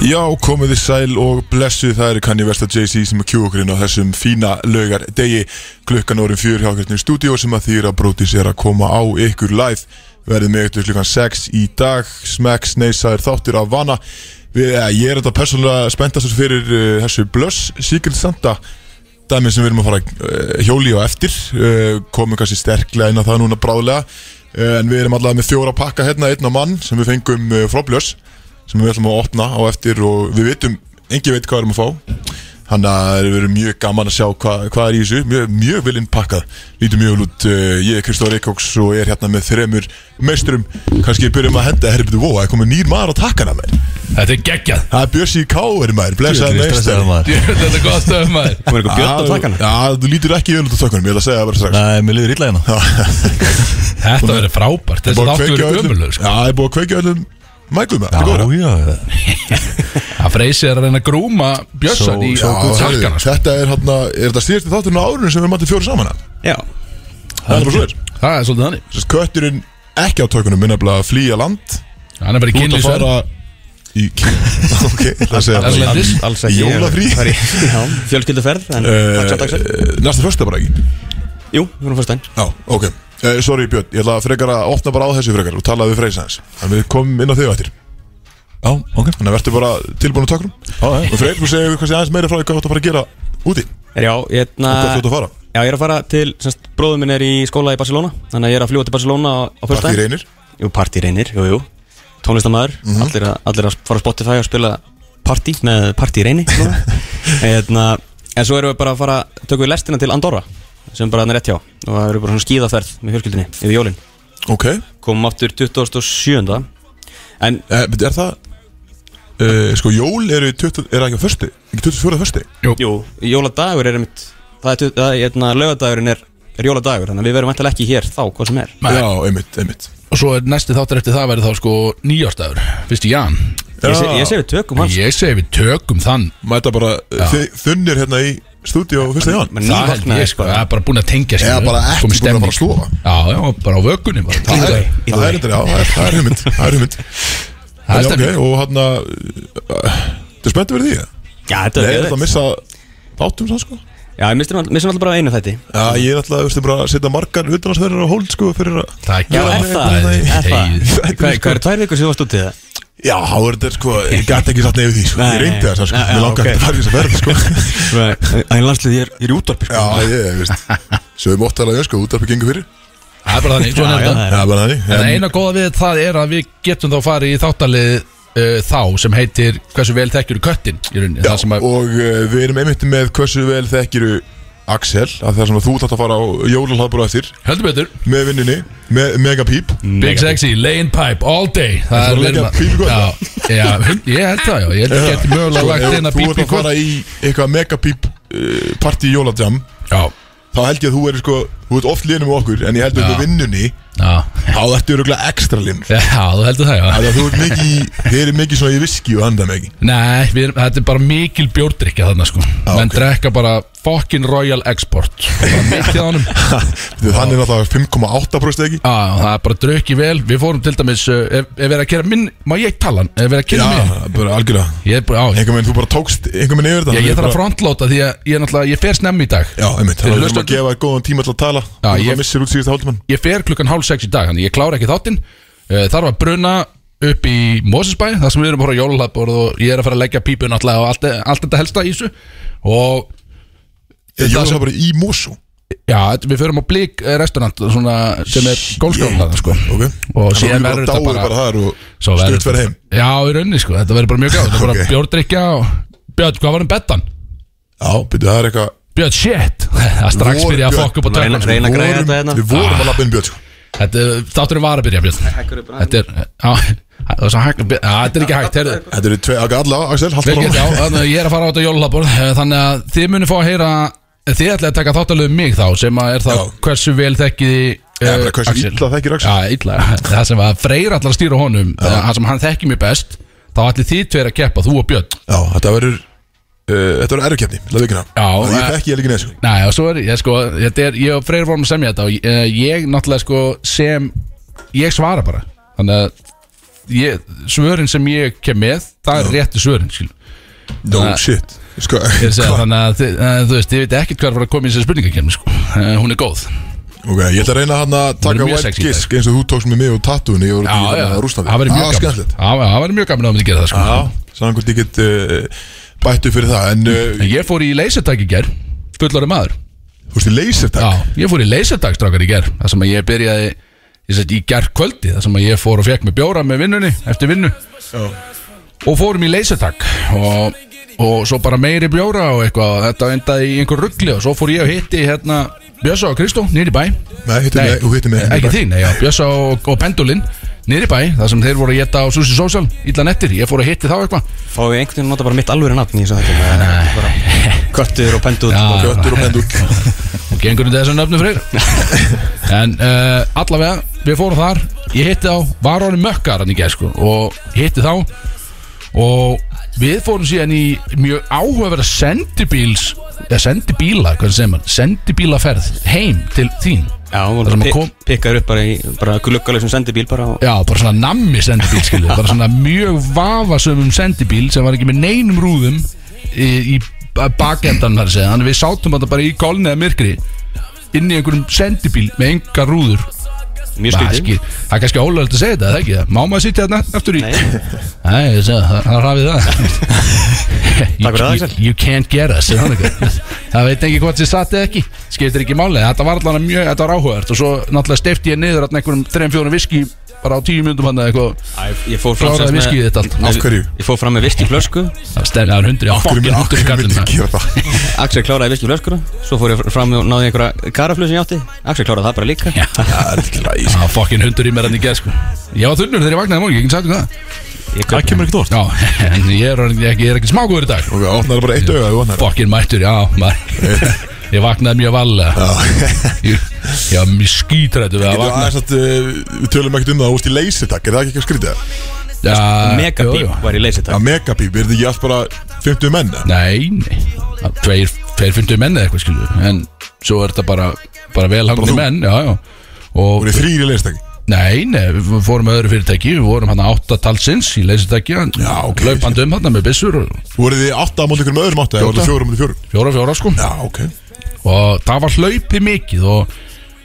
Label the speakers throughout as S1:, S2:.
S1: Já, komið þið sæl og blessuð það eru kanni versta JC sem er kjú okkur inn á þessum fína laugar degi klukkan orðin fjör hjá hvernig stúdíó sem að þýra bróti sér að koma á ykkur live verðið með ykkur klukkan 6 í dag smekks neysaðir þáttir af vana við, eh, ég er þetta persónulega spenntast fyrir uh, þessu Blöss Secret Santa dæmi sem við erum að fara uh, hjóli á eftir uh, komum kannski sterklega inn á það núna bráðlega uh, en við erum allavega með fjóra pakka hérna einn á mann sem við fengum uh, frá Blöss sem við ætlum að opna á eftir og við vitum, engin veit hvað við erum að fá þannig að það verður mjög gaman að sjá hvað, hvað er í þessu, mjög, mjög vel innpakkað lítur mjög vel út, eh, ég er Kristóður Eikóks og ég er hérna með þremur meisturum kannski byrjum að henda, herri byrju, wow, það er komið nýr maður á takkana mér,
S2: Þetta er geggjað
S1: það er Björsi K. er maður, blessaði meistar
S3: maður
S2: Djöfull, Þetta er gott stöðum maður
S3: Hún er eitthvað björn á takkana
S1: Já, þú lítur ekki vel út á takkanum, ég ætla að segja það bara strax
S3: Nei, mér liður illa hérna
S2: Þetta verður frábært Þessi
S1: Búið að
S2: þáttu
S1: kveikja
S2: verður
S1: öllum-
S2: sko.
S1: Já,
S2: gömulög
S1: það er búið að kveikja öllum mækum með, þetta er góðra
S3: sko. Já, já,
S2: Það freysi er að reyna að grúma Björnsson
S3: Svo-
S2: í
S1: Já, herri,
S2: takkana sko.
S1: Þetta er hérna, er þetta síðasti þátturinn á árunum sem við mættum fjóru saman að?
S3: já
S1: Það er bara svo þér
S2: Það er svolítið þannig
S1: Sérst, kötturinn ekki á tökunum minna að flýja land
S2: Hann er bara í
S1: Þú ert að
S2: kynlýsverð
S1: fara í Ok, það segja
S2: Erlendis.
S1: það
S2: Alls-
S1: ekki. Ég
S3: Alls ekki
S1: var í-
S3: Fjölskylduferð En takk sér, takk sér
S1: Eh, Næsta fyrsta bara ekki
S3: Jú, við erum fyrst einn
S1: Já, ok uh, Sorry Björn, ég ætla að frekar að opna bara á þessu frekar og tala við Freysa hans Þannig við komum inn á þig á eftir
S3: Já, ok
S1: Þannig að verður bara tilbúin á tökunum
S3: Já,
S1: Og Freyr, þú segir kannski aðeins meira frá því hvað þú átt að fara að gera úti og
S3: já hérna
S1: hvað þú átt að fara
S3: Já, ég er að fara til semst, Bróður minn er í skóla í Barcelona Þannig að ég er að fljúa til Barcelona á, á fyrst
S1: Parti reynir
S3: Jú, partí reynir, jú, jú Tónlistamæður, allir, að, allir að fara á Spotify og spila partí Nei, partí reyni Eðna, En svo erum við bara að fara Tökum við lestina til Andorra Sem bara hann er rétt hjá Og það eru bara svona skíðaferð með fjölskyldinni Yfir jólin
S1: Ok,
S3: Komum áttur 27. En
S1: Eh, betur, er það Uh, sko, jól eru 20, er það ekki á förstu? Ekki 24. förstu?
S3: jú, jóladagur er einmitt Það er, tu- það er eðna, lögadagurinn er, er jóladagur Þannig að við verum alltaf ekki hér þá, hvað sem er
S2: Nei.
S1: Já, einmitt, einmitt
S2: Og svo er næsti þáttur eftir það verður þá sko nýjárstafur Fyrst í jan
S3: Ég, se, ég segi við tökum hans
S2: Ég segi við tökum þann
S1: Mæta bara
S2: Já.
S1: þi, þunnir hérna í stúdíu og fyrsta ján
S3: Men
S2: Það held
S3: nývaknaði
S2: ég sko,
S3: sko
S2: það er bara búin að tengja sig
S1: Eða bara ekki búin að fara að sofa.
S2: Já, já, bara á vökunni bara.
S1: Það er,
S3: way, either
S1: það er, þetta, já, það er, það er hugmynd Það er hugmynd
S2: Það er
S1: Já, ok,
S2: stemming.
S1: Og hérna, eh, hann að Þetta er spenntið verið því eða?
S3: Já, þetta
S1: Nei, ég er alltaf
S3: er
S1: að
S3: geðveikt.
S1: missa þáttum sann sko
S3: Já, um ég missum alltaf bara af einu þætti
S1: Já, ég er alltaf að veistu, bara að setja margar utanansverðar á hold sko fyrir að
S2: Það er
S3: Já, er það, er það
S2: Nei,
S3: Hvað hvað eru tvær vikur sem þú varst útið það?
S1: Já, þá er þetta sko Ég gæti ekki satt nefn því sko
S3: Nei,
S1: Ég reyndi
S3: nei.
S1: það sko
S3: Já, já,
S1: Mér langar
S3: ok.
S1: ekki að fara í þess að verða sko
S3: Það er landslið, ég er, ég er í útvarpi sko.
S1: Já, ég, ég veist Svo við mótt alveg sko Útarpi gengur fyrir
S2: Það er bara þannig, svona er
S3: Já, já,
S2: þetta
S3: það er-
S1: Já, bara þannig
S2: En
S1: En-
S2: eina góða við það er að við getum þá farið í þáttalið uh, þá sem heitir hversu vel þekkjur köttin í rauninni
S1: Já,
S2: það sem að
S1: og uh, við erum einmitt með hversu vel þekkiru Axel, að það sem að þú þátt að fara á jólalhaðbúra eftir,
S2: heldur betur
S1: með vinninni, með Megapíp
S2: Big Sexy, Lane Pipe, All Day
S1: Það er
S2: við erum
S1: líka pípigott.
S2: Já, já, hund- ég held það já Ég held það geti mögulega lagt inn að
S1: þú ert
S2: pípi
S1: að fara í eitthvað Megapíp uh, partí jóladjam,
S2: Já,
S1: þá held ég að þú er sko, þú ert oft linum með okkur, en ég held að
S2: Já.
S1: þú vinnunni,
S2: já,
S1: þá ertu öruglega ekstra linur
S2: já, þú heldur það já
S1: Þannig að þú ert mikið, í- þið eru mikið svona í viski og handa mikið
S2: Nei, við, erum- þetta er bara mikil bjórdrykja þarna sko Menn
S1: ok.
S2: drekka bara fucking Royal Export Bara mikið á honum
S1: Þannig er náttúrulega 5,8% ekki
S2: Já, já, það er bara drukki vel Við fórum til dæmis, uh, ef, ef við erum að gera minn Má ég tala hann, ef við erum að
S1: Já,
S2: gera minn
S1: bara algjörlega
S2: Ég er bara, á,
S1: Einhver minn, þú bara tókst einhver minn yfir þetta
S2: Ég,
S1: þannig
S2: ég þarf
S1: bara-
S2: að frontlóta því að ég, er náttúrulega- ég fer snemmi í dag
S1: Já, einmitt, þannig að við þurfum
S2: Fyrir
S1: að
S2: hlustendur.
S1: gefa þér góðan tíma til að tala Já,
S2: ég-
S1: ég missir út síðasta hálfmann
S2: Ég fer klukkan hálf sex í dag Þannig ég klára ekki þáttinn Eh, Þarf að bruna upp í Mosesbæ þar sem við erum bara jólalabborð og ég er að fara að leggja pípu náttúrulega og allt, allt þetta helsta í þessu og
S1: Ég
S2: það
S1: var
S2: sem-
S1: bara í Mosú
S2: já, við förum á blík restaurant svona, sem er gólskóðan sko.
S1: Ok
S2: og
S1: Þannig
S2: síðan
S1: að
S2: verður
S1: við
S2: þetta
S1: dáið bara
S2: bara
S1: þar og
S2: Svo verður-
S1: stutt verið heim
S2: já, í rauninni sko, þetta verður bara mjög gáð þetta er bara
S1: Ok.
S2: bjórdrykja og Björn, hvað var um bettan?
S1: Já, byrju, það er eitthvað
S2: Björn, shit það er strax
S1: Voru
S2: byrja að
S1: Björn-
S2: fokka upp á
S3: Reyna-
S2: tökum sko.
S3: reyna- að græja
S1: vorum-
S3: þetta hérna.
S1: Við
S2: Ah.
S1: vorum að lappa inn björn sko.
S2: Þetta er- Þátturinn var að byrja Björn Þetta er á, það er svo hægt að byrja- á, Þetta er ekki hægt heyrðu.
S1: Þetta eru tvei, ok, alla, Axel, haldt
S2: Birgir, já,
S1: bara
S2: þannig að Ég er að fara á þetta jólalaborð Þannig að þið munið fá að heyra eh, Þið ætlaði að taka þáttalegu mig þá Sem að er þá
S1: Já.
S2: hversu vel þekkiði
S1: Já, bara hversu illa þekkir Axel.
S2: Já, illa Það sem að Freyr allar að stýra honum eh, Það sem hann þekki mig best Þá ætli þið tveir að keppa, þú og Björn
S1: Já, þetta verður uh, Þetta verður erfkefni, laðu vikina
S2: Já,
S1: Ég
S2: eh,
S1: þekki ég líka neð sko.
S2: Nei, og svo er ég sko þetta er, Ég og Freyr vorum að semja þetta Og ég, eh, ég náttúrulega sko sem Ég svara bara Þannig að ég, svörin sem ég kem með það er réttu svörin skil.
S1: No
S2: Þannig að-
S1: shit Sko,
S2: Eh. Ég segi,
S1: hva-
S2: þannig að þið- að þú veist, ég veit ekkert hvað var að koma í þessi spurningakefni sko. Eh, hún er góð
S1: ok, ég ætla að reyna hann að
S2: Hún er
S1: taka
S2: mjög
S1: wild
S2: sexy í dag.
S1: gisk eins og þú tókst með mig og tattúinu ég voru
S2: Já, já,
S1: að hérna, rústandi Ah,
S2: það væri mjög gaman
S1: skemmtilegt
S2: Já, já, Það væri mjög gaman að myndi gera það sko.
S1: Já, sannan hvort ég get uh, bættu fyrir það En uh,
S2: En Ég fór í leysertæk í ger Fullari maður
S1: þú veist, leysertak
S2: Já, ég fór í leysertæk strákar í ger Það sem að ég byrjaði ég sagt, Í ger kvöldi Það sem að ég fór og fekk með bjóra með vinnunni Eftir vinnu Og fórum í leysertæk og, og svo bara meiri bjóra og eitthvað Þetta endaði í einhver ruggli Og svo fór ég og hitti hérna Bjössa og Kristó, nýri bæ
S1: Nei, hittu mig, þú hittu mig
S2: ekki þín, nei, já, Bjössa og, og Pendulin niður í bæ, þar sem þeir voru að geta á Susi Sósal, illa nettir, ég fór að hitti þá eitthvað
S3: Fá ég einhvern veginn að nota bara mitt alvöru nafn í þessu þetta Köttur og pendut
S2: Já.
S3: og
S1: Göttur og pendur
S2: og gengur undir þessu nöfnu freyr en uh, allavega, við fórum þar ég hitti þá, var honum mökkar hann í gæð sko, og hitti þá og við fórum síðan í mjög áhugaverða sendibíls eða sendibíla, hvernig segir maður sendibílaferð heim til þín
S3: Já,
S2: Það sem
S3: hún
S2: að kom-
S3: pikkaður upp bara í bara gluggalegum sendibíl bara á
S2: Já, bara svona nammi sendibíl skilur Bara svona mjög vafasömum sendibíl sem var ekki með neinum rúðum í, í bakendan þar að segja Þannig við sátum þetta bara í kólni eða myrkri inn í einhverjum sendibíl með enga rúður
S3: mjög
S2: Það er
S3: skrítið
S2: ekki- það er kannski ólega að segja þetta, það er ekki það Má maður sitja þarna aftur í
S3: Nei.
S2: Nei, ég segi það, það er rafið það
S3: Takk fyrir það, Axel.
S2: You can't get us er það nokkuð? Það veit ekki hvort þið satt eða ekki Skiptir ekki máli, þetta var allavega mjög, þetta var áhugavert Og svo náttúrulega stefti ég niður þarna einhverjum 3-4 viski bara á 10 minnum hann eða eitthvað
S3: Æ, Ég fór fram
S2: Kláraði
S3: sem sagt
S2: viskíið þetta allt.
S1: Af hverju?
S3: Ég fór fram með viski flösku
S2: Það stefni, það er hundri, já,
S1: Hverju myndi-
S2: fokkin hundur í
S1: hverju myndi
S2: kallinu
S1: ég gera það?
S3: Axel kláraði viski flöskuna Svo fór ég fram og náði einhverja karaflu sem ég átti Axel kláraði það bara líka
S2: Já,
S1: Það er ekki læs
S2: það var fokkin hundur í mér hann í gerð sko Ég var þunnur þegar ég vaknaði í morgun, ég get sagt ykkur það
S3: Ég
S4: Það
S3: kaup-
S4: kemur ekkert orð
S2: Já, en ég er, orðinn- ég er ekki, ég er ekki smágóður í dag
S1: Ok, opnaðu bara eitt auga, þú opnaðu
S2: Fokkin mættur, já, maður Ég vaknaði mjög valega
S1: Já,
S2: Ég ég var mjög skítrættu við að
S1: getur
S2: vakna
S1: aðeins að uh, við tölum ekkert um það, þú veist í leysertak, er það ekki ekki að skrýta?
S2: ja,
S3: Mega bíl var í leysi
S1: Já,
S3: þetta
S1: megabíb, er það ekki allt bara 50 menn? eða?
S2: Nei, nei Það- Tveir, tveir fundu menn eða eitthvað skilu En svo er þetta bara, bara velhangni
S1: þú?
S2: menn Já, já Og
S1: Voru þrýr í leysertak?
S2: nei, nei, við fórum með öðru fyrirtæki Við vorum hann átta talsins í leysutæki
S1: Já, ok.
S2: Laupandi um hann með byssur og
S1: Voru þið átta á móti ykkur með öðrum átta, eða voru þið fjóra á móti fjórum?
S2: Fjóra, fjóra sko
S1: Já, ok
S2: og það var hlaupið mikið og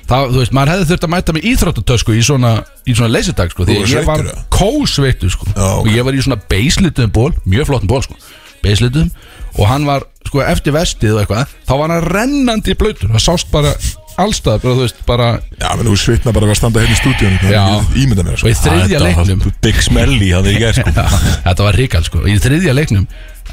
S2: það, þú veist, maður hefði þurft að mæta með íþróttatösku í svona, í svona leysidag sko, því
S1: Þú
S2: að
S1: varst
S2: ég var
S1: sveittur, eða?
S2: kósveittu sko,
S1: Já, ok.
S2: og ég var í svona beislituðum ból, mjög flottum ból sko, beislituðum og hann var, sko, eftir vestið og eitthvað, þá var hann rennandi í blöytur, það sást bara allstað, bara, þú veist, bara
S1: Já, menn þú svitna bara að standa hérna í stúdíun
S2: Já.
S1: Ímynda mér sko.
S2: og
S1: það,
S2: í þriðja
S4: Þetta var
S2: leiknum
S4: Big smelly hann er í gær sko
S2: Já, þetta var ríkald sko Í þriðja leiknum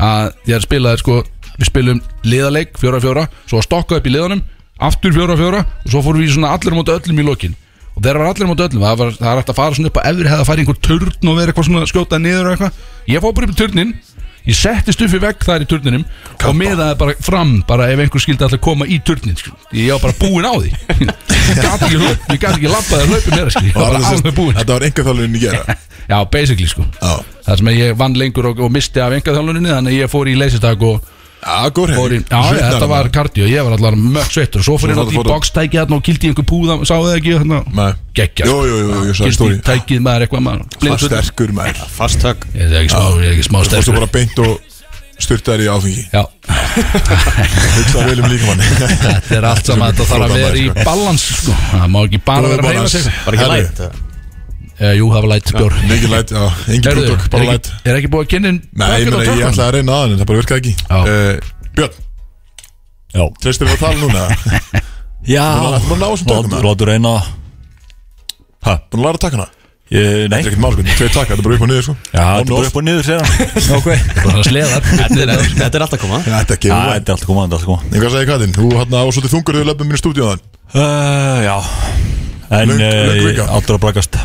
S2: að þér spilaði sko Við spilum liðaleik 4-4 Svo stokkaði upp í liðanum Aftur 4-4 Og svo fórum við í svona allir móti öllum í lokin Og þegar var allir móti öllum Það, var, það er hægt að fara svona upp á efri Hefða að fara í einhver turn og vera eitthvað svona skjótað niður og eitthvað Ég fór bara upp í turnin Ég setti stufi vekk þar í turninum Og miðaði bara fram Bara ef einhver skildi alltaf koma í turnin skil. Ég var bara búinn á því Ég gat ekki, hlaup- ég gat ekki labbað að hlaupi meira skil. Ég
S1: það
S2: var
S1: var
S2: bara
S1: sem sagt-
S2: alveg búinn
S1: Þetta var enga þálunin í gera
S2: Já, basically sko
S1: Já,
S2: Það sem að ég vann lengur og, og misti af engaþjálfuninni Þannig að ég fór í leysistak og
S1: já góð
S2: fór í,
S1: hefði
S2: Já, ég, þetta var kardio, ég var allar mörg sveittur Svo fór ég
S1: Svo
S2: nátt í
S1: fór-
S2: bokstæki þarna og kildi í einhver púða Sáðu það ekki þarna
S1: Nei.
S2: Gekkja
S1: Jú, jú, jú, ég sá
S2: Kildi
S1: stóri
S2: í tækið maður eitthvað maður
S1: var
S2: blindur.
S1: sterkur maður
S3: Fast högg
S2: Ég er ekki smá, ég er ekki smá
S1: Það fórstu
S2: sterkur
S1: bara beint og styrtaði í áfengi
S2: Já,
S1: Hugsaði vel um líkamann
S2: þetta er allt saman Þetta þarf að vera í balans sko. Það má ekki bara
S1: Góður
S2: vera að reyna
S1: balans.
S2: sig
S3: Var ekki
S1: Herri.
S3: læt eða?
S2: Eh, Jú, það var lætt bjór
S1: Mikið læt, já, engin
S2: Heyrðu,
S1: brútök,
S2: er
S1: bara læt
S2: ekki- Er ekki búið að kynna inn
S1: Nei, ég
S2: bucket og
S1: meina, ég
S2: tökum?
S1: ætlaði að reyna aðan en það bara virkaði
S2: Já.
S1: ekki Eh, Björn,
S4: Já
S1: treystir þér að tala núna?
S4: Já
S1: Búin að ná þessum tökum
S4: Látur-
S1: eða?
S4: Látur reyna Hæ?
S1: Búin að læra takkana?
S4: Nei
S1: Þetta er ekkert málkvæmt, tveir takka, þetta er bara upp og niður sko
S4: Já,
S1: On
S4: þetta er bara
S1: off.
S4: upp og niður sér Ok Já,
S2: Bara sleðar Þetta
S3: Þetta er alltaf að koma
S1: Þetta er gefur vænt
S4: Þetta er allt komað, þetta er allt komað
S1: En hvað segir Katinn? Þú hann á svolítið þungur þegar löpum mínu stúdíóðan
S4: Uh, já En
S1: Löng- löng vika.
S4: uh, áttur að brakast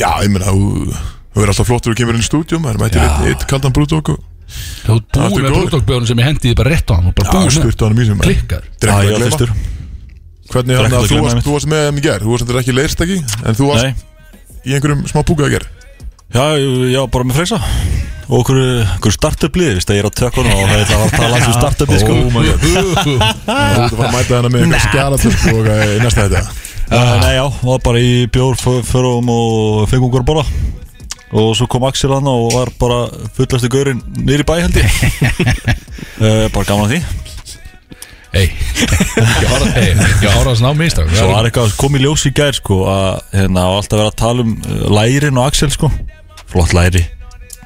S1: Já, ég meina, þú þú er alltaf flottur og kemur inn í stúdíum Það er mættir
S4: Já.
S1: eitt, eitt kaldan brúdók og
S2: Þú ert
S1: Þetta
S2: búið
S1: er
S2: með
S1: góður.
S2: brúdókbjörnum sem ég hendiði bara rétt á hann og bara
S1: Já,
S2: búið með
S1: styrta hann í mísum
S2: klikkar
S4: Já,
S1: Drengur
S4: ég
S1: að
S4: var fyrstur
S1: gleyma Hvernig hann að
S4: Drekkur að
S1: þú
S4: gleyma
S1: varst,
S4: einmitt.
S1: þú varst með þeim í ger Þú varst þetta ekki leirst ekki En þú varst
S4: Nei,
S1: í einhverjum smá búka í ger
S4: já, ég- ég var bara með freysa Og okkur, eh, okkur startup lið, veist að ég er á tökunum Og það var að tala aðeins um startup lið, sko
S1: Oh
S4: Ah.
S1: Þú varst að fara að mæta hennar með einhverjum skjalatökk og eh, í næsta þetta
S4: uh, Nei, já, var bara í bjór, förum og fengum okkur að borða og svo kom Axel hann og var bara fullastu gaurinn niður í bæ held ég uh, bara gaman að því
S2: Ei, ekki ára hey, Ekki ára að sná mistak
S4: svo var eitthvað kom í ljós í gær sko að hérna á alltaf verið að tala um eh, lærin og Axel sko flott læri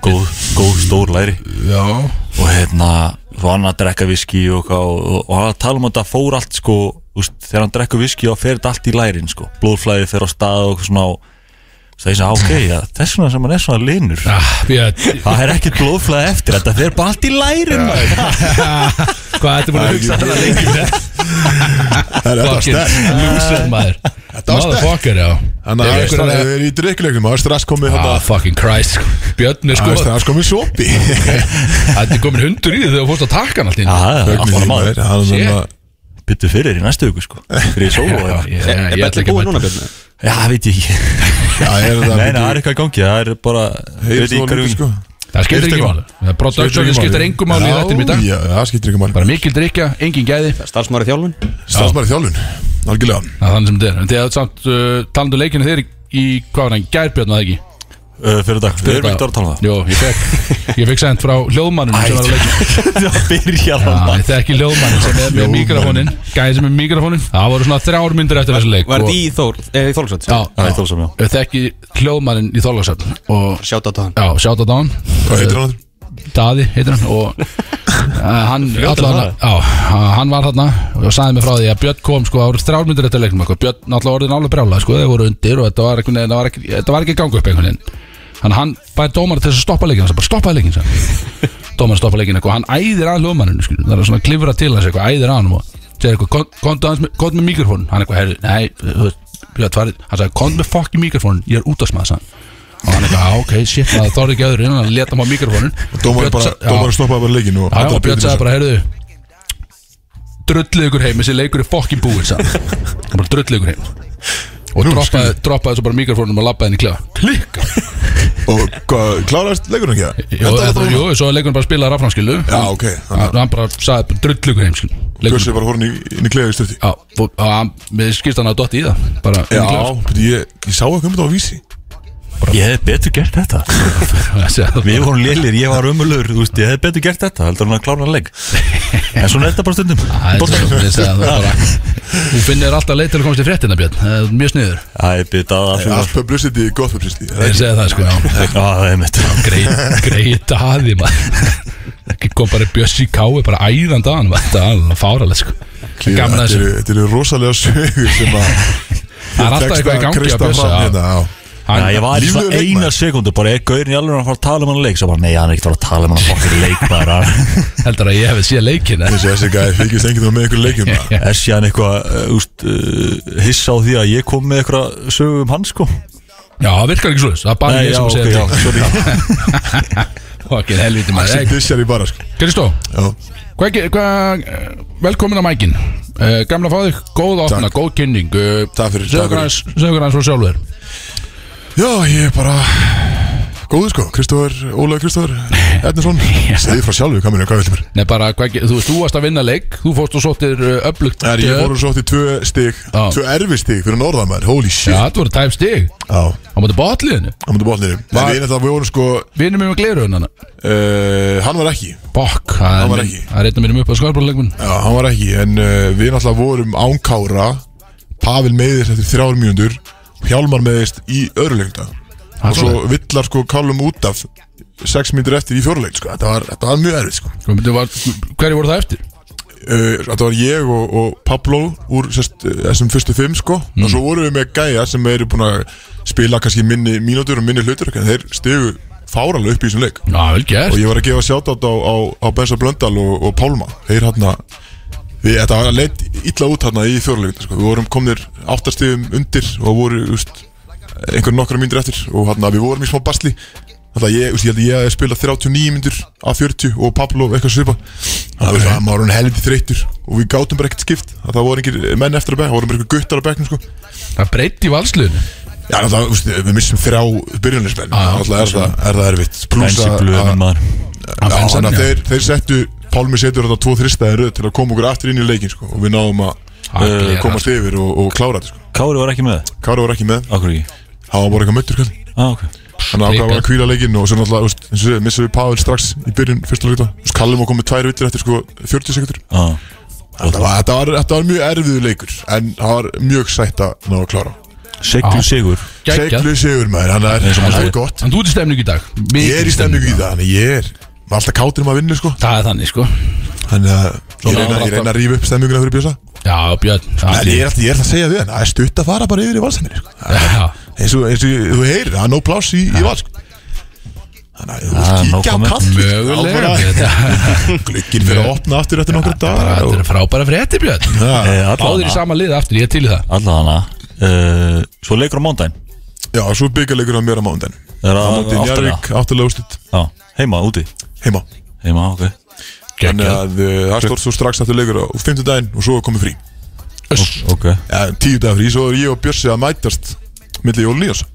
S4: góð, góð stór læri
S2: Já
S4: og hérna svo hann að drekka viski og, eitthvað og, og hann að tala um að það fór allt sko úst, þegar hann drekka viski og fer þetta allt í lærin sko blóðflæði fer á stað og eitthvað svona og það er svona "Ah, ok, ja, þess vegna sem hann er svona linur
S2: ah, Björn,
S4: það er ekkert blóðflæði eftir þetta fer bara allt í lærin maður.
S2: Hvað þetta búin að hugsa þetta lengi
S1: Það er þetta
S2: Fucking
S1: stærn
S2: loser maður
S1: var sterkt.
S2: Ah, Motherfucker, já
S1: Þannig að
S2: Þeir eru
S1: Axel
S2: einhverjar-
S1: er í drikkulegnum Það er strax komið
S2: Ah,
S1: þetta
S2: fucking Christ Björn er sko
S1: Það er strax komið sopi
S2: Þetta er komin hundur í þig þegar þú fórst að taka hann allt inn
S4: Já, það er
S1: Fögnum
S4: allt
S1: því,
S4: maður
S1: maður. Það er
S2: Shit.
S1: svona-
S4: Byttu fyrir í næstu viku sko Fyrir í sólu
S2: Já,
S4: Já,
S2: ég- ég-
S3: Er
S2: ég ætla
S3: betli
S2: ekki að
S3: búið
S2: mæta
S3: núna Björn?
S4: já veit ég ekki
S1: Já, er
S4: Nei,
S1: það
S4: nei, það er eitthvað í gangi Það er bara
S1: Heyrðu
S4: veit ég
S1: þú
S4: hverju-
S1: líka, sko.
S2: Það skiptir
S1: Skiptir
S2: ekki
S1: máli.
S2: máli Production skiptir engum máli í
S1: Já,
S2: þetta í dag
S1: Já, það skiptir ekki máli
S2: Bara mikil drikja, engin gæði
S3: Starfsmári þjálfun
S1: Starfsmæri þjálfun, algjörlega
S2: Það er þannig sem þetta er En þegar samt uh, talandu leikinu þeir í, í hvað var hann, gærbjörn að það ekki
S4: Uh, Fyrir dag Við erum ekkert að tala um
S2: Jó, ég fekk Ég fekk sent frá hljóðmannum sem var að leikinu
S4: það Það byrja
S2: Já,
S4: þannig
S2: Þetta er ekki hljóðmannin sem er með
S1: Hljóðmanninn.
S2: mikrofónin Gæði sem er með mikrofónin Það voru svona þrjár myndir eftir þessu leik
S3: Var
S2: og-
S3: þetta í Þór, eh, í Þórlsvöld?
S2: Já,
S4: Það
S2: já.
S4: er þólsam, já
S2: Ég þekki hljóðmannin í Þorlagsöfn Og
S3: Sjáta á hann
S2: já, sjátt á dán
S1: Hvað
S4: Eh,
S1: heitir hann?
S2: Daði heitir hann og uh, hann, allan, á, hann var þarna og sagði mig frá því að Björn kom sko árið þrjálmyndur eftir leiknum eitthvað. Björn náttúrulega orðin alveg brjála sko, þeir voru undir og þetta var, einhvern veginn- þetta var, ekki, þetta var ekki að ganga upp einhvern veginn Þannig að hann bæði dómar til þess að stoppa leikin hann sagði bara stoppaði leikin sagði hann. dómar stoppaði leikin eitthvað, sko, hann æðir að hljóðmanninu skil, það er svona að klifra til hans eitthvað, æðir að hann og segir eitthvað, "Kom- komdu aðeins með, komdu með mikrofónin hann eitthvað, herri, nei, þú veist, Björn, farið- hann sagði, komdu með fokki mikrofónin, ég er útastmaður sann og hann eitthvað, "Ah, ok, shit, maður, það þorði ekki öðru hann leta maður mikrofónin
S1: Dómarinn bara,
S2: Björn sa- já.
S1: dómarinn stoppaði bara leikin og
S2: Já,
S1: allir
S2: og Björn
S1: bitu
S2: sagði
S1: þess að-
S2: bara, heyrðu Drullið ykkur heim, þessi leikur er fokkin búið sagði hann. Hann bara drullið ykkur heim Og
S1: Nú,
S2: droppaði, droppaði svo bara mikrofónum og labbaði henni í klefa Klikka
S1: Og hvað, kláraðist leikurinn ekki það?
S2: Jó,
S1: Endaði
S2: þetta-
S1: þetta
S2: jú,
S1: núna?
S2: svo leikurinn bara spilaði rafnum skilu
S1: Já, ok, þannig
S2: Hann bara sagði bara drullið ykkur heim skilu
S1: að
S2: Leikurinn
S1: Bjössi var horfinn í- inn í klefa í stöldi
S2: Já, og og hann, við skýrst hann að dotti í það Bara, inn í
S1: Já,
S2: klefa.
S1: betur, ég, ég sá ekki um þetta á vísi
S4: Ég hef betur gert þetta
S2: Þessi, það-
S4: Við vorum lélir, ég var ömulur Ég hef betur gert þetta Heldur hann að klána leik En svona er þetta bara stundum
S2: það er
S4: Bolta.
S2: svo- ég segi það bara. Þú finnir alltaf leið til að komast í fréttina Björn Það er Mjög sniður,
S4: Æ, byrja að
S1: Allt publicity, gott publicity er það
S2: ég
S1: ekki?
S2: segi það sko já.
S4: Það er mitt
S2: greið greið daði maður ekki kom bara Bjössi Kái bara æðan daðan maður. þetta er alveg fáralega sko En
S1: Þetta
S2: gaman að þessu
S1: eru- Þetta eru rosalega sögur sem að
S2: það er alltaf eitthvað í gangi á
S1: Krista
S2: Bjössi
S1: fram
S2: já.
S1: hérna já.
S4: Já, ég
S2: Hann-
S4: var í
S1: Líflegur
S4: svona
S1: leikmaður.
S4: eina sekundu bara, er gaurin í alveg að fara að tala um hann leik svo bara, nei, hann er ekkert að fara að tala um hann fokkin leik bara,
S2: heldur að ég hefði séð leikin eða?
S1: Þessi þessi gæði fylgist enginn með einhver leikjum maður.
S4: er síðan eitthvað uh, úst, uh, hissa á því að ég kom með eitthvað sögum um hann sko
S2: já, það virkar ekki svo það er bara
S4: Nei,
S2: ég
S4: já,
S2: sem
S4: ok,
S2: segir
S4: já,
S2: þetta
S4: sorry
S2: okkin helviti maður
S1: Sem
S2: Hey,
S1: dissjar í bara sko.
S2: Kristó,
S1: Já,
S2: hvað ge- hvað- eh, velkomin á mækin uh, gamla fáði, góð opna, góð kynning uh,
S1: Takk fyrir, takk
S2: sögur
S1: fyrir.
S2: hans sögur hans frá sjálfur
S1: Já, ég er bara Góður sko, Kristóður, Ólaður Kristóður Ednason, segði frá sjálfu kaminu, hvað viltu mér?
S2: Nei, bara, hvað, ge- þú veist, þú varst að vinna leik þú fórst og sóttir uh, öflugt
S1: Það er ég
S2: döp.
S1: fórum svo átt í tvö stig
S2: Já.
S1: Tvö erfi stig fyrir norðamæður, holy shit
S2: Já,
S1: Já,
S2: þetta voru tæm stig
S1: það
S2: á móti botliðinu
S1: mútu bóðnir En
S2: Var-
S1: eina það við vorum sko
S2: Vinnum við með gleirunana
S1: uh, Hann var ekki
S2: Bokk, það
S1: Hann var
S2: er minn-
S1: ekki.
S2: það er einn af mínum upp á skarbrúleikmun
S1: Já, hann var ekki En uh, við náttúrulega vorum ánkára Pavel meðist eftir þrjár mínútur Hjálmar meðist í örulegunda
S2: Það
S1: Og
S2: er
S1: svo villar sko kallum út af Sex mínútur eftir í fjórulegund sko Þetta var, þetta var mjög erfið sko
S2: Hverju voru það eftir?
S1: uh, þetta var ég og, og Pablo úr sest, eh, þessum fyrstu fimm sko og svo vorum við með gæja sem eru búin að spila kannski minni mínútur og minni hlutur en þeir stegu fáralega upp í þessum leik
S2: Já, vel
S1: og
S2: gert
S1: ég var að gefa sjátátt á, á, á Bensa Blöndal og, og Pálma þeir hann að við, þetta var leitt illa út hann í fjóruleguna sko. við vorum komnir áttastegum undir og voru úst, einhver nokkra myndir eftir og hann að við vorum í smá basli Þannig að ég, úst, ég held að ég hef spilað 39 myndir af 40 og Pablo eitthvað svipa Það var það, maður hann helviti þreyttur og við gátum bara ekkert skipt að það voru engir menn eftir að bekk, það voru bara einhver guttar að bekknum sko
S2: Það breytti í valsliðinu
S1: Já, náttúrulega, úst, við missum þrjá byrjunarsmenn,
S2: Já,
S1: náttúrulega er, það, er það erfitt Plús
S4: Bensi
S1: að- um að-
S4: blöðin maður
S2: Hann
S1: Já,
S2: fenn
S1: þannig að
S2: safnið.
S1: þeir, þeir settu Pálmi setur þetta tvo þristaði röð til að koma okkur aftur inn í leikin sko, og við náðum að
S2: Að
S1: uh,
S2: gera.
S1: komast yfir og, og klára þetta sko.
S4: Kári var ekki með,
S1: Kára var ekki með,
S4: okkur ekki
S1: hann var bara eitthvað möttur kall
S4: ah, okay.
S1: Þannig ákvað var að kvíla leikinn og svo náttúrulega, veist, eins og segja, missum við Pavel strax í byrjun fyrsta leikta. Þú veist, Kallum og komið tvær vittir eftir sko 40 sekundur.
S4: Já.
S1: Þetta var, þetta var, þetta var mjög erfiðu leikur, en það var mjög sætt að ná að klára.
S4: Siglu
S2: Já.
S4: sigur
S2: geggjað
S1: Seglu sigur maður, hann er,
S4: og
S1: hann
S4: maður
S1: er gott.
S2: En þú ert í stemningu í dag
S1: Ég
S2: Mikil
S1: er í stemningu í það, þannig ég er, maður er alltaf kátur um að vinna sko.
S2: Það er þannig sko
S1: Þannig að ég
S2: Svona
S1: reyna, ég
S2: alltaf.
S1: reyna að rífa upp stemninguna fyrir Bjösa.
S2: Já, Björn það
S1: En ég er alltaf, ég er alltaf að segja við hann, það er stutt að fara bara yfir í valsæminni sko.
S2: Já,
S1: eins og, eins og þú heyrir, það er no pláss í, sko. í valsk þannig að þú
S4: Ah,
S1: veist
S4: no
S1: kíkja á
S4: comment.
S1: kall
S2: mögulega Þetta
S1: glukkin fyrir að opna aftur eftir nokkra
S2: bara- Eh,
S1: dagar
S2: þetta
S1: og,
S2: er frábæra frétti Björn
S1: ja,
S2: Báðir í
S4: Allavega
S2: sama liða aftur, ég er til í það
S4: Allavega uh, Svo leikur á mándaginn
S1: já, svo byggjarleikur á mér á mándaginn
S4: Það er
S1: á
S4: að
S1: móti Njarvík, áttulega úrslit
S4: Já, heima, úti
S1: heima
S4: Heima, ok
S1: þannig
S2: Geggjað
S1: að uh, það stórt svo strax aftur leikur á fimmtudaginn og svo er komið frí
S2: Uss,
S4: Ok
S1: ja, tíu dagar frí, svo er ég og Bjössi að mætast milli Jól Líos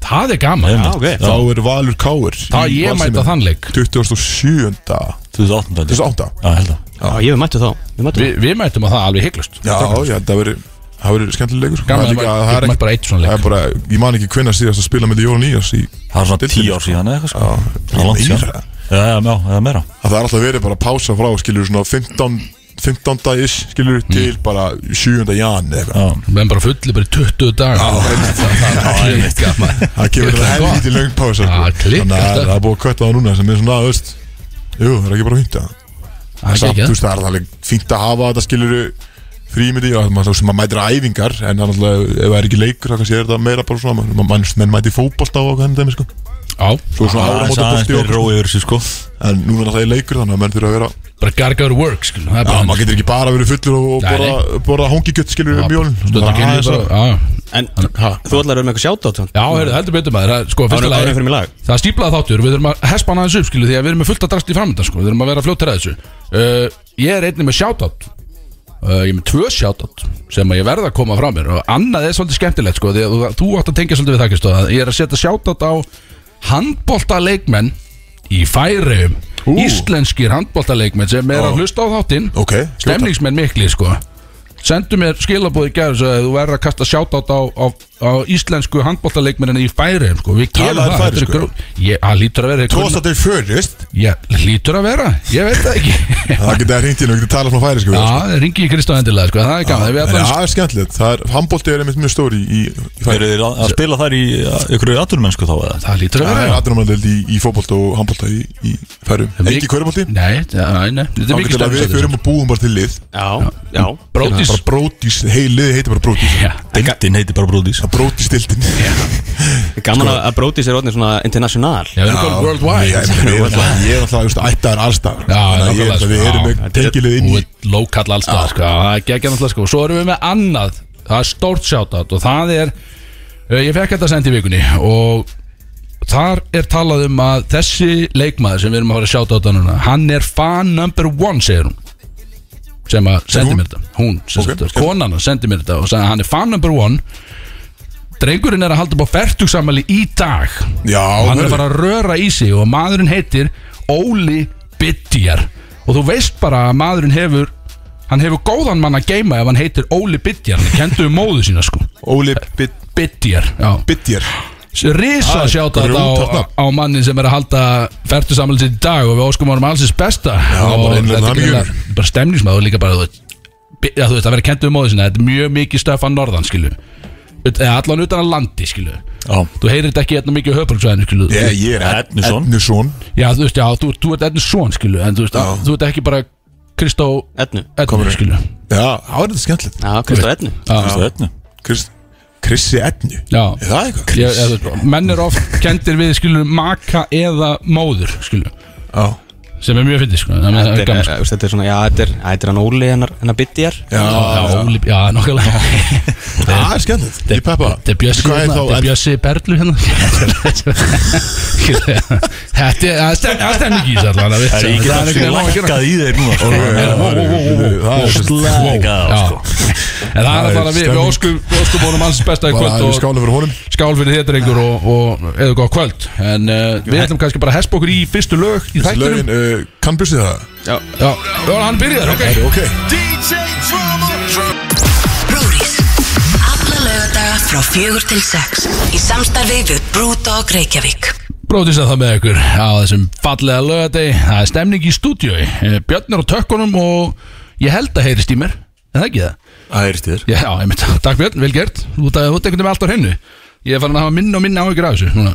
S2: Það er gaman
S4: Heima, ok
S1: þá er Valur Káur
S2: Það er ég
S1: hérna.
S2: mæta þannleik
S1: 27.
S4: 2018 held ég.
S1: 28.
S4: Já, held að
S3: Já, ég við mættu þá Við mættu
S2: Vi, Við mætum að það alveg hygglust
S1: Já, já, það verður það verður skemmtilegur sko.
S2: Gaman að mæta-
S1: það er
S2: mæta bara eitt svona
S1: ekki
S2: leik.
S1: það er bara, ég man ekki hvenær síðast að spila með Jón Nías í
S4: Það er svona
S1: Deildinni,
S4: 10 ár síðan eða eitthvað sko Það
S1: Ég
S4: er langt
S1: meira
S4: síðan Já, já, já, eða meira
S1: að það er alltaf verið bara að pása frá skilur svona 15 15 dagis skilur til bara 7. jan eða eitthvað
S4: Mm. Já
S2: Við erum bara fullir bara í 20 dag Það er klikkað maður.
S1: það kemur
S2: Ég
S1: þetta
S2: ætla að
S1: helvítið löng pása sko.
S2: Ah, klikkar
S1: þannig að
S2: þetta.
S1: það er búið að kvötta það núna sem er svona veist jú það er ekki bara fínt að
S2: Það er
S1: samt
S2: geggjað.
S1: þú veist það er alveg fínt að hafa þetta skilur frímiði og maður sem maður mætir á æfingar en þannig að ef það er ekki leikur þá kannski er þetta meira bara svona maður- mann, menn mæti fótbolta og hann dæmi sko
S2: Já,
S1: svo er svona
S4: Það er
S1: áramóta
S4: aðeins
S1: og
S4: meiri rói yfir þessu sko
S1: en núna náttúrulega er leikur þannig að menn þurfa að vera
S2: bara gargaður work skilur, það er
S1: Já,
S2: bara
S1: maður getur ekki bara verið fullur og, og
S2: Nei,
S1: borða, borða hóngikjött skilur um jólun
S2: Stundar kynni bara já.
S3: En
S2: Ha.
S3: þú ætlar að vera með eitthvað sjátt átt
S2: Já, heyrðu, heldur betur maður það er, Sko,
S3: Áður
S2: fyrsta
S3: en- áður en fyrir
S2: lagi
S3: mig lag
S2: Það er stíplað þáttur, við þurfum að hespa hann aðeins upp skilu Því að við erum með fullt að drast í framöndan sko Við þurfum að vera fljóttir að þessu uh, Ég er einnig með shoutout uh, Ég er með tvö shoutout Sem að ég verða að koma fram mér Og annað er svolítið skemmtilegt sko Því að þú, þú átt að tengja svolítið við það Kristó, að Ég er að setja shoutout á handbolta leikmenn Í færiðum
S1: Ú.
S2: Íslenskir handbolta leikmenn Sem er að hlusta á þáttinn
S1: Ok, skjóta.
S2: Stemningsmenn mikli sko Sendu mér skilabóð í gerð að þú verður að kasta sjátátt á, á, á íslensku handbóltaleikmenninni í færiðum sko. Við gerum
S1: Talaðu
S2: það þetta er
S1: færeysku?
S2: gró- Ég- Það lítur að vera einhver-
S1: Tósta til förist
S2: Ég lítur að vera, ég veit það ekki
S1: Það getur það hringt inn og getur talað frá færi sko
S2: Já, ringi í Kristján endilega sko. Það er gaman, við
S1: En
S2: ætlum
S1: það er skemmtilegt Það er, handbólti er einmitt mjög stóri í, í
S4: Þeir
S1: færi
S4: eru að að spila þær í ykkur aðturmennsku þá eða
S2: Það lítur að
S1: Það
S2: vera
S1: er
S2: já.
S1: aðrunumaldeld í, í fótbolta og handbólta í, í færum
S2: er
S1: Ekki
S2: mik-
S1: í kvörubólti
S2: Nei, nei, nei, þetta er
S1: Það
S2: mikið
S1: getur að við
S2: stærðis-
S1: förum og búum bara til lið
S3: Já, já
S2: Brótis
S1: Bara brótis, heilið heitir bara brótis
S2: Já,
S4: Deildin heitir bara Brúdís
S1: Brótistildin
S3: Gaman að að Brodís er orðin svona international
S2: Sko- Já, við erum komin
S1: Ég
S2: worldwide
S1: er alltaf, ég er alltaf ættaður allstað
S2: Já,
S1: Þannig að ég er
S2: nákvæmlega,
S1: alltaf, við
S2: sko.
S1: erum með tengilið inn í
S2: Og Lókall allstað sko. Það er geggjan alltaf sko. Svo erum við með annað Það er stórt sjátat og það er eh, Ég fekk þetta sent í vikunni Og þar er talað um að Þessi leikmaður sem við erum að fara að sjáta á þetta núna Hann er fan number one segir hún sem að sendi
S1: hún?
S2: mér þetta hún, sem
S1: Ok,
S2: okay,
S1: skemmt.
S2: konan hans sendi mér þetta og sagði að hann er fan number one drengurinn er að halda upp á fertugsamali í dag
S1: Já,
S2: og hann
S1: verður.
S2: er að fara að röra í sig og maðurinn heitir Óli Bittjar og þú veist bara að maðurinn hefur hann hefur góðan mann að geima ef hann heitir Óli Bittjar hann kendur um móðu sína sko
S1: Óli Bid-
S2: Bittjar, já
S1: Bidjar
S2: Risa
S1: Það er
S2: sjáta
S1: grjótart
S2: þetta á,
S1: nafn.
S2: á mannin sem er að halda fertusamlega í dag og við óskum honum allsins besta Já, og
S1: bara innilega
S2: þetta er
S1: hamingjur.
S2: greinilega bara stemningsmaður og líka bara þú veist, bi- ja, þú veist að vera kendur um móðu sína þetta er mjög mikið stöf að norðan skilu eða allan utan að landi skilu
S4: Já
S2: þú heyrir þetta ekki hérna mikið á höfbruksvæðinu skilu
S1: Ég ég er
S4: Ednuson.
S1: Ednuson
S2: Já, þú veist, já, þú, þú ert enn svon, skilu En þú veist, þú ert ekki bara Kristó
S3: Ednu
S2: Ednur, skilu
S1: Já, það er þetta skemmtilegt
S3: Já, Kristó Ednu
S2: Já,
S4: Kristu Ednu
S1: Krist, Krissi Ednu
S2: já
S1: Er það eitthvað?
S2: Ég, ég, þú veist, menn er oft kendir við skilu maka eða móður skilu
S1: Já
S2: sem er mjög fyndið sko það er- það er
S3: Þetta
S2: gaman
S3: er,
S2: sko
S3: eh, þetta er svona, já, þetta er, þetta er hann Óli hennar, hennar Bittjar
S1: Já,
S2: Já, Óli- já, nokkulega
S1: það er skemmtilegt Ég peppa
S2: Þetta er Bjössi
S1: Hvað er
S2: hérna,
S1: þá
S2: þetta er Bjössi Berlu hérna Þetta er, það stem- það stemmer ekki í þessu allan að vitsa.
S4: Það er ekki að
S2: nóg að gera.
S4: slækkað í þeir núna sko.
S1: Það er
S4: Slækkað
S2: Já.
S4: sko.
S2: En það er
S1: Það
S2: að
S1: er
S2: fara við, við
S1: stemning.
S2: óskum, við óskum honum alls besta í
S1: Bara
S2: kvöld
S1: að við
S2: og
S1: skálum fyrir honum
S2: skál fyrir þér drengur og, og eða góð kvöld en uh, við ætlum kannski bara að hespa okkur í fyrstu lög í þættinum
S1: Lögin, uh, kann Bjössi það?
S2: já, já, hann byrjar, ok
S1: Ok
S5: DJ Drama Brúðis Alla lögadaga frá fjögur til sex í samstarfi við Brewdog Reykjavík
S2: Bróðis að það með ykkur á þessum fallega lögadegi Það er stemning í stúdíói Eh, Björn er á tökkunum og ég held að heyrist í mér En það ekki það?
S4: Það er stíður
S2: Já, einmitt, takk Björn, vel gert Þú ert að- þú ert einhvern veginn með allt á hreinu Ég er farin að hafa minna og minna á ykkur af þessu núna.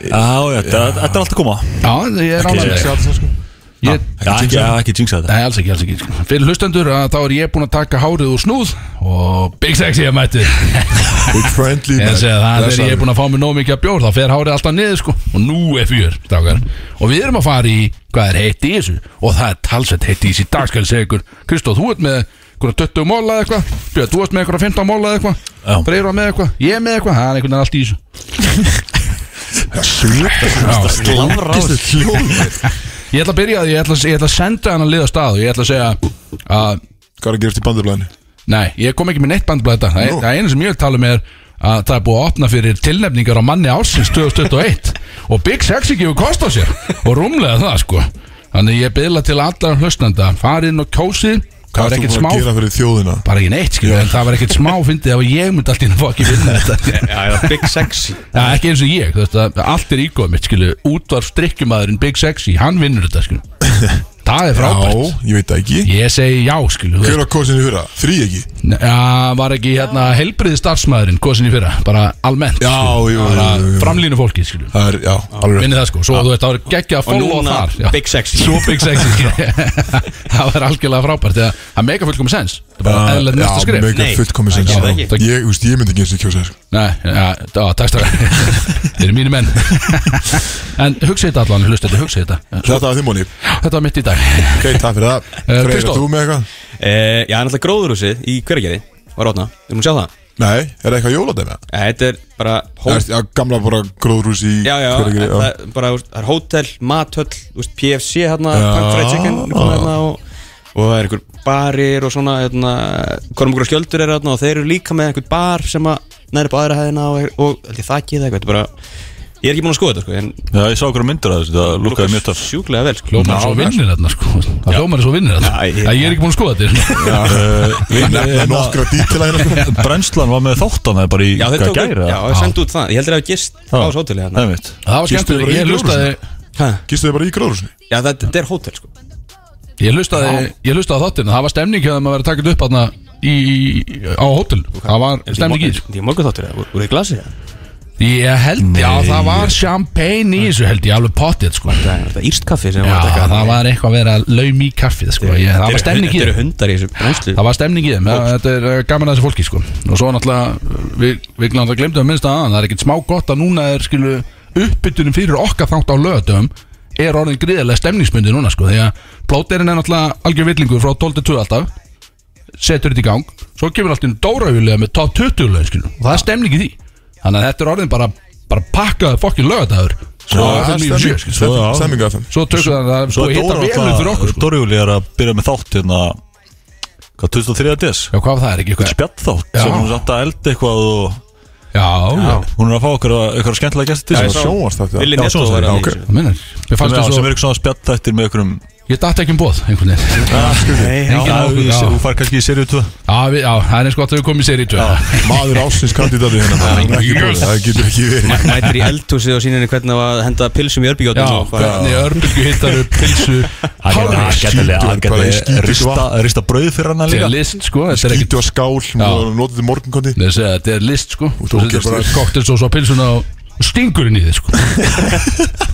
S4: Já, já, þetta þetta er allt að koma
S2: Já, ég er
S4: Ekki
S2: ánægður.
S4: jinxa
S2: Ég-
S4: Já, ekki- já, ekki jinxa þetta
S2: Nei, alls ekki, alls ekki sko. Fyrir hlustendur að þá er ég búinn að taka hárið úr snúð Og Big Sexy er mættur
S1: Big friendly
S2: Ég
S1: maður.
S2: segi það, þegar ég
S1: Blessaður.
S2: er búinn að fá mér nóg mikið að bjór Þá fer hárið alltaf niður sko Og nú er fjör, stakar Og við erum að fara í hvað er heitt í þessu Og það er talsett heitt í þessu í dag skal ég segja ykkur Kristó, þú ert með einhverja 20 móla eða eitthvað Björn, þú ert með einhverja 15 móla eða
S4: Já.
S2: eitthvað Breyra með eitthvað, ég með eitthvað Það er einhvern veginn allt í þessu Já.
S1: Slamrás
S2: Ég ætla að byrja því, ég ætla, ég ætla að senda hann að liða stað Og ég ætla að segja að
S1: Hvað er að gerast í bandurlæðinu?
S2: Nei, ég kom ekki með neitt bandblæð þetta Það
S1: Nú.
S2: no. eina sem ég vil tala um er að það er búið að opna fyrir tilnefningar á manni ársins 2021 og Big Sexy gefur kost á sér og rúmlega það sko Þannig ég byðla til allar hlustnanda farið inn og kjósið, það
S1: Hvað
S2: var
S1: er þú
S2: ekkert
S1: búin
S2: smá
S1: að gera fyrir þjóðina?
S2: bara ekki neitt skilur, en það var ekkert smá fyndið ef ég myndi allt í henni að fá ekki vinna þetta
S3: Já, já, Big Sexy
S2: Já, ekki eins og ég, þú veist að allt er ígóð mitt skilur, útvarf strikkjumadurinn Big Sexy, hann vinnur þetta skilur Það er frábært
S1: Já, ég veit það ekki
S2: Ég segi já skilur þú veist.
S1: Hver var kosinu fyrra? Þrý ekki?
S2: Nei, Já, var ekki hérna helbriði starfsmæðurinn kosin í fyrra, bara almennt
S1: Já,
S2: skilur.
S1: jú, jú,
S2: bara
S1: jú, jú.
S2: framlínu fólki, skilju
S1: Það er, já, alveg
S2: Minni það sko, svo þú veist, það var geggja að
S3: Og
S2: followa
S3: núna
S2: þar já.
S3: Big Sexy
S2: Svo Big Sexy skilju. Það var algjörlega frábært þegar það mega fullkomis sens Það er bara eðlilegt næsta skrif
S1: mega
S3: Nei,
S1: fullkomis
S3: það
S1: sens.
S3: gerði
S2: það ekki.
S1: Ég, þú veist, ég myndi ekki eins og kjósa þér sko.
S2: Nei, já, já, takk stakar Þeir eru mínu menn En hugsið þetta allan, hlustu þetta, hugsið þetta
S1: Þetta var þið móni
S2: Þetta var mitt í dag
S1: Ok, takk fyrir það Freyr,
S2: Eh, Kristó.
S1: er þú með eitthvað?
S3: Eh, Já, náttúrulega gróðurhúsið í Hveragerði Var átna, erum við að sjá það?
S1: Nei, er það eitthvað jóladæmi?
S3: Eh, Þetta er bara
S1: Það
S3: hótel
S1: er já, gamla bara gróðrús í
S3: Já, já,
S1: Hveragerði,
S3: það er bara, þú veist, það er hótel, mathöll, þú veist, PFC hérna,
S1: Já.
S3: Punk Fried Chicken er komið hérna og, og það er einhver barir og svona, hérna, hvornum einhver skjöldur er hérna og þeir eru líka með einhver bar sem að næri upp á aðra hæðina og, og held ég þakkið eða eitthvað, þetta er bara, ég er ekki búin að skoða þetta sko, en
S4: Já, ég sá okkur myndir að þessu, það lukkaði mjög töff
S3: sjúklega vel sko.
S2: Ljómar er svo vinnir þarna sko Það ljómar er svo vinnir þarna
S3: Já, ég-
S2: Æ, Ég er ekki búin að skoða þetta
S4: Eh, við-
S1: Nefna
S4: hérna,
S1: nokkra dítila hérna
S4: Brennslan var með þáttan bara í
S3: Já, þeir
S4: hvað,
S3: tóku,
S4: gær,
S3: já,
S4: eða?
S3: þeir sendu út það, ég heldur að það hafi gist á þessu hóteli hérna.
S4: Það veit
S2: Það var
S1: Gistu
S2: skemmtilega,
S1: bara í gróðurhúsinu?
S2: ég hlustaði
S3: Ha?
S1: Gistu þið bara í gróðrúsinu?
S3: Já, þetta þetta er hótel sko.
S2: Ég hlustaði, ég hlustaði á þáttinn Það var stemning hjá þeim að vera takit upp hana í, í, á hótel Það var stemning í þessu
S3: Því morgun þáttur eða, voru þið glasið eða?
S2: Ég held, já það var champagne í þessu held ég alveg pottið sko Já,
S3: Það er þetta írst kaffi sem var að taka
S2: það
S3: þarna.
S2: var eitthvað að vera laum í kaffið sko ég, Það var stemning í
S3: Þetta eru
S2: þeim
S3: hundar í þessu brennslu
S2: Það var stemning í þeim, það- þetta er eh, gaman að þessu fólki sko Og svo náttúrulega, við, við náttúrulega glemdum að minnst að það Það er ekkert smá gott að núna er skilu uppbytunum fyrir okkar þátt á lögatöfum Er orðin gríðarlega stemningsmyndi núna sko Því að plóterinn er náttúrulega algjör villingur frá 12-2 alltaf setur þetta í gang svo kemur allt inn Dórajulega með top 20 lög skilur, og það er stemning í því þannig að þetta er orðin bara, bara pakkaði fokkin lögadagur svo
S1: það
S2: FM 97, skilur.
S4: Svo, já.
S1: Stemming af þeim
S2: svo tökum það að
S4: Svo
S2: búið að
S4: er
S2: hitta
S4: Dóra
S2: velum fyrir okkur
S4: alltaf
S2: sko.
S4: Dóri Júli er að byrja með þátt hérna Hvað, 2003 að des?
S2: já hvað var það er ekki eitthvað
S4: Spjall þátt
S2: Já.
S4: sem hún satt að elda eitthvað og
S2: já, já,
S4: hún er að fá okkur eitthvað skemmtilega gæsti til
S1: Það
S4: sín.
S1: var sjónvast þetta
S3: Vili
S4: Já,
S3: Netto
S4: sjónvarpsþættir,
S3: var
S4: já,
S3: að
S4: ok.
S3: okay.
S2: það minnir ég fannst
S4: Já,
S2: það
S4: sem
S2: svo,
S4: er eitthvað svona spjallþættir með einhverjum
S2: ég datt ekki um bóð einhvern veginn Engin
S4: Já,
S2: áhuga,
S4: í-
S2: já.
S4: Þú fær kannski í serið 2
S2: já, við- já, það er eins gott að við komum í sér í tvö
S1: Maður ásins kandidati hérna Það er ekki búið, það getur ekki verið
S3: Mætir í eldhúsið og sínir henni hvernig það var að henda pilsum í
S2: já,
S3: örbígjóttum
S2: hvernig örbylgu hittar upp pilsu hálfur
S1: skítur, bara í skítur,
S4: Rista, rista brauð fyrir hana
S2: þetta
S4: líka
S2: er list sko þetta er ekkert
S1: Skítu að skál, maður notaði morgunkondi
S2: Nei, segja, þetta er list sko
S1: þú
S2: Þú setur
S1: gerst
S2: bara
S1: þér.
S2: koktelsós á pilsuna og stingurinn í þið sko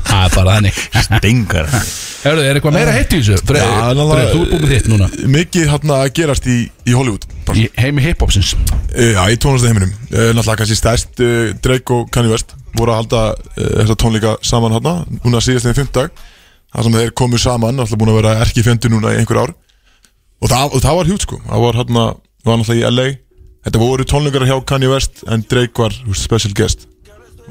S2: Það er bara þannig
S4: Dengar
S2: Herðu, er eitthvað meira heitt í þessu? Freyr,
S1: Já, náttúrulega-
S2: Freyr, þú er búin með þitt núna
S1: Mikið hérna að gerast í, í Hollywood bara.
S2: Í heimi hiphopsins
S1: Eh, Já, í tónlistaheiminum Eh, Náttúrulega kannski stærst eh, Drake og Kanye West voru að halda eh, þessa tónleika saman hérna núna síðast þegar fimmtag þar sem þeir komu saman, náttúrulega búin að vera erki fjöndu núna í einhver ár og það, og það var hjút sko, það var hérna það var náttúrulega í LA, þetta voru tónleikar hjá Kanye West en Drake var þú veist, special guest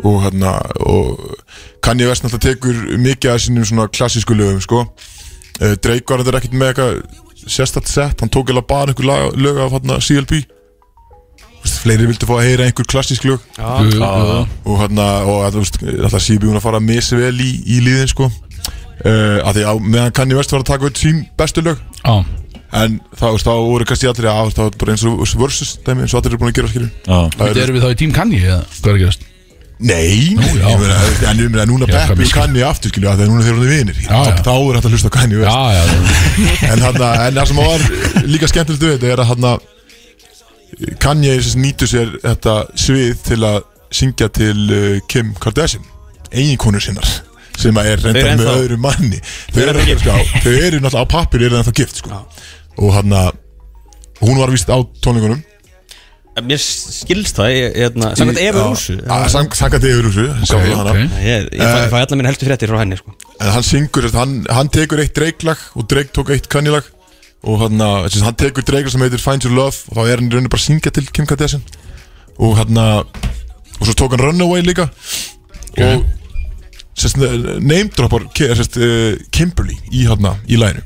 S1: og hérna og Kanye West náttúrulega tekur mikið af sínum svona klassísku lögum sko Eh, Drake var þetta ekkert með eitthvað sérstætt sett, hann tók eða bara einhver lag, lög af hérna CLB Vist, fleiri vildu fá að heyra einhver klassísk lög
S2: Jú, jú, jú.
S1: og hérna, og þú veist, alltaf CLB hún að fara misvel í, Eh, í liðin sko uh, að því að meðan Kanye West var að taka út sín bestu lög
S2: Já,
S1: En þá, veist, þá voru kannski allir að þá er bara eins og versus dæmi eins og allir eru búin að gera skilur
S4: Já,
S2: Þetta erum við þá í tím kanni eða hvað er að gerast?
S1: Nei, Nú,
S2: já.
S1: ég meina, veist, en ég meina núna
S2: Já, hvað
S1: Beppi
S2: misskil-
S1: kanni aftur skilur af því að núna þeir eru vinir
S2: Já, já.
S1: þá er þetta að hlusta á kanni
S2: Já, já,
S1: en, hana, en það sem var líka skemmtilegt við þetta er að hana, Kanye sem sagt nýtur sér þetta svið til að syngja til uh, Kim Kardashian eiginkonu sinnar sem að er
S3: Þau
S1: reyndar
S3: eru
S1: með
S3: ennþá-
S1: öðru manni þau eru,
S3: ennþá
S1: reyndar, sko, þau eru náttúrulega á pappir eru ennþá gift sko. og hann hún var vist á tónlingunum
S3: En Mér skilst það, ég, hérna, samkvæmt Efi Rúsu
S1: Já, Ah, sang- samkvæmt yfir rúsu
S2: já,
S1: segir hana.
S2: ok
S3: Ég, ég fæ, ég fæ allar mín helstu fréttir frá henni sko.
S1: en hann syngur, þess að hann, hann tekur eitt dreiklag og dreik tók eitt kannilag og hann, þess að hann tekur dreiklag sem heitir Find Your Love og þá er hann í rauninu bara að syngja til Kim Kardashian og hann eh, og svo tók hann Runaway líka og sérst, neymdroppar sérst, uh, Kimberly í hann í læginu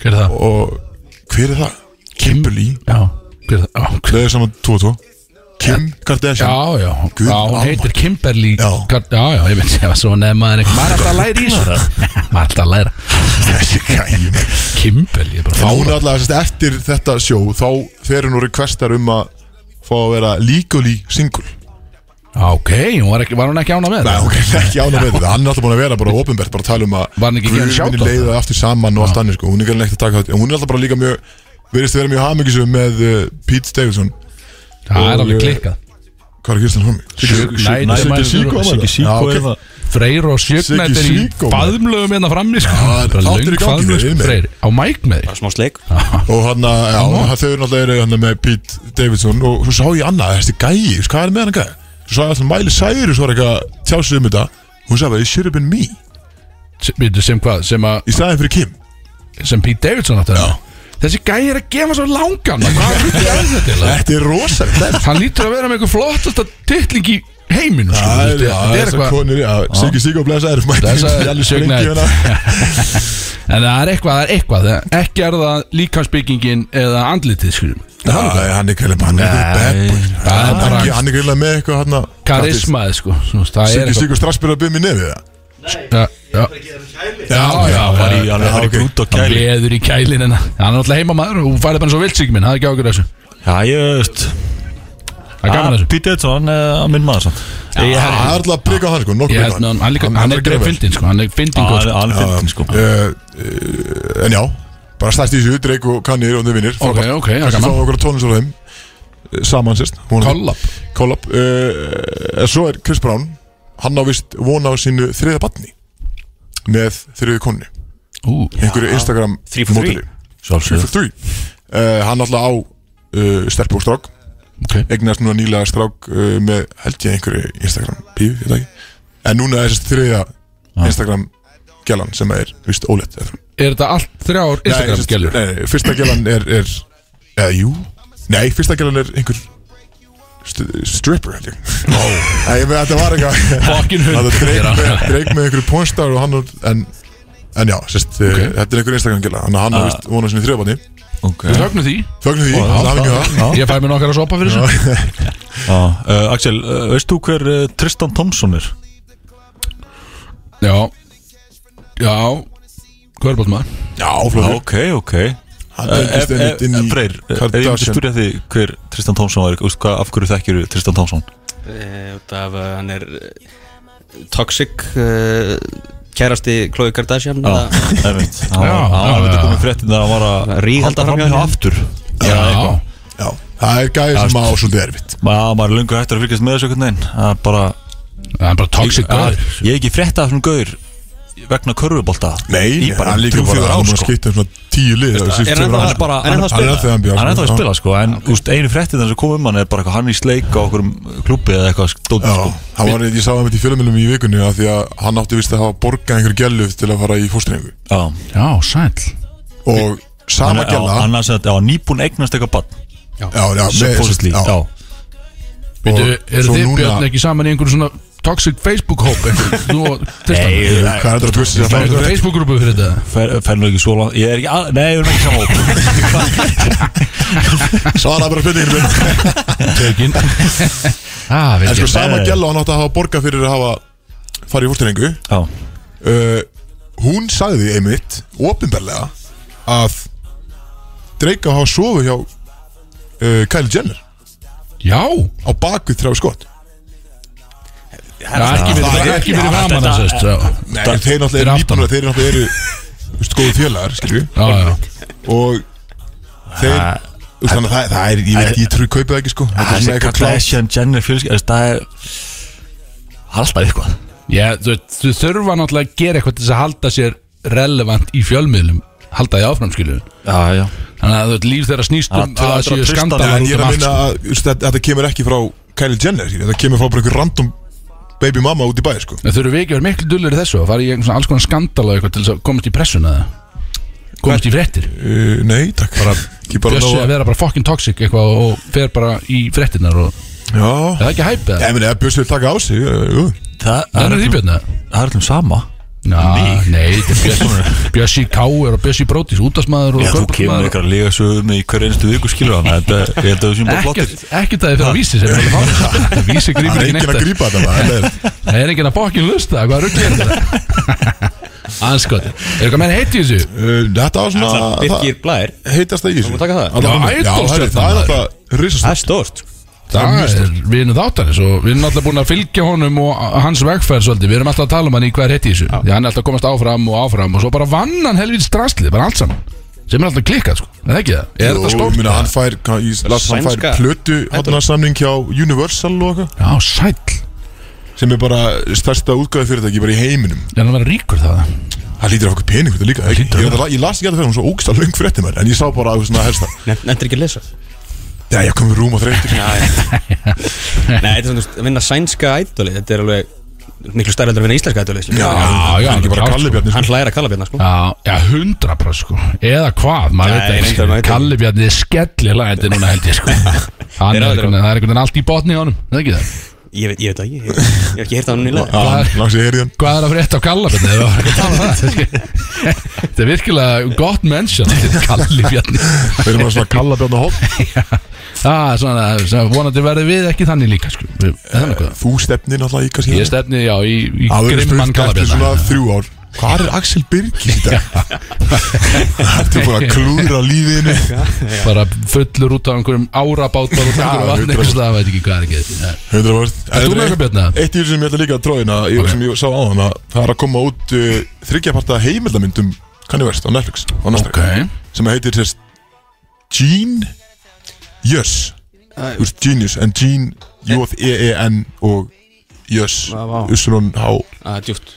S2: Hver er það?
S1: og hver er það? Kimberly,
S2: Já, hver er það? Já, hver-
S1: það er saman 2-2 Kim Kardashian
S2: Já, já,
S1: Guð
S2: já, hún heitir
S1: almáttugur.
S2: Kimberly
S1: Já.
S2: Gar- Já, já, ég veit, já, svo nefnaði maður er alltaf að læra í þessu Maður er alltaf að læra
S1: þessi gæmi
S2: Kimberly, ég er bara
S1: Þá
S2: fára
S1: náttúrulega sérst, eftir þetta sjó þá fer hún og requestar um að fá að vera legally single
S2: Ok, hún var, ekki, var hún ekki ána með
S1: Nei,
S2: það?
S1: hún er ekki ána með þetta Hann er alltaf búin að vera bara ofinbært bara að tala um að
S2: Var hann ekki að gefa
S1: guð
S2: henni
S1: minni
S2: shoutout?
S1: leiða aftur saman og allt annir sko. Hún er ekki að taka þetta Hún er alltaf bara líka mjög Verðist að vera mjög hamingisum með uh, Pete Davidson
S2: Það er
S1: Og,
S2: alveg
S1: eh,
S2: klikkað
S1: Hvað er Kristján Hormi?
S4: Siggi Síko
S2: Siggi
S4: var það?
S1: Já, ok.
S4: eða
S2: Freyr og Sjögnætt er í
S1: Siggi Síko, maður.
S2: faðmlögum hérna frammi sko.
S1: Já,
S2: Bara
S1: þáttur í
S2: löng
S1: gangi,
S2: faðmlög,
S1: við erum
S2: sko,
S1: með.
S2: Freyr, á mæk með
S3: Bara smá sleik
S1: Og hann að já, hann- Þau eru náttúrulega eru hann með Pete Davidson Og svo sá ég annað Þessi gæi veist Hvað er með hann gæi? Svo sá ég alltaf Miley Cyrus var eitthvað að Tjá sig um þetta Hún sagði It should have been me
S2: því Sem hvað, sem, a,
S1: Í staðin fyrir Kim
S2: sem Pete Davidson átti að vera. Þessi gæi er að gefa svo langan maður. Hvað er þetta er þetta? eiginlega?
S1: Þetta er rosalega
S2: Hann lítur að vera með eitthvað flottasta titling í heiminu sko,
S1: Það
S2: þú
S1: er,
S2: veist,
S1: já, þessar konur, já, Siggi Siggi og Blesa erum mættir
S2: Blessaðir,
S1: í alveg sprengi
S2: sögnaðir.
S1: hérna.
S2: En það er eitthvað, það er eitthvað það- Ekki er það líkansbyggingin eða andlitið skrým
S1: Já, hann er kærlega, hann er
S2: Nei,
S1: bad boy.
S2: það er
S1: Hann
S2: bara-
S1: ekki- Hann er kærlega með eitthvað hann
S2: Karismaði sko Svo, Það er
S1: Siggi
S2: eitthvað
S1: Siggi og Strassbyrða byrði mér nefið það
S2: Já, já,
S1: Já,
S2: já,
S4: Hann var í,
S1: já,
S4: hann
S1: já,
S4: var í
S1: ok.
S4: grút og
S2: Hann
S4: kæli
S2: veður í kælin en Hann er alltaf heima maður og færði bara svo vilt sig minn Það er ekki ákveður þessu
S4: Já, ég veist
S2: Það er gaman þessu
S4: Pítið Edson, hann er minn maður samt
S1: Það er alltaf að brygga á hann, sko, nokkuð
S2: Ég held
S1: brygga á
S2: með hann, hann, líka, hann er
S1: þarf að
S2: greið
S1: gera
S2: fyndin sko Hann er fyndin
S4: Já,
S2: góð
S4: Hann
S2: sko.
S4: hann er fyndin sko
S1: vel. Eh, eh, En já, bara stærst í þessu, Drake og Kanye og þau vinnir
S2: Ok, ok, það er
S1: Kanski fá
S2: gaman
S1: okkur tónlistur á þeim eh, Saman sérst vonandi.
S2: Kollab
S1: Collab uh, Svo er Chris Brown Hann á vist vona á sínu þriða batni Með þriði konni
S2: Ú,
S1: Einhverju Instagram
S3: Three for three.
S1: modeli. Three
S4: Sjálfsögðu
S1: for three uh, Hann alltaf á uh, stelpu og strák
S2: ok
S1: Egnast núna nýlega strák uh, Með held ég einhverju Instagram píu ég veit það ekki. En núna er þessi þriðja Instagram gælan sem er vist ólétt eða-
S2: Er þetta allt þrjár
S1: Nei,
S2: Instagram
S1: sem sagt-
S2: skellur?
S1: Nei, nei, fyrsta gælan er, er Eða jú Nei, fyrsta gælan er einhver st- stripper held ég Ó Ég með þetta var eitthvað
S2: Fokkin
S1: Það
S2: hund
S1: er dreik
S2: Gera.
S1: með, dreik með einhverju pornstar og hann og, en, en já, sérst, okay. þetta er einhver Instagram gæla Þannig að hann á vist vona sinni þriðabanni
S4: Ok
S2: Við högnum því
S1: Fögnum því, það hafingi það
S4: Já.
S2: Ég fæ mér nokkar að sopa fyrir þessu
S4: Já, uh, Axel, uh, veist þú hver uh, Tristan Thompson er?
S2: Já Já Körbótt maður
S1: Já, flóður
S4: ok, ok
S1: Hann tengist einmitt inn í
S4: Freyr, eh, ef ég myndi
S1: Kardashian
S4: spyrja þig hver Tristan Thompson var úst, hvað, af hverju þekkir Tristan Thompson?
S3: Eh, út af uh, hann er eh, toxic uh, kærasti Khloe Kardashian
S4: Já,
S3: eða-
S4: það er mitt
S2: Já,
S4: Hann
S2: já,
S4: var að
S2: já.
S4: koma í fréttin þegar hann var að
S3: Ríghalda
S4: halda framhjá
S3: framhjá henni.
S4: aftur
S2: Já,
S4: eitthvað.
S1: Já, það er gæði sem á svolítið erfitt
S4: Ma- maður er lungu hættur að fylgjast með þessu einhvern veginn Það er bara
S2: Það er bara toxic
S4: Að-
S2: gæður
S4: Ég hef ekki frétta af svona gauður vegna körfubolta
S1: Nei,
S4: Í bara
S1: hann líka
S4: þrjú,
S1: bara
S4: fjögur
S1: Hann
S4: ár,
S1: er búin að
S4: sko.
S1: skipta um svona tíu lið á síðustu
S3: Er hann
S1: tveimur árum,
S3: ennþá-
S4: hann er
S1: sko.
S4: bara
S3: er
S1: Hann er
S3: ennþá að spila?
S1: ennþá að
S4: Hann er ennþá að
S1: já.
S4: spila sko En úst, einu fréttin sem kom um hann er bara eitthvað, hann í sleik á okkur klubbi eða eitthvað stótt
S1: Já,
S4: sko
S1: hann var, ég sá það mitt í fjölumilum í vikunni af því að hann átti vist að hafa borgað einhverju gæluð til að fara í fóstringu
S4: Já,
S2: Já, sæll
S1: og sama
S4: já,
S1: gæla
S4: annars að já, nýbúin eignast eitthvað bann
S1: já, já, með-
S4: Supposedly,
S1: já,
S4: já
S1: og
S2: Býtu, eru
S1: svo
S2: þið
S1: núna-
S2: Björn ekki saman í einhverjum svona toxic Facebook-hóp einhverjum? Þú og Tristan
S4: Nei,
S1: Hvað er þetta að tvissi
S2: Það er einhverjum Facebook-grúpu fyrir þetta
S4: Fer, fer nú ekki svo langt Ég er ekki, að, nei, við erum ekki saman hóp
S1: Svara bara spurninginu minn.
S2: Tekin Ah,
S1: En
S2: veit
S1: sko
S2: ég
S1: sama
S4: nei.
S1: gæla hann átti að hafa borgað fyrir að hafa farið í Eh, fóstringu
S4: Já,
S1: uh, Hún sagði einmitt ofinbarlega að Drake á að hafa sofu hjá uh, Kylie Jenner
S2: Já,
S1: á bakvið þrjá skott
S2: það er ekki
S1: það
S2: verið
S1: er-
S2: ekki fyrir framann
S4: þetta-
S2: þess Já,
S1: Nei, þeir náttúrulega
S2: fyrir
S1: eru
S2: aftan.
S1: nýbúinur þeir náttúrulega eru þú veist, góðu félagar, skilju
S2: já
S1: og þeir þú veist, þannig að það, það er, ég veit, ég trúi kaupið það ekki sko þetta er
S4: Ah, Þessi
S1: svona eitthvað klás
S4: Kardashian Jenner fjölskyld þessi, Það er það er alltaf eitthvað
S2: Já, þú veist, þau þurfa náttúrulega að gera eitthvað til þess að halda sér relevant í fjölmiðlum halda því áfram, skilju
S4: Já, já
S2: þannig að þú veist, líf þeirra snýst um að
S4: Það er
S2: það
S4: að
S2: séu
S4: treysta
S2: skandala
S1: en
S2: út
S1: ég er
S2: um
S1: að
S2: allt
S1: minna
S2: sko.
S1: að þú veist, þetta þetta kemur ekki frá Kylie Jenner, skilju, þetta kemur frá bara einhver random baby mamma út í bæ, sko
S2: En þurfum við ekki að vera miklu dullir í þessu og fara í einhvern svona alls konar skandala og eitthvað til þess að komast í pressuna eða komast í fréttir
S1: uh, nei, takk
S2: bara,
S1: ekki bara
S2: Eh, Bjössi
S1: ná
S2: að
S1: að
S2: vera bara fucking toxic eitthvað og- og fer bara í fréttinnar og er
S1: já,
S2: það ekki hæpið
S1: ég
S2: eða?
S1: meni, ef Bjössi vil taka á sig uh, jú.
S4: Það það
S2: Það
S4: er
S2: er því
S4: öllum-
S2: björna
S4: það er öllum sama
S2: Já, nei, þetta er Bjössi- Bjössi Káur og Bjössi Brótis útasmaður og
S4: Já, þú kemur með
S2: körfuboltamaður.
S4: eitthvað að lega sögum í hverju einstu viku skilu hann Þetta, ég held að þú séum bara flottir
S2: Ekkert ekkert að þið fyrir að vísi sem er alveg fáið Vísi
S1: það er
S2: grípur ekki
S1: enginn að
S2: neitt
S1: grípa þetta maður, það er-
S2: Það er enginn að fokkin lusta, hvað ruggli er þetta? Anskot Er eitthvað meira heitt í þessu?
S1: uh, þetta var svona
S3: Ætla, Birgir Blær
S1: það heitast það í þessu
S3: Þú taka það?
S1: Alla
S2: Já,
S1: vega. já,
S2: idol
S1: herri,
S2: stjörna,
S1: það er
S2: maður.
S1: alltaf
S3: Það
S1: risast
S3: er stórt
S1: er mjög
S2: Það
S1: stórt.
S2: er vinnu þáttanis og við erum alltaf búin að fylgja honum og hans vegferð svolítið Við erum alltaf að tala um hann í hver heitt í þessu Því hann er alltaf að komast áfram og áfram og svo bara vann hann helvítið straslið, bara allt saman sem er alltaf klikkað, sko, er það ekki það? Er þetta
S1: Jú, ég
S2: stórt?
S1: meina, hann fær, hvað, ég las að hann
S3: Sænska-
S1: fær plötu hátnarsamning hjá Universal og eitthvað
S2: Já, sæll,
S1: sem er bara stærsta útgæði fyrirtæki bara í heiminum
S2: er hann að vera ríkur það?
S1: það lítir af okkur pening þetta líka ég, ég, ég, ég las ekki að það fyrir hún svo ógst að löng frétti mér en ég sá bara að svona helsta
S3: Nendur ekki að lesa
S1: já ég kom við rúm og þreytur
S3: Nei, þetta er svona, þú veist, að vinna sænska ædoli Þetta er alveg miklu stærri heldur að vinna íslenska ædoli skilur.
S2: já,
S1: hann er ekki bara
S2: klárt,
S1: Kalli
S2: sko.
S1: Bjarni
S3: Hann
S1: sko.
S3: hlæðir að kalla björna, sko
S2: Já, já, hundra brá sko Eða hvað, maður
S3: Nei,
S2: veit
S3: reyndar, maður
S2: ekki
S3: veit það.
S2: Kalli Bjarni er skellir lagandi núna held ég sko Hann er
S3: Þeir eru
S2: einhvern veginn, það er einhvern veginn allt í botni á honum er það ekki það?
S3: Ég veit, ég veit það ekki, ég, ég hef ekki heyrt það núna í lag
S1: Já, hann- langs ég heyri hann
S2: Hvað er að frétta á Kalla Bjarni? Ef við varum ekki að tala um það? Þetta er virkilega gott mennsjón Kalli Bjarni
S1: við erum bara svona Kalla Bjarni hótt
S2: Það er svona, svona, vonandi verði við ekki þannig líka sko Við- er Það er eitthvað
S1: þú stefnir náttúrulega í kannski
S2: Ég stefni, já, í, í
S1: Það verður
S2: grimman
S1: spurt
S2: Kalla
S1: eftir svona
S2: Bjarni
S1: þrjú ár Hvar er Axel Birgir í dag? Þetta er bara að klúðra lífiðinu
S2: Bara fullur út á einhverjum árabátar og
S1: Já,
S2: einhverjum vatn
S1: hundrað
S2: Einhvers það veit ekki hvað er ekki þetta
S1: Hundra vorst
S2: Ert þú með eitthvað, Björn, eða?
S1: Eitt í þessu sem ég ætla líka að tróðina okay. sem ég sá á hana Það er að koma út uh, þryggjaparta heimildamyndum Kanni verst um á Netflix á næsta
S2: Ok.
S1: ári, Sem heitir sérst Gene Jöss Þú veist Genius En Gene J-E-E-N og Jöss
S3: Vá, vá.
S1: Ussunum H
S3: Það er Ah, djúpt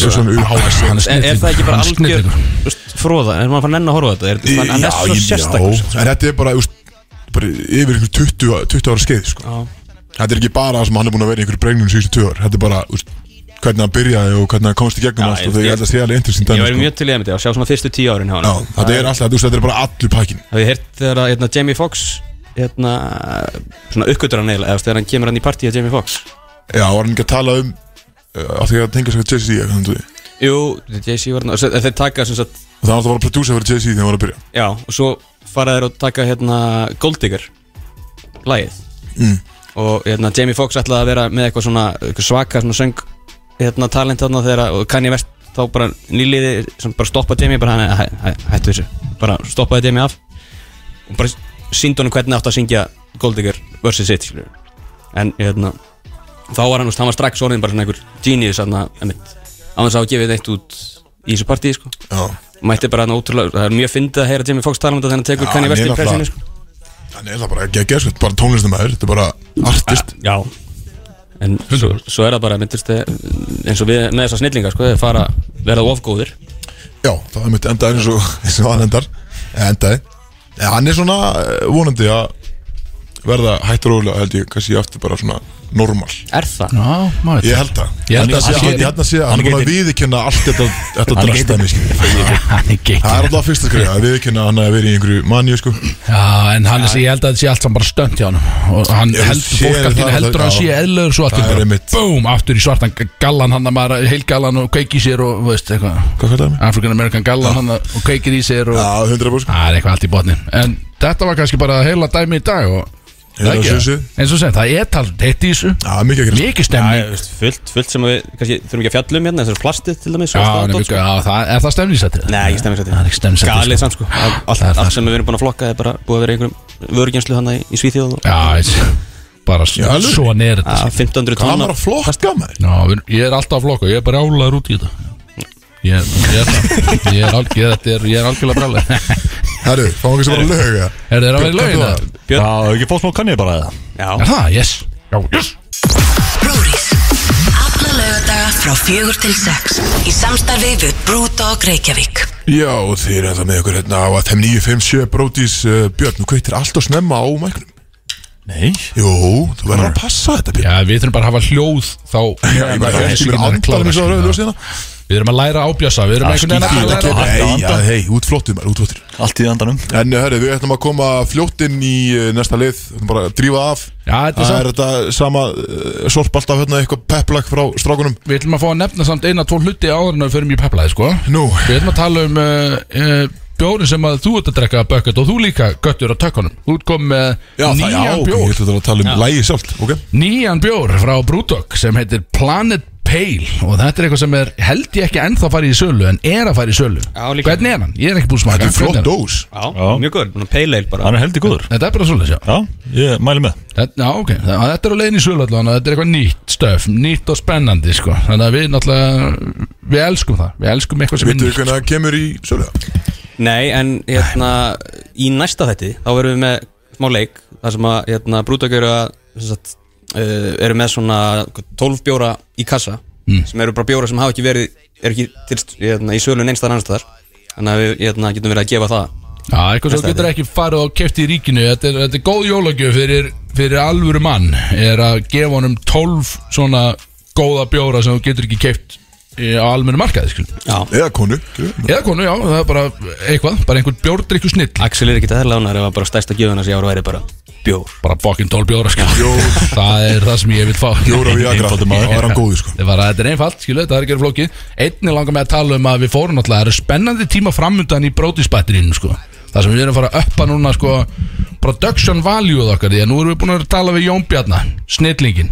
S1: Ussunum U-H-S
S2: Hann
S3: En er það ekki bara
S2: Hann er
S3: algjör
S2: snillingur.
S3: þú veist, fróða, er maður fann enn að horfa á þetta er, hann- Hann er svo sérstakur sko.
S1: E, En þetta er bara, þú veist, bara yfir ykkur 20, á- 20 ára skeið sko.
S3: Já.
S1: Þetta er ekki bara það sem hann er búin að vera í ykkur bregnum síðustu tvö ár Þetta er bara, þú veist, hvernig hann byrjaði og hvernig hann komst í gegnum
S3: Já,
S1: allt
S3: ég-
S1: og þegar
S3: ég-
S1: þetta sé alveg interesting
S3: Ég
S1: dæmi,
S3: væri
S1: sko.
S3: mjög til í að sjá svona fyrstu tíu árin hjá hann
S1: Já, þetta er alltaf, þú veist, þetta er bara allur pakkin
S3: Hafið þið heyrt þegar að hérna, Jamie Foxx hérna, svona uppgötur hann eiginlega eða þegar hann kemur hann í partíi að Jamie Foxx
S1: Já, var hann ekki að tala um uh, af því að tengja sig að Jay-Z eitthvað, þannig að-
S3: Jú, Jay-Z var hann og þeir taka sem sagt,
S1: og það var alltaf að prodúsa fyrir Jay-Z þegar hann var að byrja
S3: já, og svo fara þeir og taka hérna Gold Digger lagið
S1: Mm.
S3: og hérna Jamie Foxx ætlaði að vera með eitthvað svona eitthvað svaka svona söng hérna talent þarna þegar að- og Kanye West þá bara nýliði sem bara stoppaði Jamie bara hann hæ, hæ, hættu þessu bara stoppaði Jamie af og bara síndi honum hvernig átt að syngja Gold Digger vs. sitt skilur. en hérna þá var hann, þú veist, hann var strax orðin bara svona einhver genius þarna, einmitt, á þess að hafa gefið eitt út í þessu partíi sko
S1: Já,
S3: mætti bara hann ótrúlega, það er mjög fyndið að heyra Jimmy Fox tala um þetta þegar hann tekur
S1: Já,
S3: Kanye West
S1: hann
S3: í
S1: er
S3: pressinu
S1: náttúrulega-
S3: sko.
S1: þannig er það bara ekki að gera bara tónlistamæður, þetta er bara artist
S3: Já En svo, svo er það bara, myndist þið, eins og við með þessa snillinga sko, þeir fara verða ofgóðir
S1: Já, það er mitt endaði eins og eins og hann endar Eða endaði en hann er svona eh, vonandi að verða hægt og rólega held ég kannski aftur bara svona normal
S3: Er það?
S2: Já, maður veit
S1: ég held að
S2: Ég
S1: Hann-
S2: held að
S1: hann-
S2: sé-
S1: hann- ég held að sé að hann er búin að viðurkenna allt þetta þetta
S4: Hann
S1: drasta
S4: geitir.
S1: mig
S2: það. Hann er geitur
S1: það er alltaf fyrsta skrifa að viðurkenna að hann að vera í einhverju manju sko
S2: Já, en hann er sér, ég held að þetta sé allt saman bara stönd hjá hann og hann
S1: Ég
S2: heldur,
S1: sé
S2: fólk allt í
S1: það,
S2: henni heldur að
S1: já.
S2: hann sé eðlöður svo
S1: Það
S2: allir
S1: er
S2: bara,
S1: einmitt.
S2: búm, aftur í svartan gallan hann að maður, heilgallan og kveiki sér og, þú veist, eitthvað,
S1: hvað kallar það mig?
S2: African American gallan hann að- og kveikir í sér og,
S1: Já, 100%
S2: það er eitthvað allt í botni en þetta var kannski bara heila dæmi í dag og
S1: Eða
S2: ekki?
S1: þessu?
S2: eins og sem, það er talsvert hitt í þessu
S1: Já, mikið að gera
S2: mikið stemning
S3: Æ, veist, fullt, fullt sem við kannski þurfum ekki að fjalla um hérna þessar plastið til dæmis
S2: Já,
S3: og
S2: en
S3: stafdót,
S2: við- já, það- er það stemningsættið?
S3: Nei, ekki stemningsættið.
S2: Það er ekki stemningsættið
S3: Galið samt sko Allt, allt,
S2: Það er það.
S3: allt sem við erum búin að flokka er bara búið að vera í einhverjum vörgjenslu hann í, í Svíþjóð og
S2: Já, ég- bara
S1: Já, alveg.
S2: svo er þetta
S3: að 1500
S1: Hvað
S3: tonna
S1: var að flokka maður?
S2: Já, við- ég er alltaf að flokka, ég er bara álaður út í þetta Ég, ég er það Ég er, alg, ég, þetta er, ég er algjörlega brálega
S1: Herru, fáum við sem bara lög eða?
S2: Er það að vera í lögin? eða?
S3: Björn.
S4: Já, ekki fótt smá kannið bara það
S2: Er
S3: Já,
S2: það, yes Já, yes
S5: Brúris Alla lögadaga frá fjögur til sex Í samstarfi við Brúdog Reykjavík
S1: Já, og þið eru ennþá með okkur hérna á FM 957 Brótis uh, Björn, þú kveitir alltaf snemma á mæknum
S4: Nei
S1: Jú, þú verður að passa þetta Björn
S2: Já, við þurfum bara að hafa hljóð þá
S1: Já, ég bara hefði sem er andan eins og rauðu ljósið hérna
S2: Við erum að læra að ábjassa Við erum
S4: Já,
S2: einhvern
S4: skýt í
S2: veginn að
S4: þetta.
S2: læra
S4: hægt að
S1: Nei,
S4: anda.
S1: já, hei, útflottur maður, útflottur
S4: Allt í andanum
S1: En herru, við ætlum að koma fljótt inn í eh, næsta lið Við ætlum bara að drífa af
S2: Já, þetta er
S1: Það
S2: samt
S1: er þetta sama uh, sorp alltaf hérna eitthvað peplag frá strákunum
S2: Við ætlum að fá að nefna samt eina, tvo hluti áður en að við förum í peplaði, sko
S1: Nú,
S2: Við ætlum að tala um uh, uh, bjórin sem að þú ert að drekka Bökkert og þú líka göttur á tökkunum Þú ert kom með
S1: það, já,
S2: nýjan
S1: ok,
S2: bjór
S1: ég ætlum að tala um lægi sjálft, ok?
S2: nýjan bjór frá Brewdog sem heitir Planet Pale og þetta er eitthvað sem er held ég ekki ennþá farið í sölu en er að farið í sölu
S3: Já, líka.
S2: hvernig er hann? Ég er ekki búin að
S1: Þetta
S2: smaka
S1: er flott
S2: Hvernig er hann?
S1: dós
S3: já, mjög góður Núna Pale Ale bara
S4: Hann er heldig góður
S2: Þetta er bara svolítið, já.
S4: Já, ég mæli með
S2: Þetta- Já, ok. Þa- Þetta er á leiðin í sölu allan og þetta er eitthvað nýtt stöf, nýtt og spennandi, sko. Þannig að við náttúrulega, við elskum það. Við elskum eitthvað sem er
S1: Vittu við
S2: nýtt.
S1: hvernig það kemur í söluða?
S3: Nei, en hérna í næsta þetti þá verðum við með smá leik þar sem að hérna, Brúdök eru að sem sagt, uh, eru með svona 12 bjóra í kassa sem eru bara bjóra sem hafa ekki verið eru ekki til, hérna, í sölun einstæðan annars staðar þannig að við hérna, getum verið að gefa það
S2: Já, eitthvað sem þú getur ekki farið og keft í ríkinu. Þetta er, þetta er góð jólagjöf fyrir, fyrir alvöru mann. Er að gefa honum 12 svona góða bjóra sem þú getur ekki keft á almennu markaði, skilum.
S3: Já,
S1: Eða konu, skilur við?
S2: Eða konu, já, það er bara eitthvað, bara einhvern bjórdrykku snill
S3: Axel er ekki það lánar ef að bara stærsta gjöfuna sem ég ára væri bara bjór
S2: Bara fokkin 12 bjóra, skil
S1: Bjór.
S2: Það er það sem ég vil fá
S1: Jóra við Agra,
S4: Einfaldur
S1: þá
S4: maður.
S1: er hann góður sko
S2: Það var að þetta er einfalt, skilu, þetta er ekki flókið Einnig langar með að tala um að við fórum náttúrulega Það eru spennandi tíma framundan í brótisbættirinn, sko Það sem við erum að fara að uppa núna, sko Production value okkar Því að nú erum við búin að tala við Jón Bjarna Snillingin,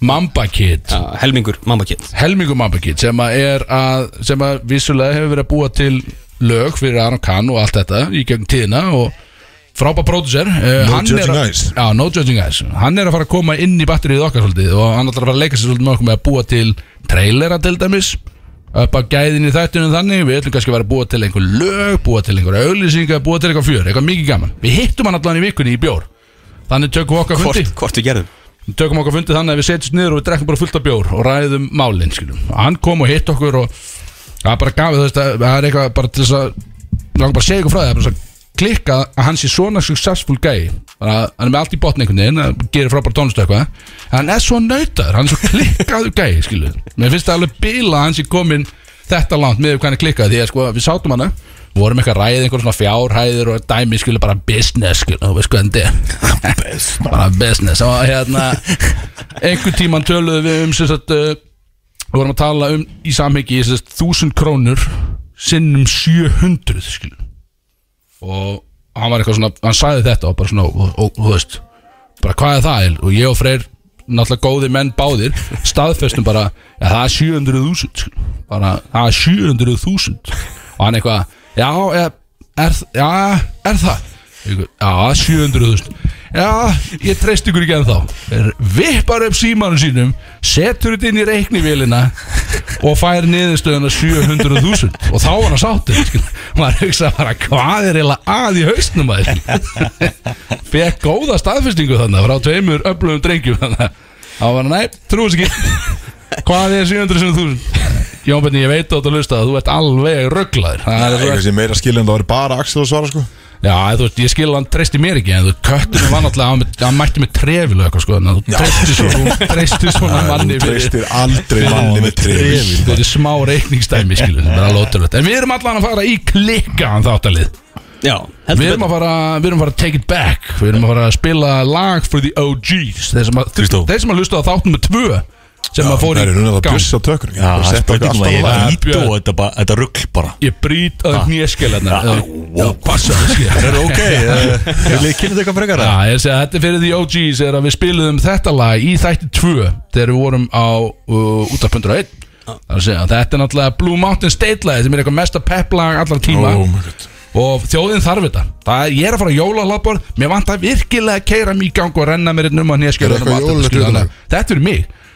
S2: Mamba Kid
S3: Já, helmingur, mamma kett
S2: Helmingur Mamba Kid sem að er að sem að vissulega hefur verið að búa til lög fyrir Aron Kahn og allt þetta í gegn tíðina og frábær pródusser uh,
S1: No judging eyes.
S2: Já, no judging eyes Hann er að fara að koma inn í batterið okkar svolítið og hann ætlar að fara að leika sér svolítið með okkur með að búa til trailera til dæmis upp að gæðin í þættinu þannig við ætlum kannski að vera að búa til einhver lög búa til einhver auglýsinga, búa til eitthvað fjör eitthvað mikið gaman, við hittum hann allan í vikunni í bjór þannig tökum við okkar fundi
S3: hvort, hvort við gerðum
S2: Við tökum okkar fundið þannig að við setjum niður og við drekkum bara fullt af bjór og ræðum málinn skiljum og hann kom og hitt okkur og það bara gafið þess að það er eitthvað bara til þess að við langar bara að segja ykkur frá það það er bara svo klikkað að hann sé svona successful gæi bara hann er með allt í botni einhvern veginn að gerir frábært tónlistu eitthvað En hann er svo nautaður hann er svo klikkaður gæi skiljum mér finnst það alveg bila að hann sé komin þetta langt með hvernig klikkað því að sko við sátum hana við vorum eitthvað ræðið einhver svona fjárhæðir og dæmi skilur bara business skilur þú veist hvað þetta er bara business og hérna einhver tíman töluðum við um sem sagt uh, við vorum að tala um í samhengi sem sagt 1000 krónur sinnum 700 skilur og hann var eitthvað svona hann sagði þetta og bara svona og, og, og þú veist bara hvað er það Egill?" og ég og Freyr náttúrulega góði menn báðir staðfestum bara ja, það er 700.000 skilur. sko." bara það er 700.000 og hann eitthvað já er, er, já, er það Ég, já 700.000 já ég treyst ykkur ekki ennþá Er- vippar upp símanum sínum setur þetta inn í reiknivélina og fær niðurstöðuna 700.000 og þá var hann sáttur skilur. maður hugsa bara hvað er eiginlega að í hausnum maður fekk góða staðfestingu þannig frá tveimur öflugum drengjum þannig þá var hann, nei, trúiðs ekki hvað er 700.000 Jón Benni, ég veit átt að hlusta að þú ert alveg rugglaður Það er
S1: Það er
S2: svo-
S1: eitthvað sem meira skilja en það var bara Axel að svara sko
S2: Já, en þú veist, ég skil að hann treysti mér ekki en þú veist, köttunum var náttúrulega, hann, hann mætti mig trefil og eitthvað sko, en þú treysti svo þú treysti svona manni
S1: Þú treystir sko. aldrei manni með trefil
S2: Þetta er smá reikningsdæmi skilur Þetta er alveg ótrúlegt En við erum allan að fara í klikkaðan þáttalið
S3: Já,
S2: Við
S3: heldur
S2: erum að fara Við erum að fara að take it back Við erum að fara að spila lag for the OGs Þeir sem að,
S4: Kristó.
S2: þeir sem að hlusta á þáttum með tvö sem að fór í
S1: Það er núna að
S2: gang
S1: bjössa tökur
S4: Já, það er spurningum að ég
S2: lag.
S4: vít og þetta, bara- þetta rugg bara
S2: Ég brýt að hnéskelarna
S4: Ah, wow.
S2: Passa að
S4: Það
S2: skilja
S4: er ok, Eh, vil ég kynna þetta eitthvað frekar
S2: Já, ég segi að þetta er fyrir því OGs er að við spiluðum þetta lag í þætti 2 þegar við vorum á uh, útaf.1
S4: Ah.
S2: Það er að segja að þetta er náttúrulega Blue Mountain State lagið sem er eitthvað mesta pepplag allar tíma
S1: Oh my god
S2: og þjóðin þarf þetta það er, ég er að fara að jóla labbor mér vant að virkilega að keira mig í gang og renna mér einn um að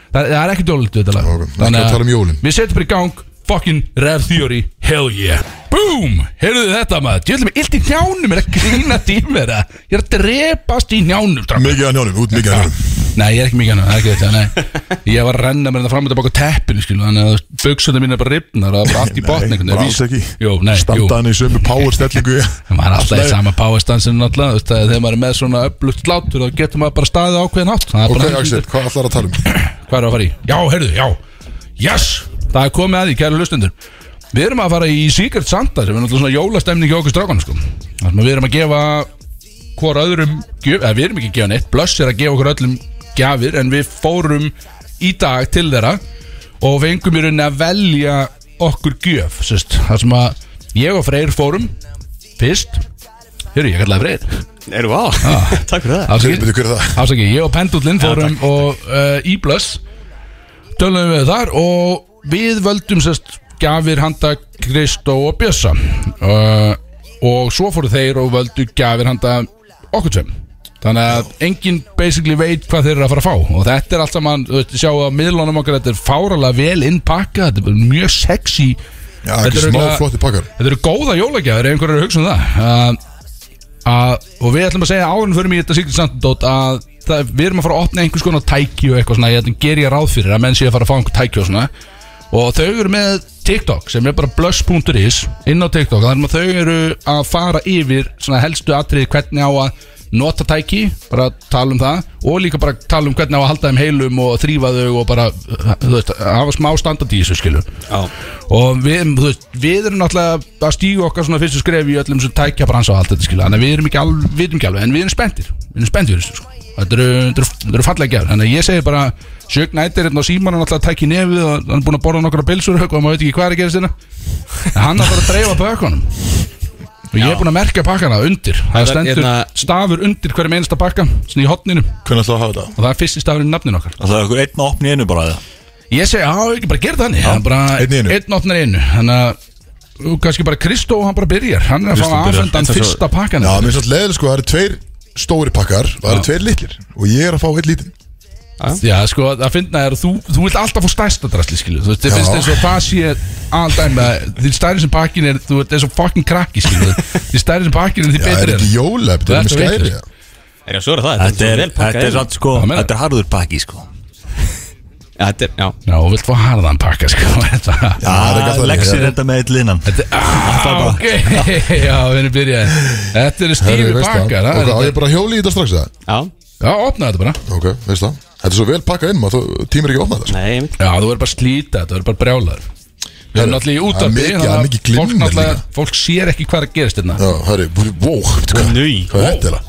S1: Er eitthvað jólalegt við þetta
S2: nýjaskjöla þetta er mig, það, það er ekki dólítið þetta lag
S1: Ok, ekki að tala um jólin.
S2: við setjum bara í gang fucking Rev Theory, hell yeah boom, heyrðu þetta maður ég vil með illt í njánum, er að grína tímur ég er að drepast í njánum strákar.
S1: Mikið að njánum, út mikið að njánum
S2: Nei, ég er ekki mikið hann, það er ekki þetta, nei Ég var að renna mér þetta fram og tilbaka á teppinu, skilu Þannig að buksuna mín er bara ripnar og það er bara allt í
S1: Nei,
S2: botn einhvern
S1: bara
S2: veginn.
S1: alls ekki.
S2: Jú, nei, jú
S1: Standaðan í sömu power stellingu
S2: Það var alltaf í sama powerstansinu alltaf þú veist, að Þegar maður er með svona upplutt slátur þá getur maður bara staðið á ákveðin átt Það er
S1: Ok,
S2: bara heldur.
S1: Axel, hvað allar að tala um?
S2: Hvað er að fara í? Já, heyrðu, já Yes, það er komið að því, kæru hlustundur Við erum að fara í Secret Santa sem er náttúrulega svona jólastemning hjá okkur strákanum sko Þannig að við erum að gefa hvora öðrum gjöf, eða við erum ekki að gefa neitt Blöss er að gefa okkur öllum gjafir en við fórum í dag til þeirra og fengum í rauninni að velja okkur gjöf sérst. Það sem að ég og Freyr fórum fyrst Hörru, ég kallaði Freyr
S3: Eru á, takk fyrir það
S2: Afsakið.
S1: Byrju, hver er það?
S2: Afsaki, ég og Pendullin fórum og uh, Íblöss Tölum við þar og við völdum sérst Gjafir handa Kristó og Bjössa uh, Og svo fóru þeir og völdu gjafir handa okkur tveim Þannig að enginn basically veit hvað þeir eru að fara að fá Og þetta er allt saman, þú veist, sjá að miðlunum okkar Þetta er fáralega vel innpakka Þetta er bara mjög sexy
S1: Já, ekki smá
S2: örugglega-
S1: flotti pakkar
S2: Þetta eru góða jólagjafir ef einhverju er að hugsa um það uh, uh, Og við ætlum að segja áðurinn fyrir mig í þetta Secret Santa dót að það, við erum að fara að opna einhvers konar tæki og eitthvað svona Ég ætlum að gera ég ráð fyrir að menn sé að fara að fá einhver tæki og svona Og þau eru með TikTok sem er bara blöss.is inn á TikTok Þar sem að þau eru að fara yfir svona helstu atriði hvernig á að nota tæki bara tala um það og líka bara tala um hvernig á að halda þeim heilum og þrýfa þau og bara, uh, þú veist, hafa smá standard í þessu skilur og við, þú veist, við erum náttúrulega að stígu okkar svona fyrstu skref í öllum sem tækja bransa og allt þetta skilja þannig að við erum ekki alveg, við erum ekki alveg en við erum spenntir, við erum spenntir fyrir þessu sko. þetta eru, þetta eru, þetta eru fallega gjafir þannig að ég segi bara Sjögn Ættir hérna á símanum alltaf að tækja í nefið og hann er búin að borða nokkra pilsur og eitthvað, maður veit ekki hvað er að gerast hérna en hann er að fara að dreifa pökkunum og ég er búin að merkja pakkana undir það
S3: Það er
S2: stendur
S3: hérna-
S2: stafur undir hverjum einasta pakka svona í hotninu og
S1: Hvernig ætlaðu að hafa þetta?
S2: það er fyrsti stafurinn í nafninu okkar
S4: Það er eitthvað einn að opna í einu bara eða?
S2: Ég segi, já, ekki bara gera það þannig Það er bara
S1: einn í einu.
S2: Einn opnar í einu Þannig að og kannski bara Kristó, hann bara byrjar Hann er að fá
S4: Kristó byrjar.
S2: aðfendan
S4: Þetta er svo-
S2: fyrsta pakkan
S1: Já, mér finnst leðil sko, það eru tveir stóri pakkar og það eru tveir litlir og ég er að fá eitt lítinn
S2: Já, sko, að finna er að þú, þú vilt alltaf fá stærsta drastli, skilu Þú veist, þið
S1: Já.
S2: finnst eins og það sé alldæmi að Því stærri sem pakkin er, þú veist, eins og fucking krakki, skilu Því stærri sem pakkin er, því
S1: Já, það er
S2: betri er
S1: ekki jólef,
S2: Það
S1: það
S2: er
S1: er með
S2: svo
S1: skæri
S2: vitlaust.
S3: Er ég að svara það?
S4: Þetta er,
S3: vel pakkað
S4: þetta er
S3: inn.
S4: satt sko,
S2: Hvað meina?
S4: þetta er harður pakki sko
S3: Já, þetta er, já
S2: Já, og vilt fá harðan pakka, sko Þetta
S4: Já,
S1: það er ekki alltaf
S4: legsir
S1: líka.
S4: þetta með eitt linnan
S2: Á, ok, já, við erum byrjað Þetta eru stífi pakkar
S1: Ok, á ég bara að hjóli í þetta strax það
S3: Já,
S2: Já, opnaðu þetta bara
S1: Ok, veist það Þetta er svo vel pakkað inn, maður þú- tímir ekki að opna þetta sko.
S3: nei, ég veit
S2: Já, þú verður bara að slíta, þetta verður bara brjálar Við erum
S1: Herru,
S2: náttúrulega í
S1: það er
S2: útarpi
S1: mikið-
S2: þannig
S1: það er
S2: að
S1: mikið glimmer
S2: fólk náttúrulega-
S1: líka.
S2: Fólk sér ekki hvað er að gerast hérna
S1: Já, herri, wow, veitu hvað
S3: Nei.
S1: Hvað er þetta? eiginlega?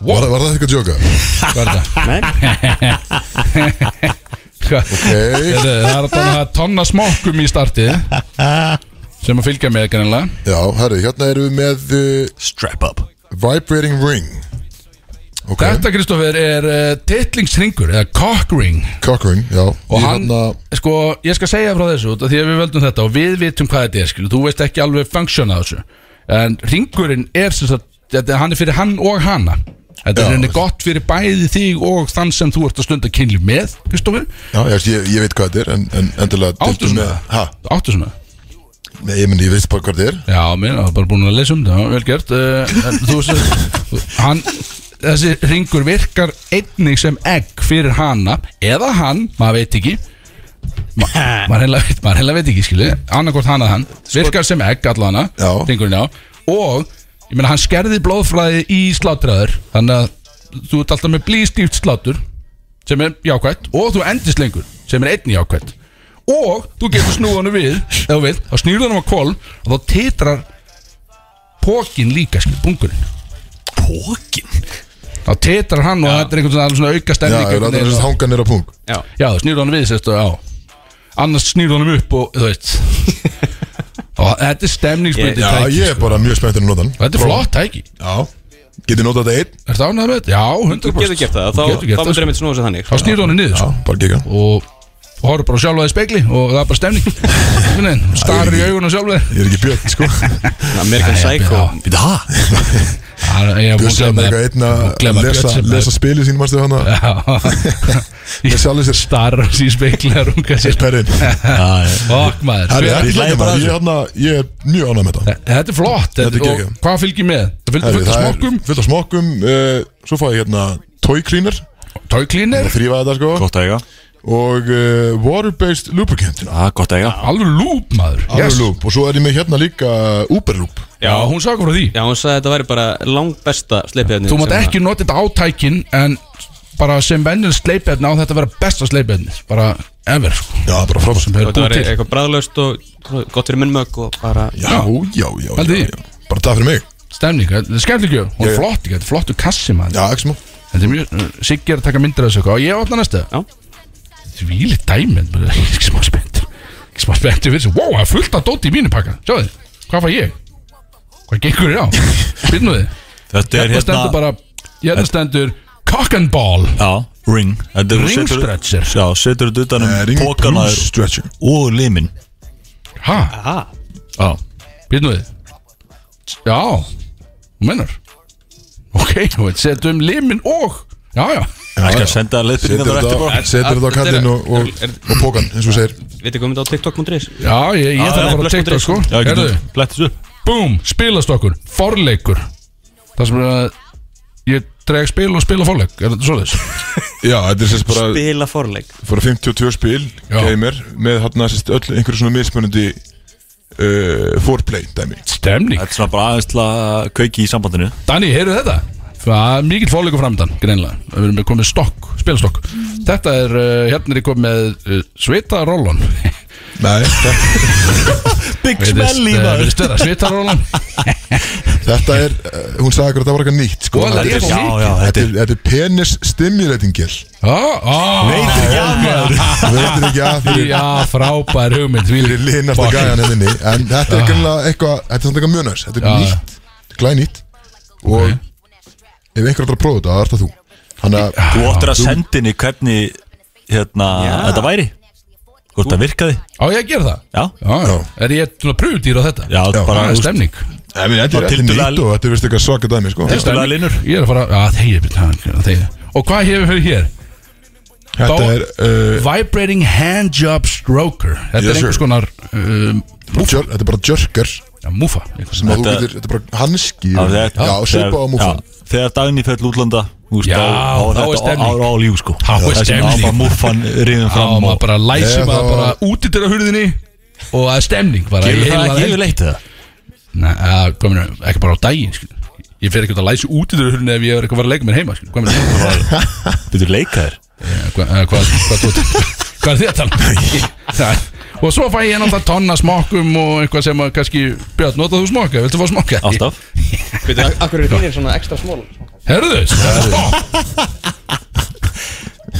S1: Var, var það eitthvað að jóka?
S2: Hvað er það?
S3: Nei,
S2: Hvað-
S1: Ok,
S2: Heyrðu, Það er að tonna, tonna smokkum í startið sem að fylgja með kannilega
S1: já, herri, hérna erum við með uh,
S4: Strap up
S1: Vibrating Ring Ok,
S2: Þetta, Kristoffer, er uh, titlingsringur eða cock ring
S1: Cock Ring, já
S2: og
S1: Ég
S2: hann,
S1: hérna-
S2: sko, ég skal segja frá þessu út af því að við völdum þetta og við vitum hvað þetta er, skilu, þú veist ekki alveg funksjona þessu, en ringurinn er sem sagt, þetta, hann er fyrir hann og hana þetta
S1: Já.
S2: er henni gott fyrir bæði þig og þann sem þú ert að stunda kynlíf með, Kristoffer,
S1: Já, ég, ég, ég veit hvað þetta er, en, en endilega
S2: áttu
S1: deildu
S2: svona
S1: með- Ha,
S2: áttu svona,
S1: nei, ég meni, ég veit bara hvað þetta er
S2: já, mér, það er bara búin að lesa um þetta, já, vel gert uh, en þú veist, hann þessi ringur virkar einnig sem egg fyrir hana, eða hann maður veit ekki Ma- maður heila veit, maður heila veit ekki skilu annarkort hann að hann, virkar sem egg allana
S1: Sko- Já.
S2: ringurinn á og ég meina hann skerði blóðflæði í slátraður þannig að þú ert alltaf með blístíft slátur sem er jákvætt og þú endist lengur sem er einnig jákvætt og þú getur snúðanum við ef þú vilt, þá snýrðu hann á kól og þá titrar pókin líka skilu, bungurinn
S4: Pókin
S2: þá titrar hann og þetta er einhvern veginn alveg svona auka
S1: Já,
S2: stemning
S1: það er
S2: einhvern
S1: alltaf
S2: veginn.
S1: hangan er á pung
S3: Já,
S2: Já, þú snýr honum við sérstu, já Annars snýr honum upp og, þú veit Og þetta er stemningsbryndi
S1: Já,
S2: tæki
S1: ég er
S2: sko.
S1: bara mjög spenntur að nota hann
S2: Þetta er flott tæki
S1: Já, getið nota þetta einn
S2: Er það ánægð með þetta? Já, 100%
S3: þú getur gert það, þá,
S2: Getur gert
S3: þá
S2: það,
S3: myndir
S2: sko.
S3: einmitt snúa þessu þannig
S2: Þá snýr honum niður
S1: Já,
S2: sko.
S1: bara gíka
S2: Og og horfður bara sjálfa í spegli Og það er bara stemning Starir í augunum sjálfa þér.
S1: Ég er ekki björn, sko
S3: American Psycho
S2: Já,
S4: Býta, hæ?
S2: það er- ég er
S1: Björn
S2: búin að
S1: sem
S2: gleyma
S1: er eitthvað
S2: það.
S1: einn að
S2: Gleyma
S1: lesa,
S2: Björn sem
S1: lesa spilið sín, mannstu hann að
S2: Já
S1: Lesa alveg sér
S2: Starir hans í spegli að runga sér
S1: Perrin
S2: Fokk maður
S1: Það er
S2: Þetta
S1: ekki
S4: hlæjum
S1: lægum
S4: bara
S1: að ég, hérna, ég er mjög ánægð með þetta
S2: þetta er flott
S1: Þetta er
S2: þetta, og
S1: geggjað.
S2: Hvað fylgir með? Það fylgir
S1: Herri,
S2: fullt
S1: það er
S2: af smokkum
S1: Fullt af smokkum uh, Svo fæ ég hérna toy cleaner
S2: Tóklínir
S1: að þrýfa þetta sko
S4: Gott að eiga
S1: og uh, water based lubricant
S4: Já, gott að eiga
S2: Alveg lúp maður
S1: yes. loop, og svo er ég með hérna líka Uber loop
S2: Já, hún sagði okkur frá því
S3: Já, hún sagði að þetta væri bara langbesta sleipið
S2: Þú mátt ekki nota þetta átækin En bara sem vennil sleipefni á þetta að vera besta sleipefni Bara ever sko,
S1: Já, bara frábært
S2: sem þeir
S3: Þetta
S2: búið
S3: væri
S2: til
S3: eitthvað bræðlaust og gott fyrir munnmögg og bara
S1: Já, já, já,
S2: Pældi
S1: já,
S2: í.
S1: já. Bara það fyrir mig
S2: Stemning, þetta er skemmtileg gjöf Hún
S1: Já,
S2: er
S1: já.
S2: flott, ekki? þetta er flottu kassi maður
S1: Já, ekki smá
S2: Þetta er mjög, uh, Siggi er að taka myndir af þessu eitthvað. Og ég opna næsta
S3: Já.
S2: Þvíli dæmi en bara, Ekki smá spennt Ekki smá spennt fyrir þessu Wow, það er fullt af dóti í mínu pakka Sjáðu, hvað fæ ég? Hvað gengur þér á? Finnu þið?
S4: Þetta er
S2: Hérna stendur
S4: hérna
S2: bara Hérna stendur Cock and ball
S4: Já, ring Þetta er-
S2: Ring
S4: setur-
S2: stretcher.
S4: Já, setur þetta utan
S1: Eh,
S4: um
S1: Ring
S4: pókana
S1: plus stretching
S4: og limin
S2: Hæ,
S3: Aha,
S4: Já
S2: býtnum við Já, þú mennar Ok, þú veit, setjum limin og Já, já,
S4: Ég skal
S1: já.
S4: senda leiðbyrðingar
S1: Setur
S4: þar eftir
S1: þetta
S4: bara
S1: á- setur þetta á kallin og, og, og pókan, eins og þú segir
S3: veit ekki hvað mynda á TikTok.is
S2: já, ég, ég þarf að fara að tekta sko
S4: Já,
S2: Herðu,
S4: getur Blettis upp
S2: búm, spilast okkur Forleikur Það sem er að ég dreg spil og spila forleik Er þetta svoleiðis?
S1: Já, þetta er sérst bara
S3: Bila forleik
S1: fyrir 52 spil
S2: Já.
S1: gamer með hérna sérst öll einhverju svona mismunandi uh, foreplay dæmi
S2: Stemning
S4: Þetta er svona bara aðeins til að kveiki í sambandinu
S2: Danni, heyrðu þetta? Það er mikill forleikur framöndan, greinlega Við erum komið með stokk, spilastokk Þetta er, uh, hérna er ég komið með uh, Sveita Rollon
S1: Nei, þetta,
S4: Big
S2: Það er stöða, Sveita Rollon
S1: þetta er, uh, hún sagði akkur að það var eitthvað nýtt sko.
S2: Og þetta er-
S4: Já, já,
S1: Þetta
S4: þetta
S1: er, þetta er penis stimulating gel
S2: Veitir ekki að maður
S1: Þú veitir ekki að fyrir,
S2: Já, frábær hugmynd því
S1: fyrir linasta
S2: Fuck. Ah.
S1: gæjan henni En þetta er greinlega eitthvað, þetta er samt eitthvað mjög næs Þetta er
S2: Já.
S1: nýtt, glænýtt Og ef einhver ætlar að prófa þetta, það er það þú Þannig að
S4: Þú óttir að senda henni hvernig hérna,
S3: Já.
S4: þetta væri Hvort það virkaði
S2: Á ég að gera það?
S4: Já,
S2: Já, já Er ég svona pröfudýr á þetta?
S4: já,
S1: Já,
S4: bara
S2: Það er stemning
S1: Nei, meni, þetta
S4: Og
S1: er þetta er
S4: tiltölulega-
S1: nýtt og þetta er vist eitthvað svaka dæmi sko.
S4: Tiltölulega- Stemning. linur.
S2: Ég er að fara Já, þegið byrja Þegið Og hvað hefur fyrir hér?
S1: Þetta
S2: Bá-
S1: er uh,
S2: Vibrating handjob stroker Þetta
S1: Yes,
S2: er einhvers
S1: sir.
S2: konar um,
S1: jör, Þetta er bara jörger
S2: Já, múfa einhvers-
S1: sem að þú
S4: Þetta-
S1: getur, þetta er bara hanski
S4: Já, þegar-
S1: Já, svipa á
S4: þegar-
S1: múfan
S4: já, Þegar daginn í fell útlanda þú veist,
S2: Já,
S4: þá-
S2: þá er
S4: þetta
S2: stemning.
S4: á- á- Á líf sko
S2: Þá er
S4: Það sem
S2: stemning.
S4: á bara múfan riðum
S2: Já,
S4: fram
S2: maður bara læsir
S1: Ég,
S2: maður
S1: þá-
S2: bara út í hurðinni Og það er stemning bara í
S4: Gerðu það
S2: heilan
S4: ekki
S2: helgi.
S4: yfirleitt eða?
S2: Nei, að, hvað meina, ekki bara á daginn skil. Ég fer ekki út að læsa út í þurru hurni ef ég er eitthvað að fara að leika mér heima skil. Hvað meina, hvað,
S4: Byrðu
S2: hvað,
S4: leikaðir
S2: eh, hvað, hvað, hvað, hvað er því að tala? um? Nei. og svo fæ ég náttúrulega tonna smokkum og eitthvað sem að kannski Björn, notaðu smokka, viltu fá smokka?
S4: Alltaf
S3: Veitu, akkur eru þínir svona ekstra smól
S2: Herðu, stopp!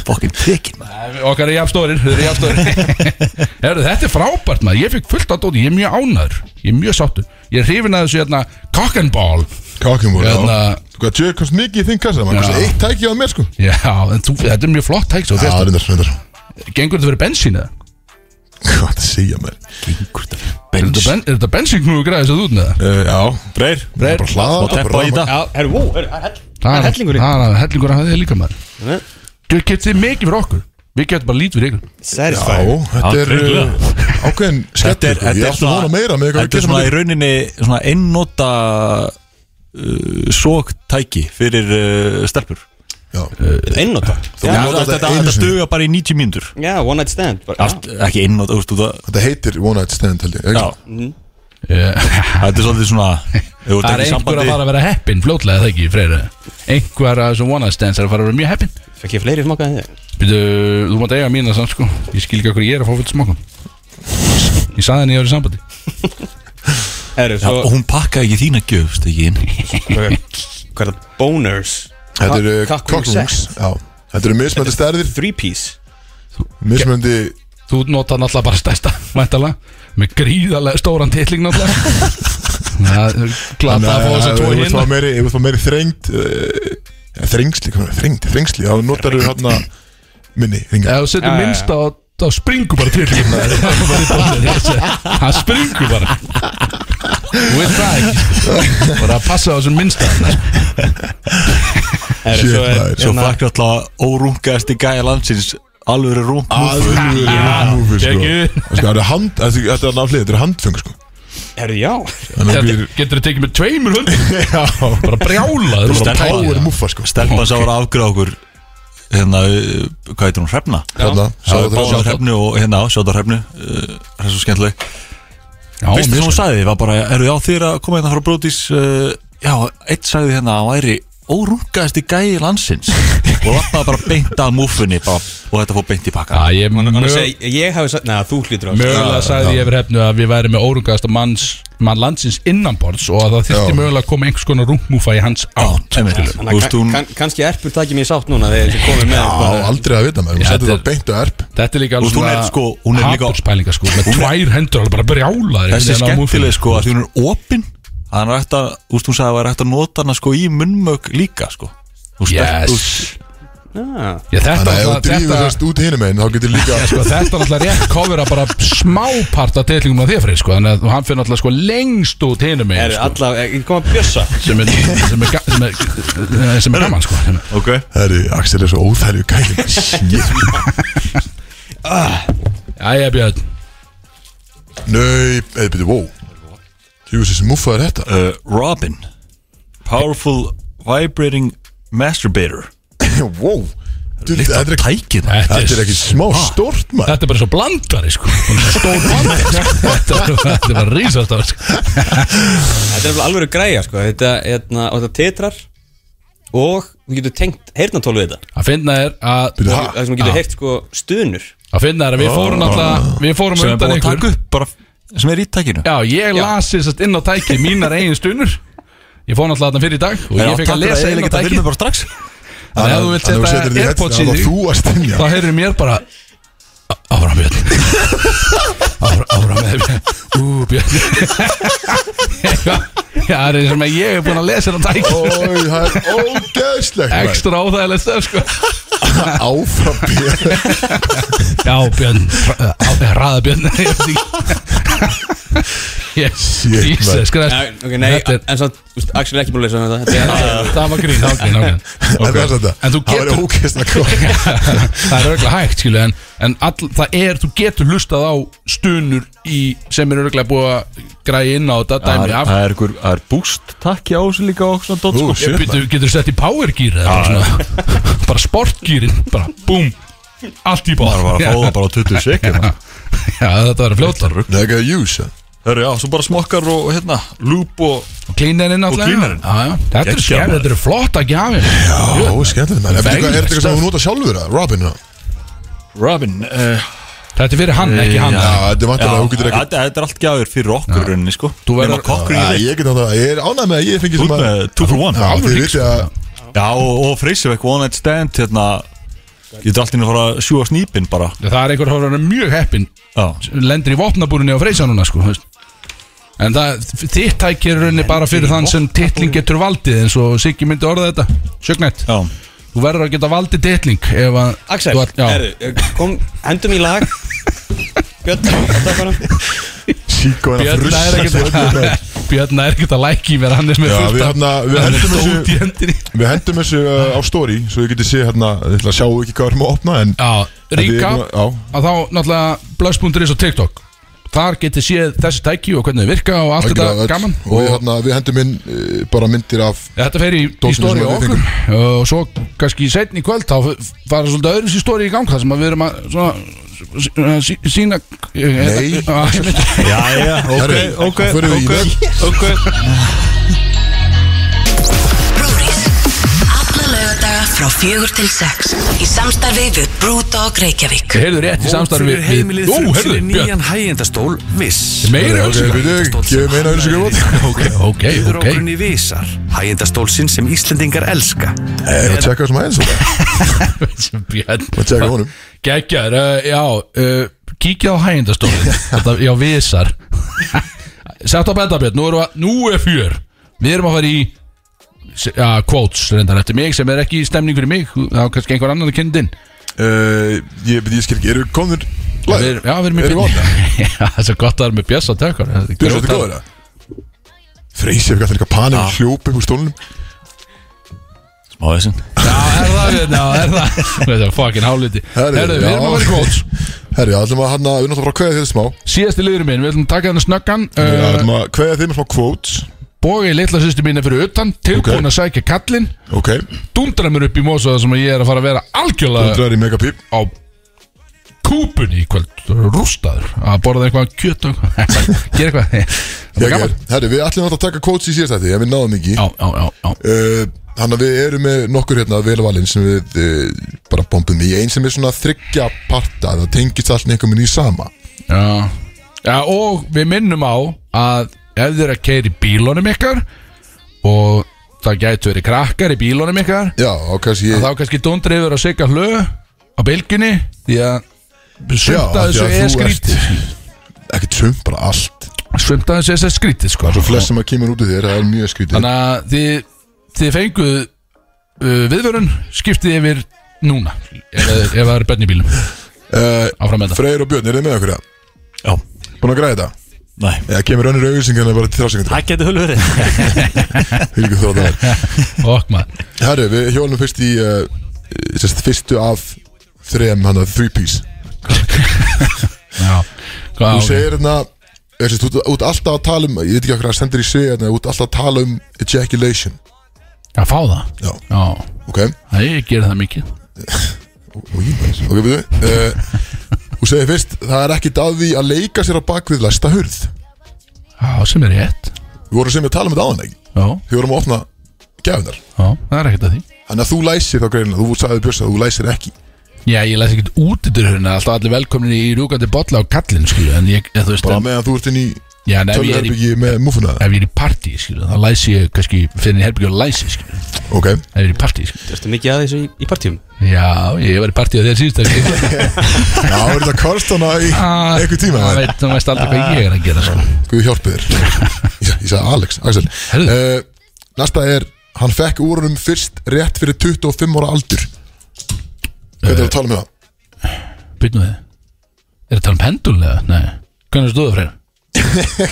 S4: Fokkin tekin maður
S2: Okkar er jafnstórir, þeir eru jafnstórir Herðu, þetta er frábært maður, ég fikk fullt á dóti, ég er mjög ánæður Ég er mjög sáttur, ég er hrifin að þessu hérna cock and ball
S1: Kakimur, já
S2: Hérna-
S1: Þú hvað, tjöðu komst mikið í þinn kassa Man
S2: Já.
S1: komst eitt tæki á mér sko
S2: Já, en þú, þetta er mjög flott tæk svo,
S1: Já,
S2: fyrst,
S1: reyndar, reyndar
S2: Gengur þetta fyrir bensín eða?
S1: Hvað er það að segja mér?
S2: Er þetta ben- er þetta bensinknúi græðis að út með það?
S1: Uh, já,
S4: Breyr
S1: Breyr. bara hlaða
S4: Og teppa í dag
S3: Já, herru, vó, herru, það er hell- það er hellingurinn
S2: Það er hellingur að hafa þig líka maður
S3: Nei.
S2: Þú getur mikið fyrir okkur Við getum bara lítið fyrir ykkur
S1: Já, þetta
S4: Já,
S1: er
S4: örugglega.
S1: uh, ákveðin skellur sko.
S4: Þetta er, þetta
S1: Ég
S4: er
S1: átti að vona meira með
S4: Þetta
S1: eitthvað
S4: er svona í rauninni svona einnóta uh, sóktæki fyrir uh, stelpur
S1: Já,
S3: Einnota
S1: Þú
S4: Já,
S1: notar
S4: þetta,
S1: þetta
S4: þetta,
S1: einu
S4: þetta
S1: sinni.
S4: stuga bara í 90 mínútur
S3: Já, one night stand bara, já.
S4: Allt, Ekki einnóta, þú veist, þú það
S1: Þetta heitir One Night Stand held ég ekki?
S4: Já,
S2: Eh,
S4: þetta er svolítið svona ef þú
S2: Það
S4: ert
S2: er einhver
S4: ekki í
S2: að
S4: sambandi
S2: fara að vera heppin Fljótlega er það ekki, Freyra Einhver að þessum one night stands er að fara að vera mjög heppin
S3: Fekk ég fleiri smaka en þig
S2: Býtu, þú mátt eiga mína samt sko Ég skil ekki okkur ég er að fá fullt smokum Ég saði henni að ég var í sambandi
S3: Herru,
S4: Já,
S3: svo
S4: og hún pakkaði ekki þína gjöf, stekki inn
S3: Hvað er það? Boners
S1: Þetta eru
S3: Ka- kakó
S1: kakóings
S3: sex.
S1: Já, þetta eru mismöndi stærðir
S3: Three piece
S1: Mismöndi
S2: Þú nota náttúrulega bara stærsta Væntalega Með gríðarlega stóran titling náttúrulega Það er glata að fá þess að tóa
S1: Ef þú
S2: hérna
S1: meiri, ef þú fá meiri þrengt eh, ja, Þrengsli, hvað er þrengt? Þrengsli, þá notar þú hérna Minni, ringa
S2: Ef þú setur
S3: Já, já, já.
S2: minnst á þá springur bara titlingin Það er bara í botnið, ég sé. Hann springur bara Þú veit það ekki sko. Bara að passa á þessum minnsta
S3: er,
S1: Shit,
S3: Svo, er,
S1: maður.
S4: Svo
S3: hérna,
S4: fækka alltaf órungaðasti gæja landsins Alvöru rung
S1: Alveg rúfi, sko
S2: Gekkju.
S1: Og sko, það eru hand- Þetta þetta er náttúrulega, þetta eru handfeng, sko
S3: er, já
S1: Þannig að býr
S2: Getur þú tekið með tveimur hundum
S1: Já,
S2: Bara brjála
S1: þú
S2: þú bara
S1: veist, power
S2: pæla.
S1: muffa, sko
S4: Stelpan sá var afgráð okkur Hérna, uh, hvað heitir hún, Hrefna
S1: Þarna,
S4: Sá
S1: sjáðu það
S4: báðar Hrefnu og hérna, sjáðu Hrefnu uh, Það er svo skemmtileg
S2: Já,
S4: Veistu
S2: mér
S4: sem hún sagði, var bara, eru þið á þér að koma hérna frá Brodís uh, Já, eitt sagði hérna að hann væri órungaðasti gæi landsins og lappaði bara beint að múfunni bara, og þetta fór beint í pakka
S2: Já, ég
S3: Annars
S2: mög-
S3: segi ég hafi sagt Næ, þú hlýtur á þessu.
S2: mögulega sagði ég yfir hefnu að við væri með órungaðasta manns mann landsins innanborðs og að það þyrfti
S1: Já.
S2: mögulega að koma einhvers konar rungmúfa í hans átt
S4: einmitt.
S2: skilur.
S4: Þú veist, hún-
S3: Þannig að kannski erpur takir mér sátt núna þegar þið komið með sko.
S1: Á,
S3: bara-
S1: aldrei að vita maður,
S2: Já,
S1: hún setur
S2: þetta
S1: það beint og erp
S2: Þetta er líka
S4: Þú
S2: alveg
S4: veist, hún er sko- hún er líka-
S2: haturspælingar sko með tvær hendur alveg bara brjálaðir
S4: Þessi
S1: Hérna,
S2: einhvern veginn á
S4: skemmtileg
S2: múffinni.
S4: sko að því hún er opinn Þannig að þetta, úst, hún sagði að það er hægt að nota hana sko í munnmög líka sko Þú veist,
S2: Yes
S4: þú veist,
S3: Já.
S2: Já, þetta
S1: Þannig að ef þú
S2: náttúrulega-
S1: drífur
S2: þetta-
S1: þess út hinum einn, þá getur líka
S2: Já, sko, þetta er alltaf rétt kofir að bara smápart af teilingum að þér fyrir sko, þannig að hann fyrir alltaf sko lengst út hinum
S3: Er
S2: megin sko,
S3: alla, ég kom að bjössa
S2: sem er, sem er, ga- sem er, sem er gaman sko sem er-
S4: Ok
S1: Herri, Axel er svo óþæglu gæli
S2: Jæja Björn,
S1: Nei, eða byrju, wow Júsi, þessi muffa er þetta
S4: uh, Robin Powerful Vibrating Masturbator
S1: Wow Dude,
S4: Líkt
S1: Þetta er
S4: að
S1: Eh, ekki-
S4: tækið
S2: þetta
S1: þetta er ekki smá stórt maður
S2: Ah. Þetta er bara svo blandari sko Hún er svo Stór blandari sko. Þetta er- Þetta er bara rísastar sko.
S3: Þetta er alveg alveg græja sko Þetta, hérna, og þetta titrar Og þú getur tengt heyrnatólu við þetta
S2: Að finna er að
S1: Byrju,
S3: Það
S1: ha?
S3: sem þú getur heyrt sko stuðnur
S2: Að finna er að við fórum alltaf Við fórum á
S4: sem er
S2: undan
S4: búin að
S2: ykkur
S4: taka upp bara sem er í tækinu
S2: Já, ég lasi sérst inn á tæki Mínar eigin stunur Ég fór náttúrulega þarna fyrir í dag Og ég fekk að lesa hérna inn á
S4: Það
S2: tæki
S4: finnum bara strax
S2: Þannig að ef þú
S1: Þannig
S2: vilt
S1: að þú
S2: setja
S1: setur þetta í
S2: Airpods
S1: headset, þá
S2: í þig
S1: þú að stynja.
S2: Þá heyrir mér bara "Á- Áfram Björn Áfram- Áfram með Björn Ú Björn Já, það er eins og með ég er búin að lesa inn á tæki
S1: Ói, það er ógeðslegt maður.
S2: Ekstra óþægilegt stöð sko
S1: Áfram bíða.
S2: Já, Björn, ræða Björn Ég veit ekki. Yes,
S1: Shit, maður.
S2: Jesus Christ
S3: Ok, nei, uh,
S2: Þetta er-
S3: en svo, úst, Axel er ekki búin að leysa þetta Þetta er-
S2: Það var grín, það var grín, það var grín
S1: En það er þetta
S2: En þú
S1: Það er
S2: getur-
S1: ógeðslega klokk
S2: Það er örgulega hægt, skilu En, en all, það er, þú getur hlustað á stunur í, sem er örgulega búið að græja inn á þetta dæmi af
S4: Það er einhver, það er boost takki á þessu líka og svona dótt
S1: Ú,
S4: sko
S1: shit, maður.
S2: Býtu, getur sett í power gear eða bara svona Bara sportgýrin, bara búm Allt í bóð
S4: Það var að fá það bara á 20 sekund
S2: Já, þetta var fljótar
S1: Það er ekki að júsa
S4: Hörru, já, svo bara smokkar og hérna, lúp og
S2: Klínarinn alltaf
S4: cleanerinn.
S2: Þetta er
S4: Geggjað,
S2: skemmt,
S4: maður.
S2: þetta er flott að gjafi
S1: Já, skemmtilegt maður En veitu hvað, Er þetta
S2: Bengast.
S1: eitthvað sem þú nota sjálfur að, Robin? eða?
S4: Robin uh,
S2: Þetta er fyrir hann, ekki hann
S1: Já, þetta er vantilega, þú
S4: Þetta
S1: getur ekki
S4: þetta er allt gæður fyrir okkur rauninni sko
S2: Þú verður-
S4: Nema kokkurinn
S1: Já,
S4: í leik.
S1: Ég get þetta, ég er ánægð með að ég fengi
S4: Þú
S1: sem
S4: ert
S1: að
S4: með two for one.
S1: Já,
S4: Alveg
S1: þið
S4: hring,
S1: vitið að
S4: Já, og, og Freysevek One Night Stand hérna, getur allt inn að fara að sjúa snýpin bara
S2: Það er einhver hófður hann mjög heppin
S4: Já,
S2: lendir í vopnabúrinni á freysa núna sko, þú veist. en það, þitt tæki er í rauninni bara fyrir þann sem titling getur valdið eins og Siggi myndi orða þetta sjögnætt,
S4: já
S2: þú verður að geta valdið titling ef að
S3: Axel,
S2: þú já,
S3: herru, kom, hendum í lag Björn, takk bara
S1: Síko en að
S2: Björn er
S1: frussa
S2: ekkert að Björn er ekkert að læki mér hann er með
S1: Já,
S2: fullt
S1: við
S2: af-
S1: hérna, við
S2: hann er
S1: hendum þessu
S2: dót í hendinni
S1: Við hendum þessu uh, á story Svo þið getið séð hérna Ég ætla að sjá ekki hvað við erum að opna En
S2: Já, ríka
S1: Þetta er nú- já.
S2: að þá náttúrulega blöss.is og TikTok þar getið séð þessi tæki og hvernig þau virka og allt
S1: algjörlega
S2: þetta
S1: öll.
S2: gaman
S1: Og við, hérna, við hendum inn uh, bara myndir af
S2: Ja, Þetta fer í, í
S1: Dótinu
S2: stóri
S1: sem
S2: á
S1: við
S2: okkur og svo kannski setn í kvöld þá fara svolítið öðru sér stóri í gang þar sem að við erum að svona, sí, eh, sína
S1: Nei.
S2: Þetta
S4: Já, já, ok,
S1: Herri,
S4: ok,
S1: þá förum við í
S4: ok, ok
S5: Brúris Alla lögadaga frá fjögur til sex í samstarfi við Brewdog Reykjavík.
S2: Heyrðu rétt í samstarfi
S6: Hópur fyrir heimilið
S2: Ó, heyrðu,
S6: fyrir
S2: Björn
S6: nýjan hægjendastól Viss
S2: Meiri ölsingar
S1: Gefum eina ölsingar
S2: Ok, ok,
S6: Yfir
S2: ok
S6: okkurinn í Visar Hægjendastólsinn sem Íslendingar elska
S1: Ég að tjekka þessum aðeins og að
S2: Björn
S1: tjekka honum
S2: Gækjar, uh, já uh, Kíkja á hægindastólin Þetta, já, visar Sett á betta Björn, nú, erum við, nú er fjör Við erum að fara í ja, quotes reyndar eftir mig sem er ekki stemning fyrir mig þá er kannski einhver annan að kynna þinn
S1: Uh, Ég ég skil ekki, eru við komnir
S2: Já, við erum- já, við erum í
S1: Erum við
S2: byrni Það er svo gott að það er með bjöss að tökur
S1: Þú veist þetta góður það? Freysi hefur gætið líka panik og hljóp upp úr stólnum
S4: Smá þessin
S2: Já, er það, Björn, já, er það Þetta er fucking háliti
S1: Herri,
S2: Herðu,
S1: já.
S2: við erum að fara í quotes
S1: Herri, ætlum að hann að við erum náttúrulega að kveða þér smá
S2: Síðasti liður minn, við ætlum að taka hennar snöggan
S1: Við
S2: uh,
S1: ætlum að kveða þér með smá quotes
S2: Bógi, litla sýstu mín er fyrir utan Tilbúin að sækja kallinn
S1: Ok,
S2: Dundra mér upp í mósa sem að ég er að fara að vera algjörlega
S1: hundraður í megapíp
S2: á kúpunni í kvöld Rústaður Að borða eitthvað kjöt og eitthvað Gera eitthvað Það er
S1: Ég
S2: gaman
S1: er- Herri, við ætlum náttúrulega að taka quotes í síðast þetta En við náðum ekki
S2: Já, já, já, já
S1: Uh, Þannig að við erum með nokkur hérna velvalinn sem við uh, bara bombum í einn sem er svona þryggja parta það tengist allt einhvern veginn í sama
S2: Já. Já, og við minnum á að ef þið er að keira í bílunum ykkar og það gætu verið krakkar í bílunum ykkar
S1: Já, og kannski ég
S2: þá kannski dundri yfir að sigga hlö á bylginni því að svimta
S1: af því að
S2: þessu er
S1: þú ert-
S2: skrítið
S1: ekki trum, bara allt
S2: svimta þessu er skrítið sko.
S1: Svo flest sem að kemur út úr þér, það er mjög skrítið
S2: þannig að þið, þið fenguð uh, viðvörun skiptið yfir núna ef, ef það eru bönn í bílum
S1: uh,
S2: áfram með það
S1: Freyr og Björn, er þið með okkur það?
S4: Já,
S1: Búin að græða þetta?
S4: nei
S1: Eða kemur önnur auðvilsing en það bara til þrásingar
S4: Það getur hulur verið
S1: Hvilku þrótt það er
S2: okk maður
S1: Herru, við hjólum fyrst í uh, sérst, fyrstu af þrem, hann að three piece
S2: Já. Hvað-
S1: Þú
S2: ok.
S1: segir hérna þú veist, Þú ert alltaf að tala um Ég veit ekki okkur að sendir í sig hérna, Þú ert alltaf að tala um ejaculation
S2: Já, fá það
S1: Já,
S2: Já.
S1: ok
S2: Nei, ég ger það mikið
S1: Og ég maður Ok, við uh, Þú segir fyrst Það er ekkit að því að leika sér á bakvið læsta hurð
S2: Já, sem er rétt
S1: Við vorum sem við tala um þetta áðan ekki
S2: Já,
S1: Við vorum að opna gefinar
S2: já, það er ekkert að því
S1: Þannig að þú læsir þá greinlega Þú sagði Björns að þú læsir ekki
S2: Já, ég læs ekkert út í dyrhurinn Alltaf allir velkomni í rúkandi bolla á kallinn, skilu En ég, eða, þú veist
S1: Bara
S2: en,
S1: meðan þú ert inn í
S2: Já, en ef ég er í,
S1: Tölvuherbyggi með múfuna
S2: ef ég er í partí, skilu Þá læs ég, kannski, fyrir henni herbyggjum og læsi, skilu Ef
S1: Ok
S2: ég er í partí, skilu
S3: Ertu mikið að þessu í, í partíum?
S2: Já, ég var í partí á þér síðust ekki?
S1: Já, er þetta karstana í
S2: Ah,
S1: einhver tíma
S2: Það veit, það veist aldrei hvað ég er að gera, sko
S1: Guð hjálpi þér Ég sa- Ég sagði Alex, Axel
S2: Herðu.
S1: uh, Næsta er Hann fekk úr honum fyrst rétt fyrir 25 ára aldur Hvað
S2: Eh.
S1: er það að tala um það?
S2: Býtnum þið Er það tala um pendulega? Nei Hvernig stóðu það freyr?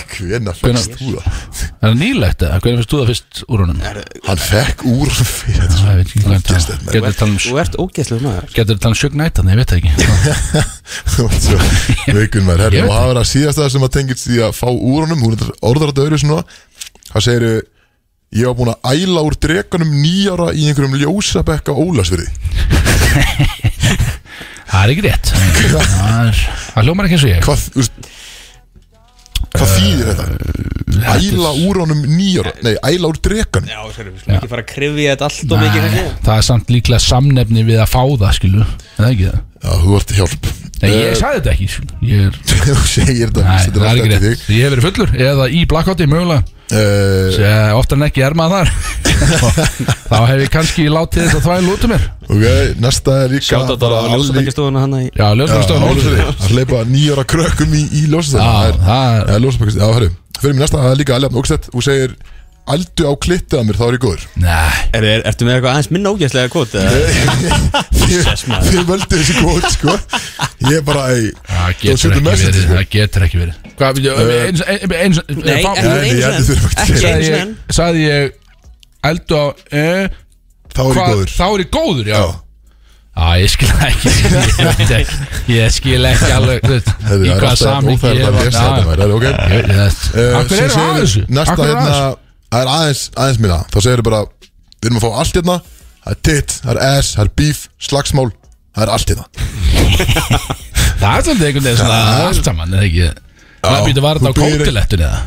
S1: Hvenær fannst þú það?
S2: Er það nýlegt eða? Hvernig finnst þú það fyrst úr honum?
S1: Hann fekk úr honum fyrir Þetta er
S2: Það
S1: svo-
S2: veit ekki hvað hann
S1: gerist
S2: tala
S1: þetta,
S2: um. Getur tala um
S3: Þú ert ógeðslega maður
S2: Getur þetta talað sjögn nættan, ég veit það ekki
S1: Þú ert svo Veikun maður herri
S2: Ég veit
S1: Og það var að síðast það sem að tengist því að fá úr honum Hún er orðar að döðru svona Það segir Ég var búin að æla úr dreganum nýjára í einhverjum ljósabekka ólasverði
S2: Það er ekki rétt Það er- það hljómar ekki eins og ég
S1: Hvað, þú veist Hvað
S2: Eh.
S1: þýðir þetta? Æla úr honum nýjára Nei, æla úr dreganum
S3: Já, sérum, við skulum ekki fara að krifja þetta allt og mikið kannski.
S2: Það er samt líklega samnefni við að fá það skilu Er það ekki það?
S1: Já, þú ert hjálp
S2: Nei, ég sagði þetta ekki skilu. Ég er,
S1: Þú segir þetta,
S2: nei,
S1: þetta er
S2: það er
S1: alltaf
S2: ekki
S1: eftir
S2: rétt Ég hef verið fullur eða í blackouti mögulega
S1: þig uh,
S2: Sér, Oftar en ekki er maður þar Þá hef ég kannski látið þetta þvæl út um mér
S1: Ok, næsta er líka
S3: Sjátt að það
S1: bara
S3: var
S1: alveg-
S3: ljósabækjastofuna hann í
S2: Já, ljósumstofan
S1: Já, ljósabækjastofan. Að hleypa nýjára krökkum í, í
S2: Já,
S1: ljósastæðan
S2: það er
S1: Já, ljósabækist, já, hörru Fyrir mér næsta, það er líka alveg ógstætt Þú segir, aldu á klittið að mér, þá er ég góður
S2: Nei,
S3: er, er, Ertu með eitthvað aðeins minna ógeðslega kvot? eða?
S1: Þið- Þið völdu þessi kvot, sko Ég er bara, ei
S2: það
S1: þú
S2: getur
S1: setur
S2: ekki
S1: message,
S2: verið
S1: sko.
S2: Það getur ekki verið Hvað, við- eins- eins- eins-
S3: Nei,
S2: fá-
S3: ekki
S1: Nei, ég held
S3: einu
S1: að þurfa
S3: sinni
S1: ekki að
S3: Ekki
S1: segja
S2: Sagði
S3: einu sinni
S2: ég- Sagði ég Eldu á eh,
S1: Þá er ég
S2: Hvað-
S1: góður
S2: Þá er ég góður, já
S1: Já,
S2: Já, ég skil það ekki Ég veit ekki- Ég skil ekki alveg þú veist,
S1: Heyrðu,
S2: Í
S1: það er
S2: hvað
S1: alltaf
S2: samingi
S1: óþægilegt að lesa þetta, maður, er það ok? sem
S2: Akkur er það
S1: segir-
S2: að þessu?
S1: Næsta
S2: Akkur er
S1: hérna,
S2: að þessu?
S1: það er aðeins, aðeins minna Þá segir þau bara, við erum að fá allt hérna Það er titt, það er ass, það er beef, slagsmál Það er allt hérna
S2: Það er svolítið einhvern veginn svona
S1: Það er-
S2: allt saman, eða ekki Það býtu var þetta á
S1: þú býr-
S2: kótilettun eða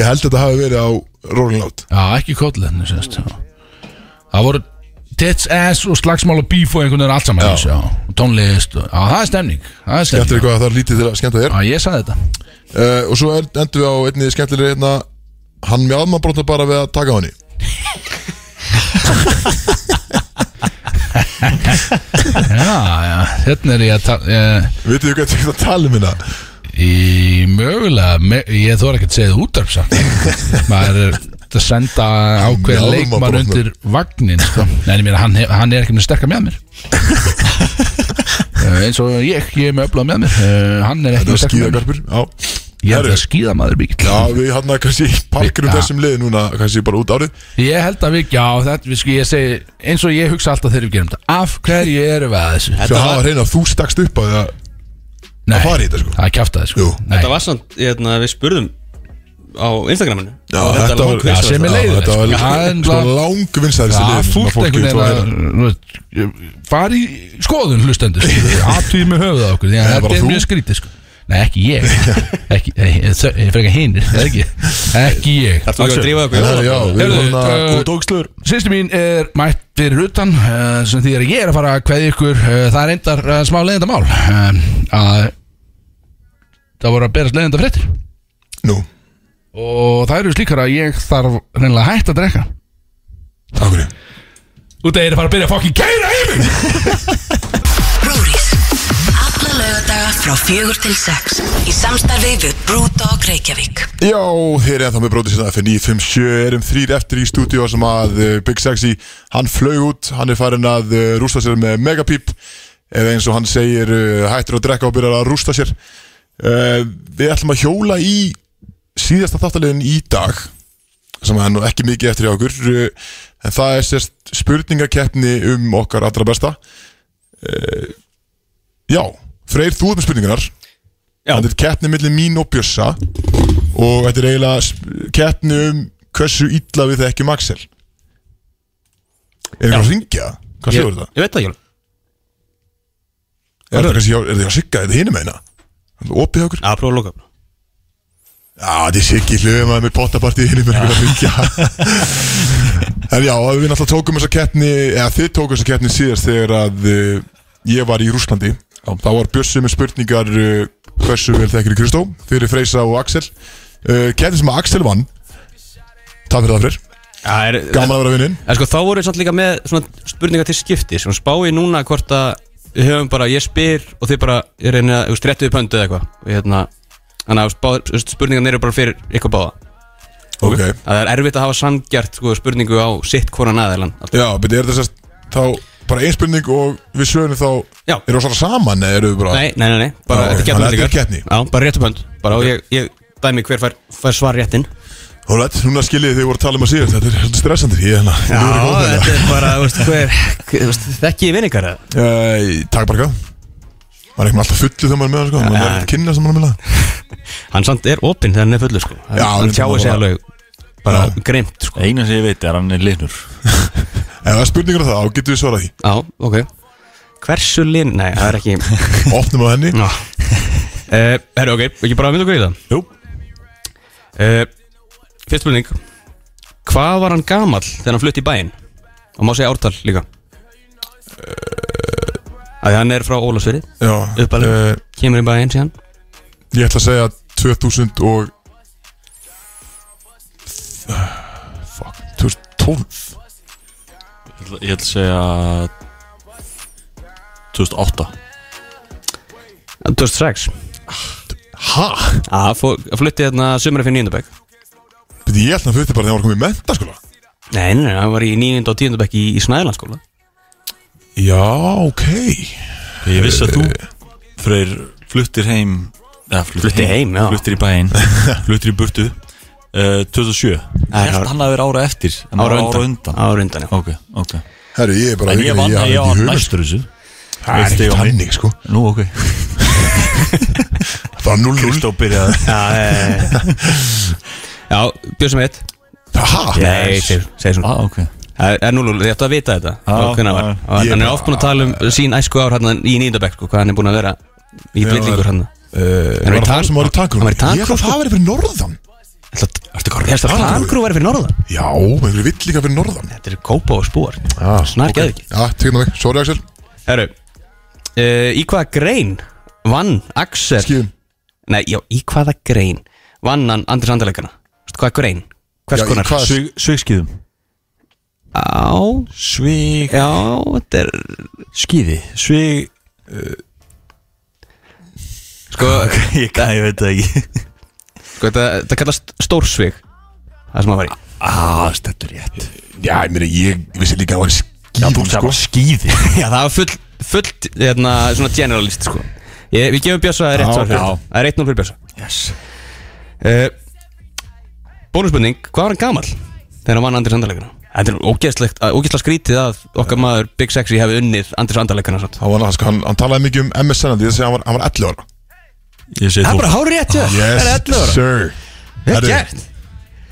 S1: Ég held að þetta hafi verið á Rolling Loud
S2: Já, ekki kótilettun, sérst Já. Það voru tits, ass og slagsmál og beef og einhvern veginn allt saman
S1: Já.
S2: já. og tónlist, og, já, það er stemning það er
S1: Skemmtir
S2: stemning,
S1: eitthvað að það er lítið til að skemmta þér
S2: já, ég sagði þetta
S1: uh, Og svo er, endur við á einni skemmtilegri hérna Hann með aðmannbróta bara við að taka á henni
S2: já, já, hérna er ég að ta- eh,
S1: Vitið þið hvað þetta tala um hérna?
S2: í mögulega, me, ég þóra ekki að segja það útarp samt maður er að senda ákveðin
S1: Mjálma
S2: leikmann
S1: brotnar.
S2: undir vagnin sko. Nei, en ég meina, hann, hef- hann er ekki með sterkar með mér Eh, eins og ég, ég er með öflað með mér Eh, hann er ekki
S1: Þetta
S2: með
S1: er
S2: sterkar með mér
S1: skíðagarpur Já,
S2: ég er
S1: Herru.
S2: að skýða maður bíkil
S1: já við hann að kannski parkirum
S2: Já.
S1: þessum lið núna Kannski bara út árið
S2: Ég held að við, já, þetta, við sko, ég segi eins og ég hugsa alltaf þegar við gerum þetta af hverju erum við að þessu?
S1: Svo það var reyna að þú stakst upp að það
S2: Nei,
S1: að fara í þetta, sko.
S2: Það er kjæft sko
S1: Jú.
S2: Nei,
S3: Þetta var samt, hérna, við spurðum á Instagraminu
S1: Já,
S3: Og
S1: þetta var-
S2: já,
S3: langvinsælasta.
S2: sem er leiðilegt,
S1: Þetta
S2: sko. Það er
S1: var sko
S2: náttúrulega-
S1: langvinnstæðist
S2: Það er fúlt einhvern veginn að þú veist, fara í skoðun hlustendur aðtýð með höfuð á okkur því
S1: Nei,
S2: að þetta
S1: bara
S2: er
S1: þú.
S2: mjög skrítið sko Nei, ekki ég ekki, nei, ég- þau- Ég frekar hinir, það er ekki Ekki ég
S3: Þarftu ekki að drífa okkur í
S1: Herru, já,
S3: jólabarnið?
S1: við
S2: Heyrðu,
S1: erum hérna
S2: eh,
S1: út ógslur
S2: Sýstu mín er mætt fyrir utan uh, sem því að ég er að fara að kveðja ykkur uh, það er endar uh, smá leiðindamál uh, að það voru að berast leiðinda fréttir
S1: Nú,
S2: og það eru slíkar að ég þarf reynilega að hætta að drekka
S1: okkur
S2: út að ég er að fara að byrja að fokkin keira í mig
S5: Brúris Alla lögadaga frá fjögur til sex Í samstarfi við Brewdog Reykjavík
S1: Já, þeir eru ennþá með brótið sinna F957 erum þrýr eftir í stúdíu sem að eh, Big Sexy, hann flög út hann er farin að eh, rústa sér með megapíp eða eins og hann segir eh, hættur að drekka og byrjar að rústa sér Eh, Við ætlum að hjóla í síðasta þáttalegin í dag sem er nú ekki mikið eftir hjá okkur eh, en það er sérst spurningakeppni um okkar allra besta Eh, Já, Freyr, þú ert með spurningarnar
S3: Já.
S1: Þetta er keppni millir mín og Bjössa og þetta er eiginlega sp- keppni um hversu illa við þekkjum Axel Er það að ringja? Hvað
S3: Ég-
S1: hljóður það?
S3: Ég veit það, Jól
S1: Er það kannski, hjá- er það að sigga þetta hinum eina? Opið hjá okkur?
S3: Já, prófa að loka
S1: Já, þetta er sikki hlöfum að með pottapartið hinum er einhvern að ringja En já, við náttúrulega tókum þessa keppni eða þið tókum þessa keppni síðast þegar að uh, ég var í Rúslandi þá var Bjössi með spurningar uh, hversu vel þekkir Kristó fyrir Freysa og Axel uh, Keppni sem að Axel vann Takk fyrir það fyrir
S3: Já, er,
S1: Gaman að vera vinninn
S3: En sko þá voru við samt líka með svona spurningar til skipti sem spái núna hvort að við höfum bara ég spyr og þið bara ég reyni að strettu við pöndu eða eitthvað og hérna þannig að spá- þú veist, spurningarnir eru bara fyrir ykkur báða
S1: Ok
S3: að það er erfitt að hafa samgjart sko, spurningu á sitt konan aðeilan
S1: Já, beti, er þess að þá bara ein spurning og við sögum þá
S3: Já.
S1: Erum við svona saman eða erum við bara
S3: Nei, nei, nei, nei, bara
S1: Já,
S3: þetta er
S1: þannig að þetta er
S3: keppni líka.
S1: keppni.
S3: Já, bara réttu pönd bara og ég, ég dæmi hver fær, fær svar réttin
S1: Alright, núna skiljið þið voru að tala um að síðast Þetta er svolítið stressandi Ég, hérna. hana, Já,
S3: þetta er bara, þú veist, hver þú veist, þekki ég vinningar eða?
S1: Uh, takk bara Maður er einhvern alltaf fullu þegar maður er með það sko Maður er
S3: Ja.
S1: ekkert kynna sem maður er með það
S3: Hann samt er opinn þegar hann er fullur sko Hann,
S1: Já,
S3: hann
S1: þetta er
S3: tjáir sig
S1: bara-
S3: alveg bara
S1: Já.
S3: greimt sko
S4: Einan sem ég veit er að hann er linur
S1: Ef það er spurningur á það, þá getum við svarað því
S3: Já, ok Hversu lin... Nei, það er ekki
S1: Opnum á henni
S3: Ná uh, Herru, ok, ekki bara að mynda okkur í það
S4: Jú.
S3: uh, Fyrst spurning Hvað var hann gamall þegar hann flutti í bæinn? Og má segja ártal líka Æ, hann er frá Ólafsfyrði
S1: Já,
S3: Uppalega.
S1: eh,
S3: Kemur í bæinn síðan
S1: Ég ætla að segja 2000 og Fuck, 2012
S4: Ég ætla að segja 2008
S3: 2006
S1: Ha?
S3: Já, fó- flutti hérna sumari fyrir nýjöndabæk
S1: Beti, ég ætla að fyrir bara þegar maður komið í menta sko
S3: Nei, nei, nei, hann var í nýjönda og tíundabæk í, í Snæðlandsskóla
S1: Já, ok
S4: Ég vissi að þú Freyr fluttir heim eða,
S3: Fluttir heim, já.
S4: Fluttir í bæinn Fluttir í burtu uh, 2007 Ég
S3: Það er
S4: held
S3: ára-
S4: hann að vera ára eftir en
S3: Ára
S4: ára
S3: undan
S4: undan.
S3: Ára undan, já
S4: Ok, ok
S1: Herru, ég er bara
S4: En ég vann að
S1: hafði
S4: ég á
S1: ekki hugmynd.
S4: næstur þessu
S1: Það er
S4: Veist ég
S1: ekkert
S4: á hann.
S1: hannig sko
S4: Nú, ok
S1: Það var 0-0
S4: Kristó byrjaði
S3: Já, já, já, já. já björsum eitt
S1: Ha?
S3: Nei, segir segir svona
S4: Ah, ok
S3: Það er núl, þið ættu að vita þetta
S4: Já,
S3: ah, Hvernig það var
S4: já.
S3: ah,
S1: Ég
S3: Hann er
S1: bara-
S3: oft búin að tala um sín æsku ár hérna í nýndabæk sko, Hvað hann er búin að vera í
S1: Já,
S3: hérna. brillingur
S1: var-
S3: hann
S1: Eh, Var
S3: Hann var í
S1: það
S3: tan-
S1: sem var í
S3: hann var í
S1: tankrúm? Ég
S3: tankrúm,
S1: ætla að
S3: sko.
S1: það verið fyrir norðan
S3: Ertu að Klangrú væri fyrir norðan?
S1: Já, einhverju vill líka fyrir norðan
S3: Þetta er kópa og spór
S1: ah,
S3: Snark eða ekki
S1: Já, tegna mig, sorry Axel
S3: Herru, uh, í hvaða grein vann Axel
S1: Skýðum
S3: Nei, já, í hvaða grein vann hann Andris Andalegana? Veistu hvaða grein? Hvers
S1: Já, í
S3: konar?
S1: hvaða-
S4: Svig- Svigskíðum
S3: Á,
S4: Svig
S3: já, þetta er
S4: Skíði Svig
S3: uh, Sko,
S4: Ég, ég, ég veit það ekki
S3: sko þetta, þetta kallast stórsvig Það sem að fara í
S4: Ah, stendur rétt
S1: Já, ég meina, ég vissi líka að það var sko.
S4: Já,
S1: skýðum
S4: þú sagði bara skíði
S3: Já, það var full, full hérna, svona generalist sko. ég, Við gefum Bjössa rétt
S4: Já,
S3: svar fyrir
S4: já.
S3: þetta. Það er rétt nú fyrir Bjössa
S4: Yes
S3: uh, Bónusbundning, hvað var hann gamall þegar hann vann Andris Andalegana? Þetta er ógeðslegt, ógeðslega skrítið að okkar maður Big Sexy hefði unnið Andris Andalegana samt
S1: Hann, var náttúrulega- hann, hann talaði mikið um MSN en Ég segi að hann var, hann var 11 ára
S4: Ég segi
S3: Það er
S4: þú
S3: bara hárið rétt hjá þér. Það er 11 ára
S1: sir
S3: Vel
S1: Herru,
S3: gert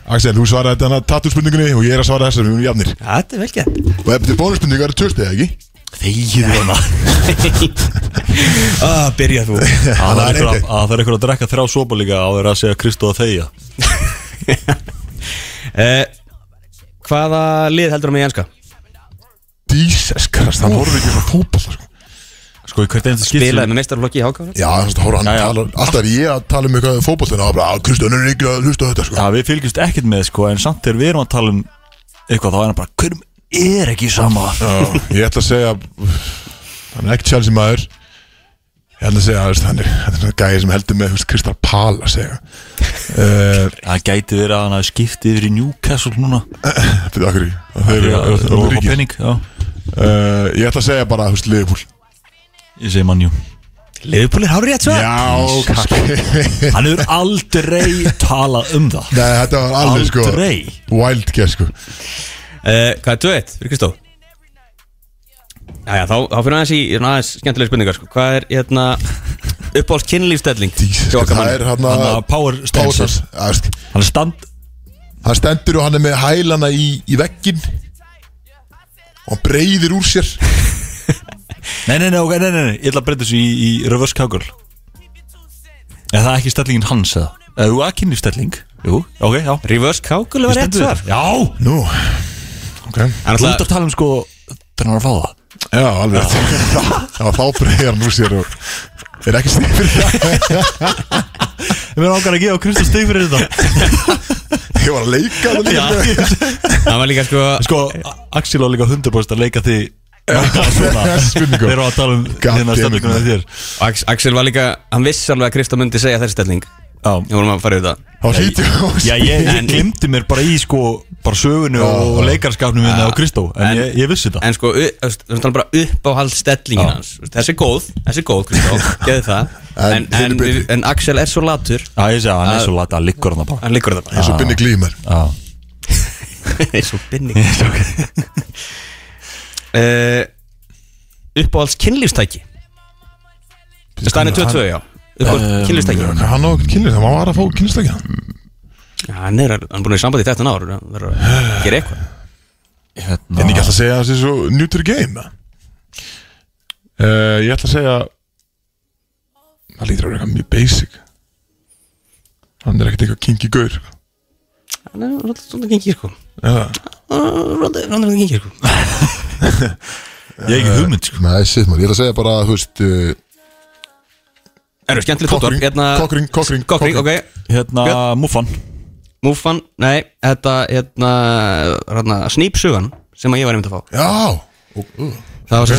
S1: Axel, þú svaraði þetta tattúspurningunni og ég er að svara þessar, við erum jafnir
S3: Þetta er vel gert
S1: Og ef þetta er bónusspurningu, það eru tvö stið, ekki?
S4: Þegið hana
S3: ah, Byrja þú
S4: Ah, Það
S1: Það er
S4: er einhver að-
S1: einhver.
S4: ah, það er einhver að drekka þrjá sopa líka á þeirra að segja Kristó að þegja
S3: uh, Hvaða lið heldur hann í enska?
S1: Jesus Christ, hann horfði ekki frá fótball sko.
S4: Sko, í hvert einnig skilt
S3: Bilaði með meistarflokki í hákáður
S1: Já, þannig að horfa hann
S4: Já, já.
S1: tala Alltaf er ég að tala um eitthvað fótball Þannig að bara, að Kristján er ekki að hlusta á þetta sko.
S4: Já, við fylgjumst ekkert með, sko, en samt þegar við erum að tala um eitthvað, þá er hann bara, hverjum er ekki sama?
S1: Já, Ég ætla að segja Hann er ekki Chelsea maður Ég ætla að segja, þú veist, hann er Þetta er svona gæði sem heldur með, þú veist, Kristján Pal að segja Uh,
S4: Það gæti verið að hann hafi skipt yfir í Newcastle núna.
S1: Fyrir okkur í Þeir
S4: Já,
S1: eru
S4: og
S1: það
S4: og
S1: ríkir
S4: penning, já.
S1: Uh, Ég ætla að segja bara, þú veist, Liverpool
S4: Ég segi mannjú.
S3: Liðupúl er hárið rétt svo
S1: Já, kakki
S4: Hann hefur aldrei talað um það.
S1: Nei, þetta var alveg sko
S4: Aldrei.
S1: Wild guess sko
S3: Uh, hvað er döitt, fyrir Kristó? Jæja, þá, þá fyrir aðeins í svona aðeins skemmtilega spurningar sko. Hvað er hérna, uppáhalds kynlífstelling?
S1: Jesus,
S3: Hjá okkar
S1: Það
S3: manni?
S1: er hann
S4: Hann
S1: að
S4: er power
S1: Pásar
S4: stances. Hann er stand,
S1: Hann stendur og hann er með hælana í, í veggin Og hann breyðir úr sér
S4: nei, nei, nei, ok, nei, nei, nei, ég ætla að breyta þessu í, í reverse cowgirl. Er það ekki stellingin hans, eða? Eða þú að kynni stelling? Jú, ok, já.
S3: Reverse kákul
S4: Ég
S3: var rétt
S4: stendur
S3: svar
S4: við. Já,
S1: Nú Ok
S3: En
S4: þú
S3: alltaf-
S4: ert að tala um, sko, þegar hann er að fá það.
S1: Já, alveg Já, þá breyðir hann úr sér og Er ekki stíð fyrir það
S4: Ég verður ákvæmlega að gefa Kristof stig fyrir þetta
S1: Ég var að leika það líka
S3: Það var líka sko
S4: Sko, Axel á líka 100% að leika því nákvæmlega svona.
S1: Spurningu.
S4: Þeir eru að tala um
S1: God
S4: hérna
S1: damn it,
S4: stöndinguna
S1: man.
S4: þér
S3: Ax, Axel var líka, hann vissi alveg að Kristó myndi segja þessi stelling Ég
S4: Já,
S3: vorum að fara yfir það
S1: Þá hlýtur hún
S4: já ég, ég
S3: En-
S4: glimti mér bara í sko bara sögunu og leikarskapnum minna á Kristó en,
S3: En-
S4: ég, ég vissi þetta
S3: En sko, u- þú veist, við erum bara uppáhalds stellingin
S4: Já.
S3: hans Þessi er góð, þessi er góð Kristó Geði það
S1: En
S3: en,
S1: þið
S3: en,
S1: eru betri.
S3: við- en Axel er svo latur
S4: Já, ég segi að hann er svo lata að liggur hann bara
S3: Hann liggur það bara
S1: Eins og binni glímar
S4: Já,
S3: eins og binning uh, uppáhalds kynlífstæki staðan er 22 já uppáhalds
S4: Eh,
S3: kynlífstæki
S1: Hann á kynlist, hann var að fá kynstakja
S3: Já, hann er hann er búin að sambandi í 13 ár hann verður að gera eitthvað
S1: En
S4: hérna
S1: ég ætla að segja að það sé svo new to the game uh, Ég ætla að segja Það lítur að vera eitthvað mjög basic Hann er ekkert eitthvað kinky gaur sko.
S3: hann er rola- svolítið gengið sko
S1: Eða?
S3: hann er svolítið gengið sko
S4: Ég er ekki hugmynd sko
S1: Nei, shit maður, ég ætla að segja bara þú veist, uh,
S3: Erðu, skemmtilegt
S1: Kokkring, kokkring, kokkring,
S3: Kokkring, Hérna- ok
S4: Hérna,
S3: Björn?
S4: Muffan
S3: Múfan, nei, þetta, hérna, hérna, snýpsugan sem að ég var einmitt að fá
S1: Já,
S3: Það var okay.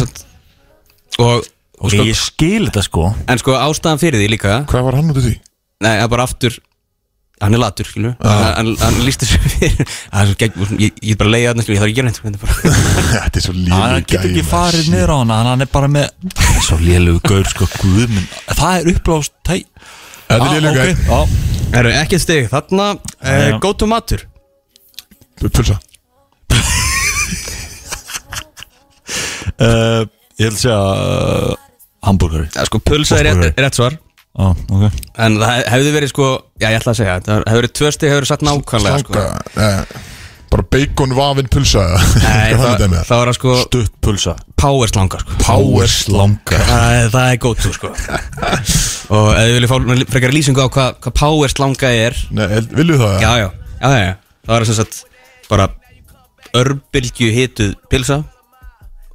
S3: svo og, og
S4: Ég
S3: sko,
S4: skil þetta sko
S3: en sko ástæðan fyrir því líka
S1: hvað var hann út af því?
S3: Nei, það er bara aftur Hann er latur, skilur ah. Hann, hann líst þessu fyrir Það er svo gegn Ég ég er bara að leiða þarna, skilur Ég þarf ekki að gera neitt sko, þetta er bara-
S1: Þetta er svo lífið
S4: Hann getur ekki farið niður á hann Hann er bara með Svo lélug gaur sko Guðminn Það er upplást tæ Ah,
S1: Þetta er lélega
S4: ok,
S1: okay.
S4: Já,
S3: Herru, ekki eitt stig Þarna uh,
S4: já.
S3: Gótu matur
S1: Pulsa
S4: Uh, ég ætla að segja uh, Hamburgeri
S3: Það er sko pulsa er rétt, rétt svar
S4: ah, okay.
S3: En það hefði verið sko Já, ég ætla að segja Það hefði verið tvö stig Hefði verið satt nákvæmlega sko.
S1: Slanga Eh, bara bacon vafin pulsa
S3: Nei, það,
S1: það,
S3: það var að sko
S4: Stutt pulsa
S3: Power slanga sko
S1: Power slanga
S3: Það er- það er gótt sko Og ef þið viljið fá frekar lýsingu á hvað hva power slanga er
S1: Nei, el- vilju það?
S3: Já, já, já, já, já. Það var sem sagt bara örbylgju hituð pilsa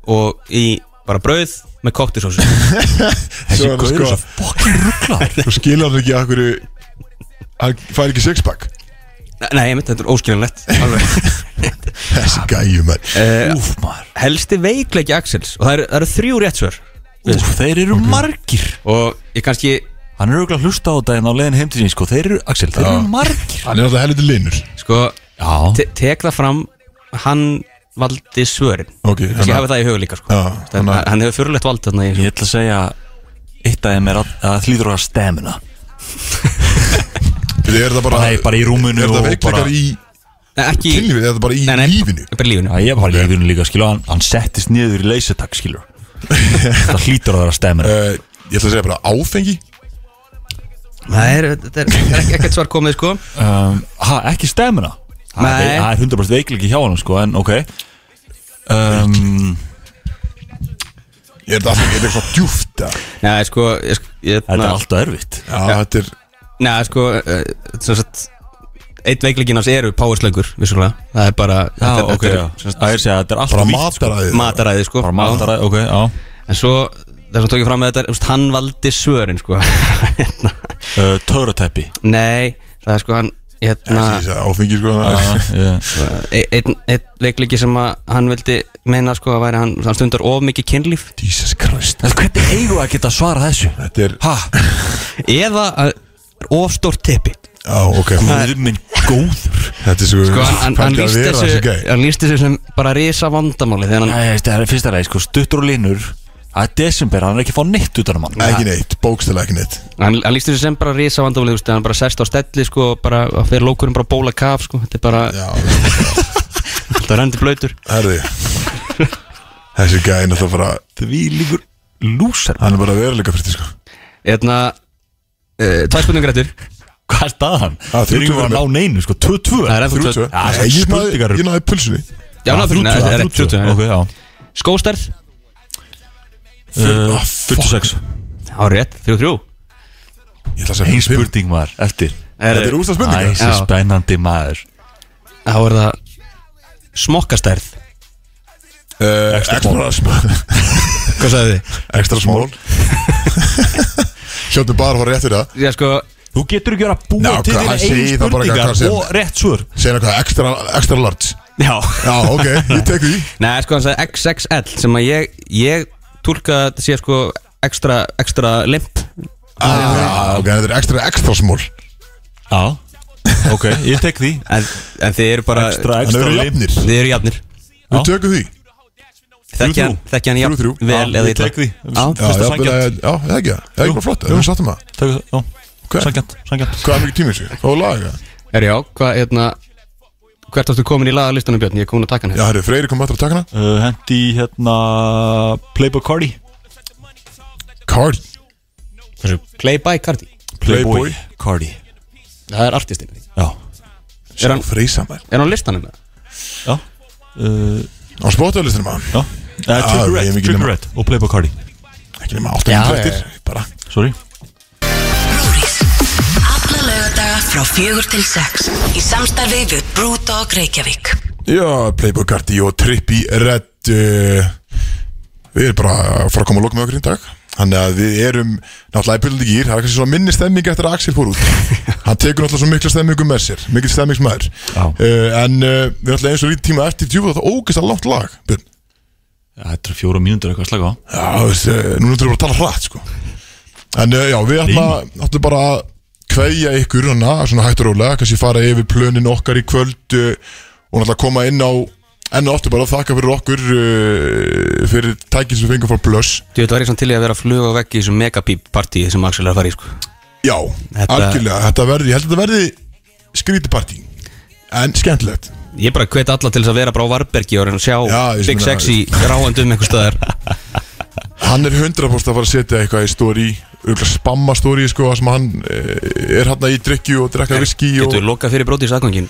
S3: og í bara brauð með koktisósu
S1: Svo
S4: Þessi
S1: er það
S4: gaur er
S1: sko-
S4: svo fokkin rugglar
S1: Þú skilur hann ekki að hverju Hann fær ekki sixpack
S3: Nei, ég myndi, þetta er óskiljanlegt alveg.
S1: Þessi gæju menn
S3: Eh,
S4: Úf maður
S3: Helsti veikleiki Axels og það eru, það eru þrjú rétt svör
S4: Úf, þeir eru margir
S3: og ég kannski
S4: Hann er auðvitað að hlusta á þetta en á leiðin heim til sín sko. Þeir eru, Axel, þeir eru margir
S1: Hann er alltaf helviti linur
S3: sko
S4: Já,
S3: te tek það fram hann valdi svörin
S1: Ok,
S3: kannski
S1: hann-
S3: hafa það í huga líka sko.
S1: Já, hann-
S3: hann, hann hefur fyrirlegt vald þarna í
S4: ég ætla að segja Eitt af þeim er að, að hlýtur á að stemina
S1: Bíddu, Er það bara
S4: Nei, bara í rúminu
S1: Er það
S4: og bara-
S1: veikleikar í
S3: Nei, ekki
S1: kynlífið Er það bara í
S3: Nei, nei,
S1: lífinu
S3: bara í lífinu
S4: Já, ég var lífinu líka, skilur Hann, hann settist niður í leysetak, skilur Það hlýtur á þeirra stemina
S1: Eh, Ég ætla að segja bara áfengi
S3: það er, þetta er, það er ekki, ekkert svar komið sko
S4: um, Ha, ekki stemina? Það er-
S3: Nei.
S4: það er 100% veikleiki hjá hann, sko, en ok um,
S1: Er það áfengi? Er það eitthvað djúft eða?
S3: Nei, sko, ég, sk- ég,
S4: Þetta er
S3: na,
S4: alltaf erfitt
S1: Já, þetta er
S3: Nei, sko, uh, sem sagt Eitt veikleikinn hans eru powerslögur, vissulega Það er bara
S4: Já,
S3: þetta,
S4: ok,
S3: þetta er
S4: já Sem sagt, Það er að segja, þetta er
S1: bara
S4: alltaf vítt sko.
S1: mataræði
S3: Mataræði, sko
S4: Bara mataræði, ok, já
S3: En svo, þess að tók ég fram með þetta þú veist, Hann valdi svörin, sko Hérna.
S4: uh, Töratæpi
S3: Nei, það er sko hann Hérna
S1: Ég sagði Áfengi sko
S4: Uh,
S1: þannig að-
S3: e- einn ein veikleiki sem að hann vildi meina sko að væri hann, hann stundar of mikið kynlíf
S1: Jesus Christ
S4: Hvernig eigum við að geta svara þessu?
S1: Þetta er
S4: Ha?
S3: eða að of stórt tippi
S1: Já, ok
S4: Guður minn góður
S1: Þetta er svo
S3: sko, hann, hann, hann
S1: Fælt að
S3: líst
S1: vera þessi
S3: þessu,
S1: gæ
S3: hann líst þessu sem bara risa vandamáli þegar hann,
S4: Það er það er fyrsta leið, sko, stuttur og linur Það er desember, hann er ekki að fá neitt utan um hann
S1: Ekki neitt, bókstæla ekki neitt
S3: hann, hann líst þessu sem bara risa vandamáli þú veist, þegar hann bara sest á stelli sko og bara og fyrir lókurinn bara að bóla kaf sko þetta er bara,
S1: Já,
S3: þetta er endi blöytur
S1: herði Þessi gæ er náttúrulega bara
S4: Því líkur lúsar
S1: Hann er bara veruleika fyrir sko
S3: eðna, uh, Hérna, tvær spurningar eftir
S4: Hvað er staðan?
S1: Ah,
S4: Við erum ekki
S1: 32.
S4: að ná neinu, sko, 2-2
S3: Það er
S1: 32 Nei,
S4: Já,
S3: ennþá
S1: Ég
S4: Ah, spurningar
S1: náði-
S4: eru-
S1: ég náði pulsunni
S3: já, ná, fyrir, neða, þetta er rétt,
S4: 32
S3: 32,
S4: Ok, já
S3: já. skóstærð,
S4: Uh,
S1: Ah,
S4: 46
S3: já, rétt, 33
S1: Ég ætla að segja
S4: Ein
S1: 55.
S4: spurning maður eftir
S1: Þetta er úrsta spurninga
S4: Æsi
S3: Já.
S4: spennandi maður
S3: þá er það smokkastærð
S1: Eh, Extra small
S3: hvað sagði þið?
S1: Extra small Hljóttum bara að fara rétt fyrir það
S3: Já, sko,
S4: Þú getur ekki verið að
S1: Ná,
S4: búa til
S1: hvað,
S4: þér
S1: hann
S4: ein
S1: segir það bara eitthvað,
S4: spurningar
S1: hvað sem-
S4: og rétt svör
S1: Segir eitthvað extra, extra large
S3: já
S1: Já, ok, ég tek því
S3: Nei, sko, hann sagði XXL sem að ég, ég tólka að þetta sé sko ekstra, ekstra limp
S1: ah, Ok, þetta er extra extra small
S4: Já Ok, ég tek því
S3: en, en þið eru bara
S4: Ekstra,
S1: Þannig
S4: ekstra
S1: eru
S4: lim
S1: jafnir
S3: Þið eru jafnir
S1: Við tökum því
S3: Þekkja hann,
S4: þrjú.
S3: þekki hann jafn
S1: Þrjú, þrjú.
S3: vel
S4: Já,
S3: eða
S4: ég
S3: illa
S4: tek því.
S3: Já,
S1: Já,
S4: Fyrsta
S1: jafnvel
S4: sanngjarnt.
S1: að- já, það er ekki það Það er
S4: Jú.
S1: ekki bara flott, það er sattum að
S4: Takk, já
S1: Ok.
S4: Sangjant, sangjant
S1: Hvað er mikið tími þessu? Og laga
S3: er já, hvað, hérna Hvert áttu komin í lagalistanum Björn, ég er komin að taka hann hérna.
S1: Já,
S3: hér
S1: herri, Freyri kom aftur að taka hana
S4: uh, Hendi í, hérna Playboy Cardi
S1: Card,
S3: Þessu Play by Cardi
S1: Playboy.
S4: Cardi
S3: Það er artistinn
S4: Já
S3: Er hann,
S1: Freysa maður
S3: er hann á listanum með?
S4: Já uh,
S1: Á spotalistinum maður
S4: Já Eh,
S1: við
S4: Trigger
S1: erum Ah, ekki nema-
S4: Red Trigger Red og Playboy Cardi
S1: Ekki nema 8 minn
S3: já,
S1: trettir Bara
S4: Sorry
S5: Brúris. Alla lögadaga frá fjögur til sex í samstarfi við Brúdog Reykjavík.
S1: Já, Playboy Cardi og Trippi Red uh, Við erum bara að fara að koma að loka með okkur í dag Þannig að við erum náttúrulega í byrjandi gýr Það er kannski svona minni stemming eftir að Axel fór út Hann tekur náttúrulega svo mikla stemmingum með sér Mikil stemmingsmaður
S4: Já.
S1: uh, En uh, við erum alltaf eins og lítið tíma eftir djúfa Það ógist að langt lag Björn.
S4: Þetta er fjóra mínútur eitthvað slaga á
S1: Já, þú veist, uh, núna þurfum við bara að tala hratt sko. En uh, já, við ætlum ætlum bara að kveðja ykkur hana, Svona hægt og rólega, kannski fara yfir plönin okkar í kvöld uh, Og náttúrulega koma inn á Enn og aftur bara að þakka fyrir okkur uh, Fyrir tækin sem við fengum frá Plus
S3: Þú veit, var ég samt til í að vera að fluga á vegg í þessu megapíp partíi sem Axel er að fara í, sko
S1: Já,
S3: Þetta-
S1: algjörlega, þetta verði, ég held að þetta verði skrítipartí En skemmtilegt
S3: Ég bara hvet alla til þess að vera bara á Varbergi og reyna að sjá
S1: Já, ég
S3: Big
S1: meina-
S3: Sexy ráandi um einhver staðar
S1: Hann er 100% að fara að setja eitthvað í stóri Örugglega spamma stóri, sko þar sem hann eh, er hann í drikju og drekka viski
S3: Getur
S1: og...
S3: við lokað fyrir bróti í sagangin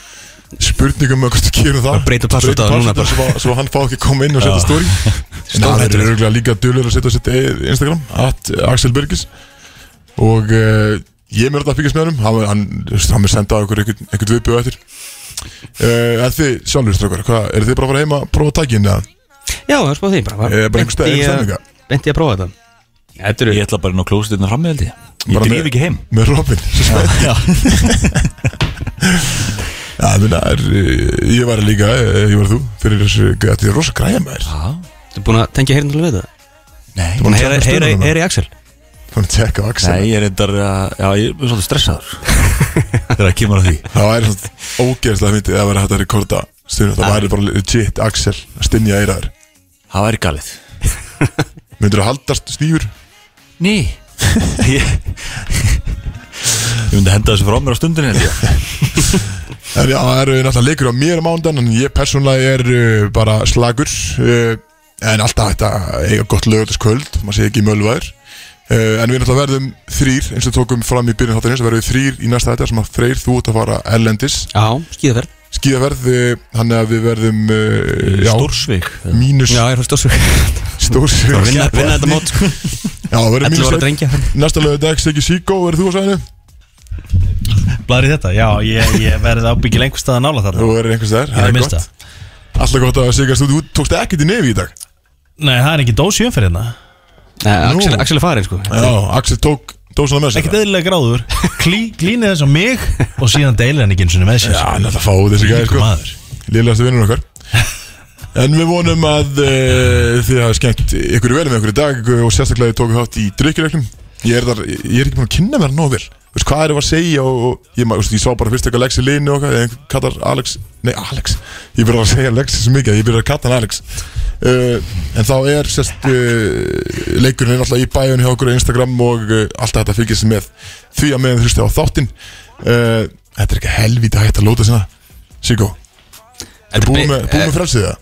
S1: spurningum með hvort þú gerir það
S3: Breyta password á það núna bara.
S1: svo, svo hann fá ekki að koma inn og setja story en það er örgulega líka dölur að setja á sitt eigið Instagram at Axel Birgis og uh, ég er mér að fíkast með honum hann, hann, hann er sendað okkur einhvern, einhvern viðbjöð eftir uh, en þið sjálfur strókar, hvað, eru þið bara að fara heima að prófa tækin eða
S3: Já, það er spáð því bara
S1: Eh, bara einhvers staðar, einhvers staðar líka.
S3: Benti ég að prófa þetta Þetta eru
S4: Ég ætla bara inn á klósitinu fram með held ég Ég
S1: Bara
S4: drýf
S1: með-
S4: ekki heim
S1: með Robin
S4: Já.
S1: Já, ég meina, er, eh, ég var líka, eh, ég var þú, fyrir þessu, þetta er rosa græja með þér.
S3: Þú er búin að tengja heyrðin til við þetta
S4: Nei,
S1: búin að
S3: Heyra-
S1: tjekka
S3: heyra-
S1: stöðuna?
S3: Heyra í Axel
S1: Þannig að tjekka á Axel.
S4: Nei, ég er reyndar að, já, ég er svolítið stressaður Þegar það kemur að því
S1: Það væri svona ógeðslega myndið að vera hægt að rekorda stundum. Það væri bara legit Axel að stinja eiraður.
S4: Það væri galið
S1: Myndur þú haldast stífur?
S4: Ný Ég Ég myndi henda þessu frá mér á stundinu held ég.
S1: En já, það eru náttúrulega leikur á mér á mándan, en ég persónlega er uh, bara slagur. Uh, en alltaf hægt að eiga gott lögutaskvöld, maður sé ekki mölvaður. Uh, en við náttúrulega verðum þrýr, eins og tókum fram í byrjun þáttarins, verðum við þrýr í næsta þetta sem að freyr þú út að fara erlendis.
S3: Já, skíðaferð
S1: skíðaverð eh, þannig að við verðum uh, já,
S4: Stórsvik
S1: mínus
S3: Já, ég er fyrst ósug
S1: stórs
S3: Vinna vinna þetta mót sko.
S1: já, það verður
S3: 11
S1: mínus
S3: ára drengja
S1: einn. næsta lögðu dag, Siggi Sigó, verður þú á sæðinu
S7: Blar í þetta, já, ég, ég verði ábyggil einhver stað að nála þarna
S1: þú verður einhvers þær,
S7: Ég er að mista
S1: alltaf gott að Sigga stúti, þú tókst ekkert í nefi í dag
S7: Nei, það er ekki dós í umferðina
S3: Nei, Axel, Axel er farin sko
S1: já, Axel tók dósana með sér
S7: Ekkert eðlilega gráður Klí, Klínið þess á mig og síðan deilir hann ekki eins og með sér
S1: já, náttúrulega fáið þessi gæði
S7: Líku
S1: sko
S7: maður
S1: liðlegastu vinnur okkar En við vonum að uh, þið hafa skemmt ykkur vel með ykkur í dag og sérstaklega þið tóku þátt í drikkjuleglum ég, er þar- ég er ekki búin að kynna mér hann nóg vel Þú veist, Hvað erum við að segja og, og ég, ma- þú veist, ég sá bara fyrst eitthvað Lexi Lini og okkar eða einhver kallar Alex Nei, Alex Ég byrjar að segja Lexi svo mikið að ég byrjar að kalla hann Alex uh, En þá er sérst uh, leikurinn er alltaf í bæjun hjá okkur á Instagram og uh, alltaf þetta fylgist með því að meðan þrjusti á þáttinn uh, Þetta er ekki helvíti hægt að lóta sinna Siggo,
S3: Þetta
S1: búið með, búið með
S3: eh,
S1: frelsið það?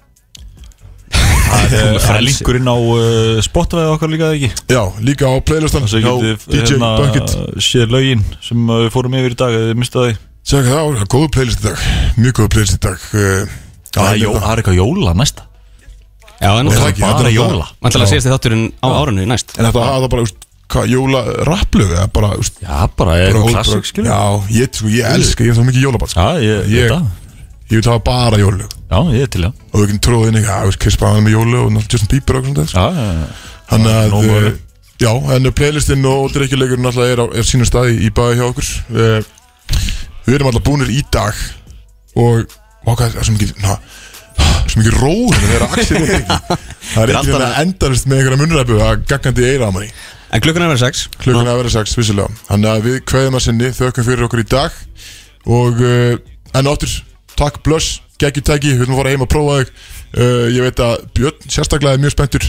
S4: Það er
S3: frelsi.
S4: linkur inn á uh, Spotify og okkar líka eða ekki
S1: Já, líka á playlistan
S4: Þannig
S1: hjá
S4: að þið getið
S1: DJ Bucket
S4: séð lögin sem uh, við fórum yfir í dag eða þið mistaði
S1: Sjá hvað það á, góðu playlist í dag Mjög góðu playlist í dag uh,
S4: Það er jó- það er eitthvað jóla næsta
S3: Já, en
S1: Það er
S3: náttúrulega
S1: ekki, þetta
S4: bara
S1: er
S4: jóla.
S1: náttúrulega-
S3: Mæntalega síðast þið þátturinn á árunni næst
S1: En þetta hafa bara, úst, hvað, jóla rapplöf eða bara, úst,
S4: Já, bara er
S1: bara
S4: klassik skilur
S1: Já, ég, sko, ég elska, ég er það mikið jólabat sko.
S4: Já, ég,
S1: Ég-
S4: ég, þetta.
S1: Ég vil hafa bara jólu
S4: já, ég er til já
S1: Og við getum tróðið inn eitthvað, þú veist, Chris Brown er með jólu og náttúrulega Justin Bieber og eitthvað svona sko.
S4: Já, já, já.
S1: Þannig að,
S4: nóg
S1: eh,
S4: væri.
S1: já, en playlistin og drikkjuleikurinn alltaf er á er sínum staði í baði hjá okkur Eh, Við erum alltaf búnir í dag og okkar, það er svo mikið, na, svo mikið róður en það er að axið er ekki Það er ekki
S3: alltaf-
S1: þannig að endarist með einhverja munræpu að gaggandi eira á manni
S3: En klukkan er verið sex
S1: Klukkan er að vera sex, vissulega Þannig að við kveðum að sinni, þökkum fyrir okkur í dag og uh, enn áttur takk blöss, geggjur tæki við viljum fara heim að prófa þig uh, ég veit að Björn sérstaklega er mjög spenntur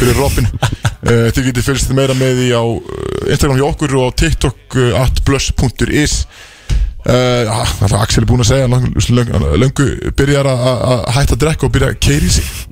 S1: fyrir Robin uh, þið getið fylgst meira með því á uh, Instagram hjá okkur og á TikTok uh, atblöss.is Uh, já, alltaf Axel er búinn að segja hann löngu, löngu byrjar að- að að hætta að drekka og byrja að keiri sig